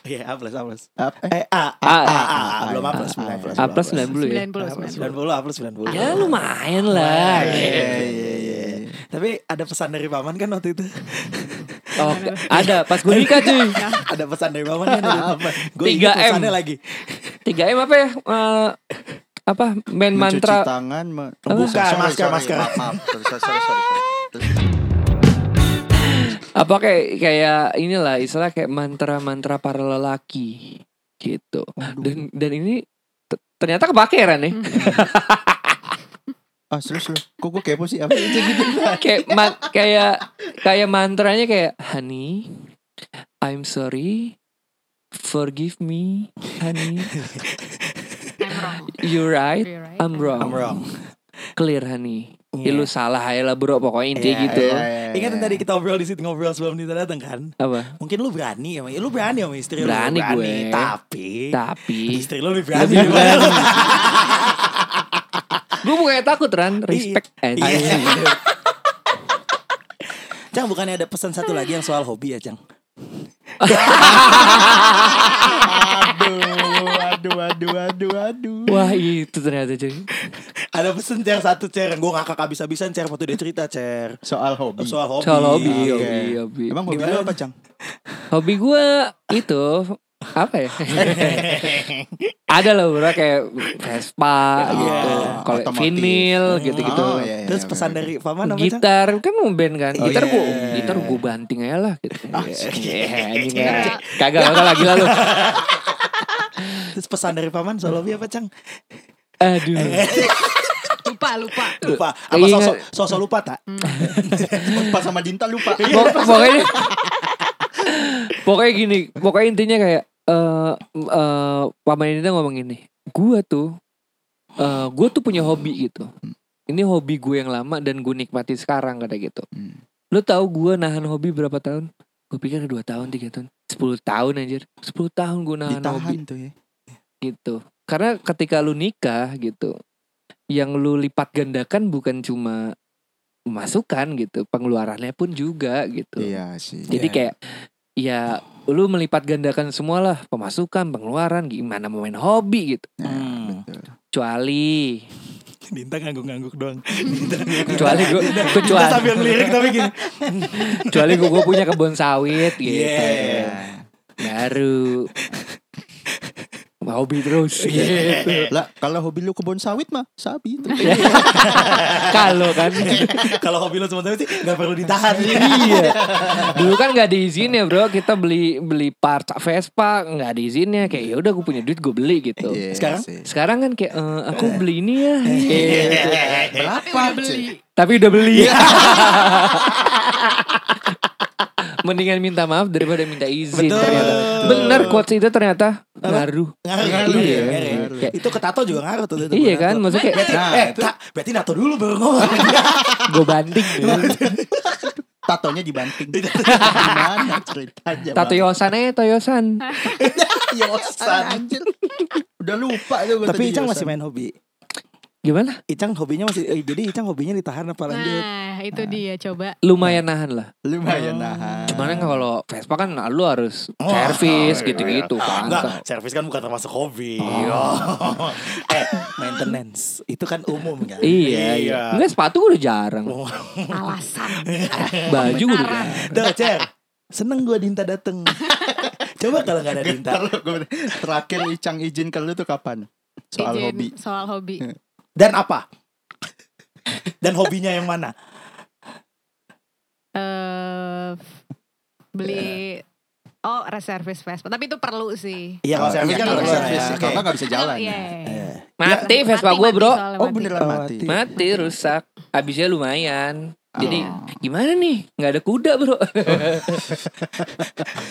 Speaker 2: Iya, A plus, A plus.
Speaker 3: Apa?
Speaker 2: Eh, A,
Speaker 1: A,
Speaker 2: A,
Speaker 1: A,
Speaker 2: A, A, belum A plus, belum A plus.
Speaker 1: Ah, A plus 90 ya.
Speaker 5: 90, 90.
Speaker 2: 90, A plus 90.
Speaker 1: Ya lumayan lah.
Speaker 2: Iya,
Speaker 3: iya, iya.
Speaker 2: Tapi ada pesan dari Paman kan waktu itu?
Speaker 1: Oh, ada pas gue nikah cuy.
Speaker 2: ada pesan dari Paman kan? Apa? Gue
Speaker 1: 3M.
Speaker 2: ingat pesannya lagi.
Speaker 1: 3M apa ya? Eh, apa main
Speaker 3: Mencuci
Speaker 1: mantra
Speaker 3: tangan. me-
Speaker 1: Apa?
Speaker 3: Bukan,
Speaker 2: Sorry,
Speaker 3: masker,
Speaker 2: sorry,
Speaker 3: masker.
Speaker 2: maaf,
Speaker 3: Sorry, sorry, sorry.
Speaker 1: apa kayak kayak inilah istilah kayak mantra-mantra para lelaki gitu. Dan dan ini t- ternyata ya? kepakeran nih.
Speaker 3: Ah, serius lu. Kok gue kepo sih? Apa itu gitu?
Speaker 1: kayak ma- kayak kayak mantranya kayak honey I'm sorry forgive me honey
Speaker 5: I'm wrong.
Speaker 1: you're right
Speaker 5: You're right.
Speaker 1: I'm wrong,
Speaker 2: I'm wrong.
Speaker 1: clear honey
Speaker 2: Iya.
Speaker 1: ya, lu salah ya lah bro pokoknya intinya
Speaker 2: Iya,
Speaker 1: gitu
Speaker 3: Iya, iya,
Speaker 2: Ingat yang
Speaker 3: iya.
Speaker 2: tadi kita ngobrol di situ ngobrol sebelum Nita datang kan?
Speaker 1: apa
Speaker 2: Mungkin lu berani sama lu berani sama istri lu,
Speaker 1: Berani
Speaker 2: lu
Speaker 1: gue.
Speaker 2: Tapi
Speaker 1: tapi
Speaker 2: istri lu lebih berani.
Speaker 1: Lebih gue bukannya takut Ran respect eh,
Speaker 2: Iya.
Speaker 1: aja
Speaker 2: Cang bukannya ada pesan satu lagi yang soal hobi ya, Cang?
Speaker 3: Aduh, aduh, aduh, aduh.
Speaker 1: wah itu ternyata cuy
Speaker 2: Ada pesan cer satu cer, gue ngakak habis-habisan cer waktu dia cerita cer
Speaker 3: Soal hobi.
Speaker 2: soal hobi. Iya.
Speaker 1: soal hobi
Speaker 2: Oke.
Speaker 1: hobi hobi
Speaker 3: Emang hobi lu
Speaker 2: Gimana?
Speaker 3: apa, Cang?
Speaker 1: hobi gue itu apa ya ada loh bro kayak Vespa
Speaker 3: Iya,
Speaker 1: gitu kalau
Speaker 3: otomotif.
Speaker 1: vinil
Speaker 2: Ah.
Speaker 1: gitu-gitu
Speaker 3: Oh, iya, iya,
Speaker 2: Terus
Speaker 3: oke,
Speaker 2: pesan
Speaker 3: oke.
Speaker 2: dari paman apa Cang?
Speaker 1: gitar kan mau band kan
Speaker 2: Oh,
Speaker 1: gitar
Speaker 2: iya.
Speaker 1: gue gitar gue banting aja lah gitu
Speaker 2: sih.
Speaker 1: Iya, anjing aja. kagak bakal lagi lalu
Speaker 2: Terus pesan dari paman soal hobi apa Cang? Eh,
Speaker 1: aduh
Speaker 5: Lupa, lupa.
Speaker 2: Lupa. Apa
Speaker 1: Iya.
Speaker 2: sosok sosok lupa tak?
Speaker 3: Pas sama Dinta lupa.
Speaker 1: Pok- pokoknya pokoknya gini pokoknya intinya kayak eh eh, paman ini tuh ngomong gini gue tuh eh gue tuh punya hobi gitu ini hobi gue yang lama dan gue nikmati sekarang kata gitu
Speaker 3: Hmm.
Speaker 1: Lu tahu gue nahan hobi berapa tahun? Gue pikir 2 tahun, 3 tahun 10 tahun anjir 10 tahun gue nahan hobi
Speaker 3: Ditahan tuh ya.
Speaker 1: gitu Karena ketika lu nikah gitu Yang lu lipat gandakan bukan cuma Masukan gitu Pengeluarannya pun juga gitu
Speaker 3: Iya sih.
Speaker 1: Jadi
Speaker 2: Iya.
Speaker 1: kayak Ya lu melipat gandakan semualah Pemasukan, pengeluaran Gimana mau main hobi gitu
Speaker 2: Hmm.
Speaker 3: iya, Betul.
Speaker 1: Kecuali
Speaker 2: Dinta ngangguk-ngangguk doang.
Speaker 1: Kecuali gue
Speaker 2: Dinta
Speaker 1: Kecuali,
Speaker 2: sambil ngelirik tapi gini.
Speaker 1: kecuali gue punya kebun sawit gitu
Speaker 2: Iya.
Speaker 1: baru hobi terus
Speaker 2: Iya.
Speaker 1: gitu.
Speaker 2: Eh.
Speaker 3: Lah, kalau hobi lu kebun sawit mah Iya, sapi itu.
Speaker 1: kalau kan
Speaker 2: Iya. Kalau hobi lo sementara sih nggak perlu ditahan.
Speaker 1: iya dulu kan nggak diizin ya bro kita beli beli part Vespa nggak diizinnya kayak ya udah gue punya duit gue beli gitu
Speaker 3: Iya
Speaker 2: Sekarang?
Speaker 3: sih.
Speaker 1: sekarang kan kayak "Eh, aku beli ini ya Gitu.
Speaker 2: Eh,
Speaker 5: Tapi udah
Speaker 3: Berapa
Speaker 5: beli.
Speaker 3: sih?
Speaker 1: tapi udah beli mendingan minta maaf daripada minta izin
Speaker 2: Betul.
Speaker 1: ternyata bener quotes itu ternyata ngaruh
Speaker 2: Ngaruh, ngaruh,
Speaker 1: Iya.
Speaker 2: ngaruh.
Speaker 1: Kayak-
Speaker 2: Itu ke tato juga ngaruh tuh. itu
Speaker 1: iya
Speaker 2: buat
Speaker 1: kan
Speaker 2: tato.
Speaker 1: maksudnya kayak
Speaker 2: Berarti,
Speaker 3: Nah,
Speaker 2: eh,
Speaker 3: itu- Nah,
Speaker 2: tak, berarti nato dulu baru ngomong.
Speaker 1: gue banting
Speaker 3: Tatonya dibanting. Gimana ceritanya? Ya,
Speaker 1: tato yosan eh toyosan
Speaker 3: yosan. Anjir. Udah lupa tuh gua
Speaker 2: Tapi
Speaker 3: tadi
Speaker 2: Icang masih
Speaker 3: yosan.
Speaker 2: main hobi.
Speaker 1: gimana
Speaker 2: Icang hobinya masih, eh, jadi Icang hobinya ditahan apa lanjut?
Speaker 5: Nah, itu dia coba.
Speaker 1: lumayan nahan lah.
Speaker 3: Lumayan nahan.
Speaker 1: Cuman kan kalau Vespa kan lu harus servis gitu-gitu kan.
Speaker 2: Enggak, servis kan bukan termasuk hobi.
Speaker 1: Oh.
Speaker 2: eh, maintenance itu kan umum kan.
Speaker 1: Iya, iya. Enggak sepatu gua udah jarang.
Speaker 5: Alasan.
Speaker 1: Baju gua udah
Speaker 5: Benaran.
Speaker 1: jarang.
Speaker 2: Tuh, Cer. Seneng gua Dinta dateng. Coba kalau nggak ada Dinta.
Speaker 3: Ntar lu, gua bener. terakhir Icang izin ke lu tuh kapan? Soal
Speaker 5: Izin
Speaker 3: hobi.
Speaker 5: Soal hobi.
Speaker 2: Dan apa? Dan hobinya yang mana?
Speaker 5: eh beli oh reservis Vespa tapi itu perlu sih
Speaker 2: Iya, kalau
Speaker 3: Oh,
Speaker 2: servis
Speaker 3: iya,
Speaker 2: kan
Speaker 5: kalau
Speaker 2: nggak bisa
Speaker 3: servis,
Speaker 2: ya.
Speaker 5: oke.
Speaker 3: Kalau nggak bisa jalan.
Speaker 5: Iya.
Speaker 1: Mati
Speaker 5: Mati,
Speaker 1: Vespa gua,
Speaker 5: mati
Speaker 1: Bro.
Speaker 5: soalnya,
Speaker 3: Oh
Speaker 5: mati.
Speaker 3: beneran mati.
Speaker 2: Mati.
Speaker 1: Mati rusak. Habisnya lumayan. Jadi
Speaker 3: Oh.
Speaker 1: gimana nih? Nggak ada kuda, Bro.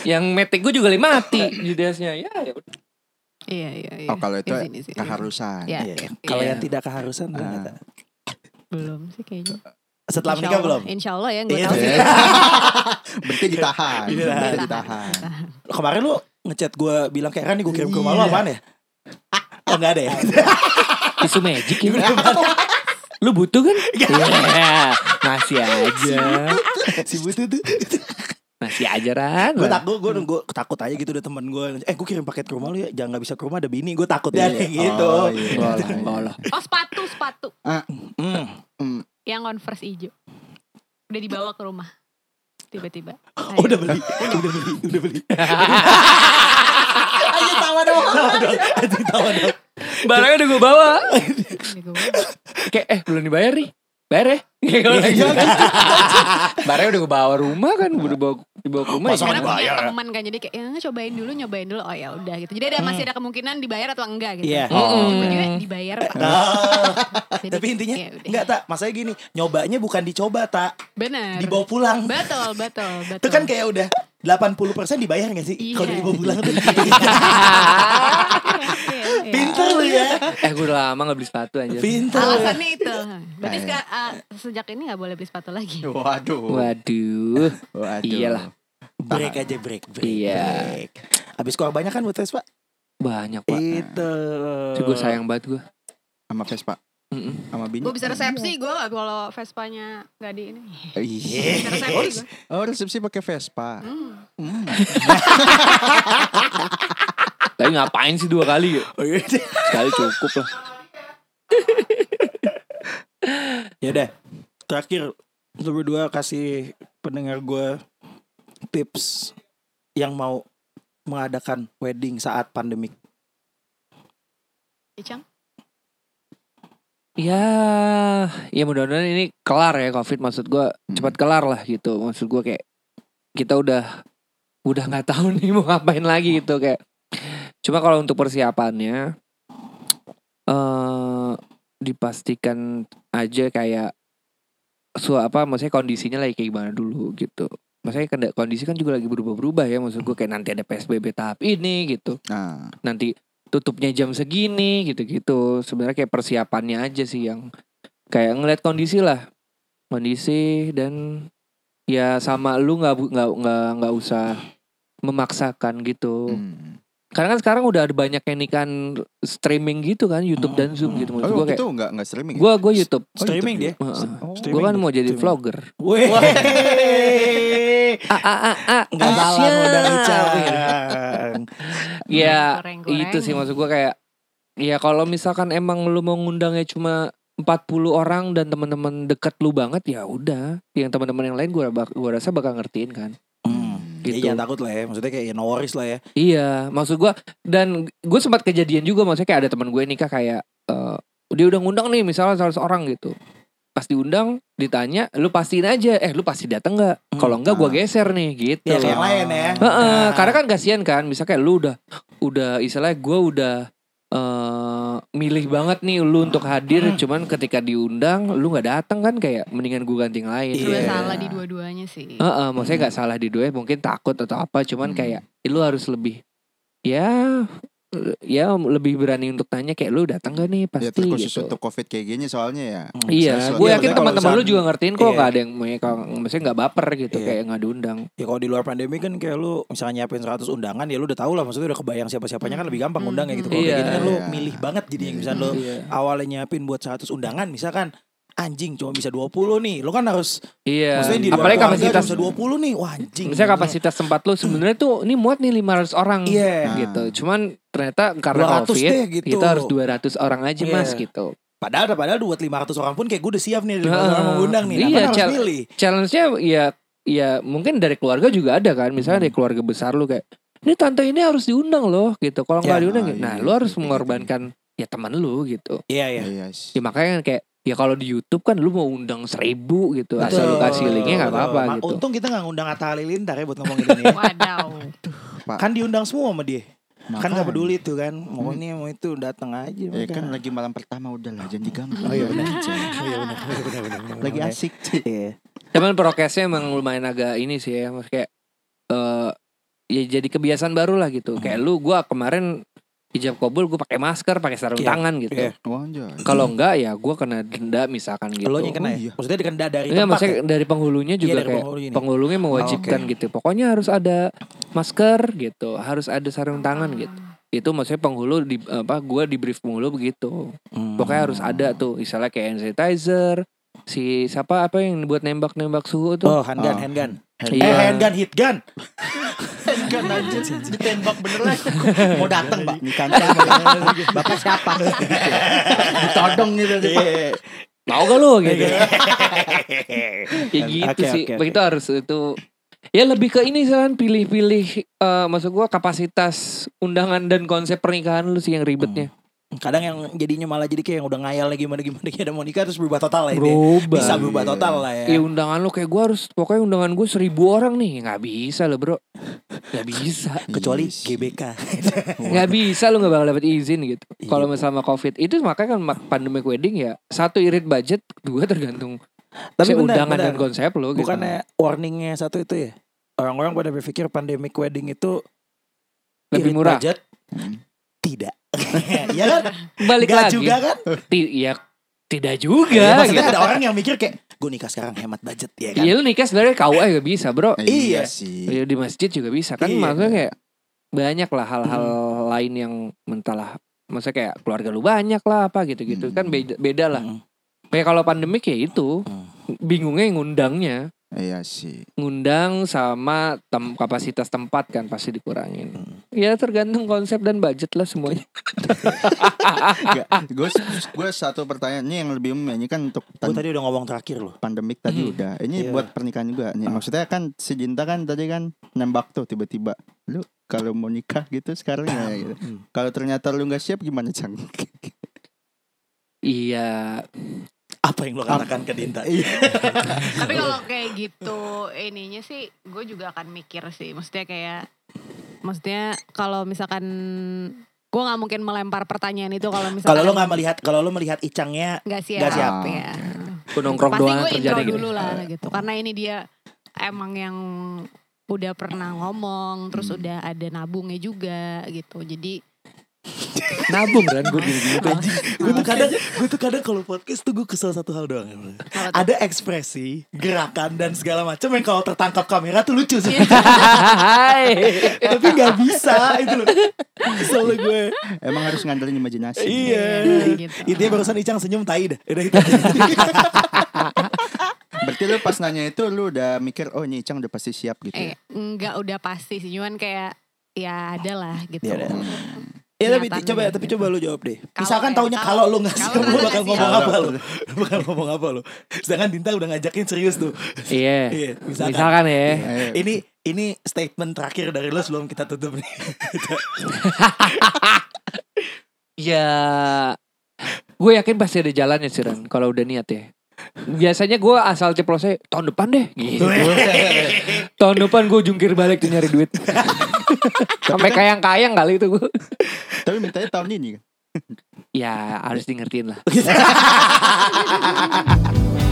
Speaker 1: Yang metik gua juga lagi mati judasnya. Ya, ya udah.
Speaker 5: iya iya iya
Speaker 3: Oh kalau itu
Speaker 5: Izin, izin, izin.
Speaker 3: keharusan.
Speaker 5: Iya,
Speaker 2: Iya.
Speaker 5: iya.
Speaker 2: Kalau
Speaker 1: Iya.
Speaker 2: yang tidak keharusan ada nggak, Tak?
Speaker 5: belum sih kayaknya
Speaker 2: Setelah
Speaker 5: Insya
Speaker 2: menikah
Speaker 5: Allah.
Speaker 2: belum?
Speaker 5: Insya Allah ya gue
Speaker 2: Iya.
Speaker 5: tahu sih
Speaker 3: Berarti ditahan.
Speaker 2: Iya.
Speaker 3: Berarti ditahan.
Speaker 2: Kemarin lu ngechat gua bilang kayak kan nih gua kirim ke rumah lu apaan ya? Oh enggak ada ya?
Speaker 1: Tisu magic ya. Lu butuh kan? Iya. Nah, Masih aja.
Speaker 2: si butuh tuh
Speaker 1: Masih aja Ran.
Speaker 2: gue takut gue nunggu takut aja gitu udah temen gue eh gue kirim paket ke rumah lu ya jangan nggak bisa ke rumah ada bini gue takut ya kayak gitu
Speaker 3: Oh, iya.
Speaker 1: Bola, bola.
Speaker 5: Oh sepatu sepatu
Speaker 2: Hmm.
Speaker 5: yang converse hijau udah dibawa ke rumah tiba-tiba.
Speaker 2: Oh, udah beli udah beli udah beli
Speaker 4: Ayo tawa dong.
Speaker 2: tawa dong anjing tawa dong
Speaker 1: Barangnya udah gue bawa.
Speaker 5: Ini gue bawa.
Speaker 1: Kayak eh belum dibayar nih. Bayar ya. Kayak kalau gitu. Barangnya udah gue bawa rumah kan, udah bawa dibawa ke rumah. ya.
Speaker 2: Masa
Speaker 5: Karena punya
Speaker 2: dibayar, ya?
Speaker 5: teman kan jadi kayak ya, cobain dulu nyobain dulu oh ya udah gitu. Jadi
Speaker 1: Hmm.
Speaker 5: ada masih ada kemungkinan dibayar atau enggak gitu.
Speaker 2: Iya. Ah.
Speaker 5: Oh,
Speaker 1: Mm-mm.
Speaker 5: juga dibayar pak. Jadi,
Speaker 2: tapi intinya
Speaker 5: ya udah.
Speaker 2: nggak tak masalahnya gini nyobanya bukan dicoba tak
Speaker 5: Bener.
Speaker 2: dibawa pulang
Speaker 5: Betul, betul, betul.
Speaker 2: itu kan kayak udah 80% dibayar gak sih
Speaker 5: Iya.
Speaker 2: kalau udah dibawa pulang tuh gitu.
Speaker 5: Ah. Iya, iya.
Speaker 2: pinter lu ya
Speaker 1: Eh gue udah lama gak beli sepatu aja.
Speaker 2: pinter
Speaker 5: Alasannya itu. Berarti
Speaker 2: Nah.
Speaker 5: seka- ah, sejak ini gak boleh beli sepatu lagi.
Speaker 3: Waduh.
Speaker 1: Waduh.
Speaker 3: Waduh.
Speaker 1: Iyalah.
Speaker 2: break aja break break
Speaker 1: Iya.
Speaker 2: break. abis keluar banyak kan buat tes pak
Speaker 1: Banyak pak.
Speaker 2: itu
Speaker 1: Itu gue sayang banget gue.
Speaker 3: Sama Vespa, sama bini.
Speaker 5: Gue bisa resepsi gue gak kalau Vespanya gak di ini.
Speaker 3: Iya.
Speaker 5: Bisa resepsi gue.
Speaker 3: Oh, resepsi pakai Vespa.
Speaker 5: Hmm.
Speaker 1: Tapi ngapain sih dua kali ya?
Speaker 2: Oh, iya.
Speaker 1: Sekali cukup lah.
Speaker 2: ya udah terakhir lu berdua kasih pendengar gue tips yang mau mengadakan wedding saat pandemik
Speaker 5: Icang?
Speaker 1: Ya, ya mudah-mudahan ini kelar ya COVID. Maksud gua cepat kelar lah gitu. Maksud gua kayak kita udah udah nggak tahu nih mau ngapain lagi gitu kayak. Cuma kalau untuk persiapannya, eh dipastikan aja kayak su apa maksudnya kondisinya lagi kayak gimana dulu gitu. Maksudnya kenda- kondisi kan juga lagi berubah-berubah ya. Maksud gua kayak nanti ada PSBB tahap ini gitu
Speaker 3: Nah,
Speaker 1: nanti tutupnya jam segini gitu-gitu. Sebenarnya kayak persiapannya aja sih yang kayak ngeliat kondisi lah, kondisi dan ya sama lu nggak bu- nggak nggak nggak usah memaksakan gitu.
Speaker 3: hmm.
Speaker 1: Karena kan sekarang udah ada banyak yang nikahan streaming gitu kan, YouTube dan Zoom gitu. Maksud
Speaker 3: Oh,
Speaker 1: gua
Speaker 3: itu
Speaker 1: kayak
Speaker 3: enggak enggak streaming. ya?
Speaker 1: gua gua YouTube.
Speaker 3: Oh,
Speaker 2: streaming
Speaker 3: YouTube.
Speaker 2: dia
Speaker 1: Heeh.
Speaker 3: Oh,
Speaker 2: Streaming.
Speaker 1: Gua kan mau jadi
Speaker 2: streaming.
Speaker 1: vlogger.
Speaker 2: Weh.
Speaker 1: Ah ah ah ah.
Speaker 2: Nggak salah
Speaker 1: Asyik.
Speaker 2: modal Icang.
Speaker 1: Ya,
Speaker 5: Goreng-goreng.
Speaker 1: itu sih maksud gue kayak ya kalau misalkan emang lu mau ngundangnya cuma 40 orang dan teman-teman deket lu banget ya udah. Yang teman-teman yang lain gua bak- gua rasa bakal ngertiin kan.
Speaker 2: Hmm.
Speaker 1: Gitu.
Speaker 2: Ya, jangan takut lah ya. Maksudnya kayak ya, no worries lah ya.
Speaker 1: Iya, maksud gua dan gue sempat kejadian juga maksudnya kayak ada teman gue nikah kayak eh, dia udah ngundang nih misalnya salah seorang gitu. Pas diundang ditanya, lu pastiin aja, eh lu pasti dateng nggak? Kalau enggak gua geser nih gitu.
Speaker 2: Ya kayak yang lain ya.
Speaker 1: Heeh, karena kan kasihan kan, misalnya kayak lu udah udah istilahnya gue udah eh milih banget nih lu untuk hadir,
Speaker 2: Hmm.
Speaker 1: cuman ketika diundang lu nggak datang kan kayak mendingan gue ganti yang lain.
Speaker 5: Serba
Speaker 2: Iya. Hmm.
Speaker 5: salah di dua-duanya sih.
Speaker 1: Heeh, maksudnya nggak salah di dua, mungkin takut atau apa, cuman
Speaker 3: Hmm.
Speaker 1: kayak lu harus lebih ya eh, ya lebih berani untuk tanya kayak lu datang gak nih
Speaker 3: Ya,
Speaker 1: pasti
Speaker 3: terkhusus
Speaker 1: gitu.
Speaker 3: untuk covid kayak gini soalnya ya.
Speaker 1: Iya,
Speaker 3: sesuatu.
Speaker 1: gue
Speaker 2: Iya,
Speaker 1: yakin
Speaker 2: maksudnya kalau
Speaker 1: teman-teman lu
Speaker 2: misalkan-
Speaker 1: juga ngertiin kok
Speaker 2: Iya.
Speaker 1: nggak ada yang kalau- maksudnya nggak baper gitu
Speaker 2: Iya.
Speaker 1: kayak nggak diundang.
Speaker 2: Ya kalau di luar pandemi kan kayak lu misalnya nyiapin 100 undangan ya lu udah tahu lah maksudnya udah kebayang siapa-siapanya kan lebih gampang undang ya gitu. Kalau
Speaker 1: Iya.
Speaker 2: kayak gini kan lu
Speaker 3: Iya.
Speaker 2: milih banget jadi yang bisa lu
Speaker 1: Iya.
Speaker 2: awalnya nyiapin buat 100 undangan misalkan anjing cuma bisa 20 nih. Lu kan harus
Speaker 1: Iya.
Speaker 2: maksudnya di kan luar
Speaker 1: Apalagi
Speaker 2: keluarga
Speaker 1: kapasitas
Speaker 2: cuma bisa 20 nih. Wah, anjing.
Speaker 1: Misalnya kapasitas tempat lu sebenarnya tuh ini muat nih 500 orang.
Speaker 2: Iya.
Speaker 1: Gitu. Cuman ternyata karena
Speaker 2: 200
Speaker 1: Covid
Speaker 2: deh, gitu.
Speaker 1: kita harus 200 orang aja
Speaker 2: Iya.
Speaker 1: Mas gitu.
Speaker 2: Padahal padahal buat 500 orang pun kayak gue udah siap nih dari 500 orang
Speaker 1: Heeh.
Speaker 2: mau undang nih. Nah,
Speaker 1: Iya,
Speaker 2: kan harus
Speaker 1: Cel.
Speaker 2: milih.
Speaker 1: Challenge-nya ya ya mungkin dari keluarga juga ada kan.
Speaker 2: Hmm.
Speaker 1: Misalnya dari keluarga besar lu kayak ini tante ini harus diundang loh gitu. Kalau nggak
Speaker 2: Ya,
Speaker 1: diundang,
Speaker 3: nah,
Speaker 1: gitu. nah
Speaker 3: iya,
Speaker 1: lu
Speaker 3: iya,
Speaker 1: harus
Speaker 3: iya, iya.
Speaker 1: mengorbankan ya teman lu gitu.
Speaker 2: Iya, iya.
Speaker 3: Iya, yes.
Speaker 1: Ya makanya kan kayak ya kalau di YouTube kan lu mau undang seribu gitu asal lu
Speaker 2: Betul,
Speaker 1: kasih linknya nggak
Speaker 2: betul.
Speaker 1: apa-apa
Speaker 2: Ma-
Speaker 1: gitu.
Speaker 2: Untung kita nggak ngundang Atta Halilintar ya buat ngomongin ini.
Speaker 5: Wadaw.
Speaker 2: kan diundang semua sama dia. Kan
Speaker 3: Makanya.
Speaker 2: nggak peduli tuh kan. Mau ini mau itu datang aja.
Speaker 3: Ya kan
Speaker 2: udah.
Speaker 3: lagi malam pertama udah lah jangan diganggu.
Speaker 2: Iya Oh iya benar. Iya benar. benar, benar, benar.
Speaker 3: Lagi asik. Ci.
Speaker 2: Iya.
Speaker 1: Cuman prokesnya emang lumayan agak ini sih ya, maksudnya kayak eh, ya jadi kebiasaan baru lah gitu. Kayak lu gua kemarin hijab kobul gua pakai masker, pakai sarung
Speaker 2: Iya,
Speaker 1: tangan gitu.
Speaker 2: iya.
Speaker 3: Wah, anjay.
Speaker 1: Kalau enggak ya gua kena denda misalkan gitu.
Speaker 2: Lo yang kena ya.
Speaker 3: Oh, iya.
Speaker 2: Maksudnya dikena dari
Speaker 1: Enggak,
Speaker 2: tempat.
Speaker 1: maksudnya
Speaker 2: ya?
Speaker 1: dari penghulunya
Speaker 2: Iya,
Speaker 1: juga
Speaker 2: dari
Speaker 1: kayak
Speaker 2: penghulu ini. Oh,
Speaker 1: penghulunya mewajibkan gitu. Pokoknya harus ada masker gitu, harus ada sarung tangan gitu. Itu maksudnya penghulu di apa gua di brief penghulu begitu.
Speaker 2: Hmm.
Speaker 1: Pokoknya harus ada tuh, misalnya kayak hand sanitizer, si siapa apa yang buat nembak-nembak suhu tuh?
Speaker 2: Oh, handgun,
Speaker 3: Oh.
Speaker 2: handgun.
Speaker 1: Iya.
Speaker 2: Eh, handgun, hit gun.
Speaker 4: Kan anjir ditembak beneran.
Speaker 3: mau datang pak nikahan saya mau datang. bapak siapa ditodong gitu sih pak
Speaker 2: Iya.
Speaker 1: Mau gak lu gitu? ya gitu
Speaker 2: Oke,
Speaker 1: sih.
Speaker 2: oke, oke.
Speaker 1: Begitu harus itu ya lebih ke ini kan pilih-pilih eh maksud gua kapasitas undangan dan konsep pernikahan lu sih yang
Speaker 2: Hmm.
Speaker 1: ribetnya.
Speaker 2: Kadang yang jadinya malah jadi kayak yang udah ngayal lagi gimana gimana gimana mau nikah terus berubah total lah ini.
Speaker 1: Berubah.
Speaker 2: Bisa berubah total lah
Speaker 1: Ya
Speaker 2: ya.
Speaker 1: undangan lu kayak gua harus pokoknya undangan gue seribu orang nih nggak bisa lo bro nggak bisa
Speaker 2: Kecuali
Speaker 3: Yes.
Speaker 2: GBK.
Speaker 1: nggak bisa lu nggak bakal dapet izin gitu
Speaker 2: Iya.
Speaker 1: kalau misalnya sama covid itu makanya kan mak- pandemic wedding ya satu irit budget dua tergantung si undangan dan konsep lo gitu
Speaker 2: Bukannya warningnya satu itu ya? Orang-orang pada berpikir pandemic wedding itu
Speaker 1: lebih
Speaker 2: irit
Speaker 1: murah
Speaker 2: budget? Tidak. Iya kan?
Speaker 1: balik
Speaker 2: Nggak
Speaker 1: lagi
Speaker 2: juga kan?
Speaker 1: Ti- ya tidak
Speaker 2: Iya,
Speaker 1: juga
Speaker 2: maksudnya
Speaker 1: gitu.
Speaker 2: ada orang yang mikir kayak gue nikah sekarang hemat budget ya kan.
Speaker 1: Iya lu nikah sebenarnya KUA juga bisa bro
Speaker 2: Iya.
Speaker 3: sih
Speaker 1: Ya, Di masjid juga bisa Kan
Speaker 2: Iya.
Speaker 1: maksudnya kayak Banyak lah hal-hal lain yang mentalah Maksudnya kayak keluarga lu banyak lah apa gitu-gitu
Speaker 3: Hmm.
Speaker 1: Kan beda, beda lah
Speaker 2: Mm.
Speaker 1: Kayak kalau pandemik ya itu
Speaker 2: Hmm.
Speaker 1: Bingungnya yang ngundangnya
Speaker 3: iya sih
Speaker 1: Ngundang sama tem- kapasitas tempat kan pasti dikurangin
Speaker 2: Hmm.
Speaker 1: Ya tergantung konsep dan budget lah semuanya
Speaker 3: gue gue satu pertanyaan ini yang lebih umum ya. ini kan untuk
Speaker 2: Gue tadi udah ngomong terakhir loh.
Speaker 3: pandemik tadi
Speaker 1: Hmm.
Speaker 3: udah. Ini
Speaker 2: Iya. Ah.
Speaker 3: buat pernikahan juga. Ini maksudnya kan si Jinta kan tadi kan nembak tuh tiba-tiba. Lu kalau mau nikah gitu sekarang ya gitu.
Speaker 2: Hmm.
Speaker 3: Kalau ternyata lu nggak siap gimana, Cang?
Speaker 1: Iya
Speaker 2: Apa yang lo katakan ke Dinta?
Speaker 5: Tapi kalau kayak gitu ininya sih gue juga akan mikir sih. Maksudnya kayak maksudnya kalau misalkan gue nggak mungkin melempar pertanyaan itu kalau misalkan
Speaker 2: Kalau lo nggak melihat, kalau lo melihat Icangnya
Speaker 5: nggak siap,
Speaker 2: nggak siap.
Speaker 5: ya.
Speaker 1: Gua nongkrong
Speaker 5: Pasti
Speaker 1: doang
Speaker 5: gue intro
Speaker 1: terjadi Iya.
Speaker 5: dulu lah gitu. Karena ini dia emang yang udah pernah ngomong, terus
Speaker 1: Hmm.
Speaker 5: udah ada nabungnya juga gitu. Jadi
Speaker 1: Nabung kan gue gitu
Speaker 2: Gue tuh kadang, gue tuh kadang kalau podcast tuh gue kesel satu hal doang. Ada ekspresi, gerakan dan segala macam yang kalau tertangkap kamera tuh lucu sih.
Speaker 1: Iya. Hai
Speaker 2: Tapi nggak bisa itu loh. Kesel lo gue.
Speaker 3: Emang harus ngandelin imajinasi.
Speaker 2: Iya.
Speaker 5: gitu.
Speaker 2: Intinya barusan Icang senyum tai dah. Udah gitu. itu.
Speaker 3: Berarti lu pas nanya itu lu udah mikir oh ini Cang udah pasti siap gitu.
Speaker 1: Iya.
Speaker 5: eh
Speaker 3: ya?
Speaker 5: nggak udah pasti sih, cuman kayak ya ada lah gitu.
Speaker 1: Iya,
Speaker 2: Ya ada.
Speaker 3: Hmm.
Speaker 2: Ya tapi
Speaker 5: Kenyataan
Speaker 2: coba
Speaker 5: gitu.
Speaker 2: tapi coba lu jawab deh.
Speaker 5: Kalau-
Speaker 2: Misalkan
Speaker 5: eh,
Speaker 2: taunya
Speaker 5: kalau-
Speaker 2: kalau lu nggak
Speaker 5: kalau
Speaker 2: siap lu
Speaker 5: nggak
Speaker 2: bakal
Speaker 5: siap.
Speaker 2: ngomong
Speaker 3: Kalau-
Speaker 2: apa lu? Bakal ngomong apa lu? Sedangkan Dinta udah ngajakin serius tuh.
Speaker 1: Iya.
Speaker 2: Iya,
Speaker 1: Misalkan,
Speaker 2: misalkan.
Speaker 1: ya.
Speaker 3: Eh,
Speaker 2: Ini ini statement terakhir dari lu sebelum kita tutup nih.
Speaker 1: Ya gue yakin pasti ada jalannya sih Ran kalau udah niat ya. Biasanya gue asal ceplosnya tahun depan deh gitu. tahun depan gue jungkir balik tuh nyari duit. Sampai kayang-kayang kali itu gue.
Speaker 3: Tapi mintanya tahun ini kan.
Speaker 1: Ya harus di ngertiin lah.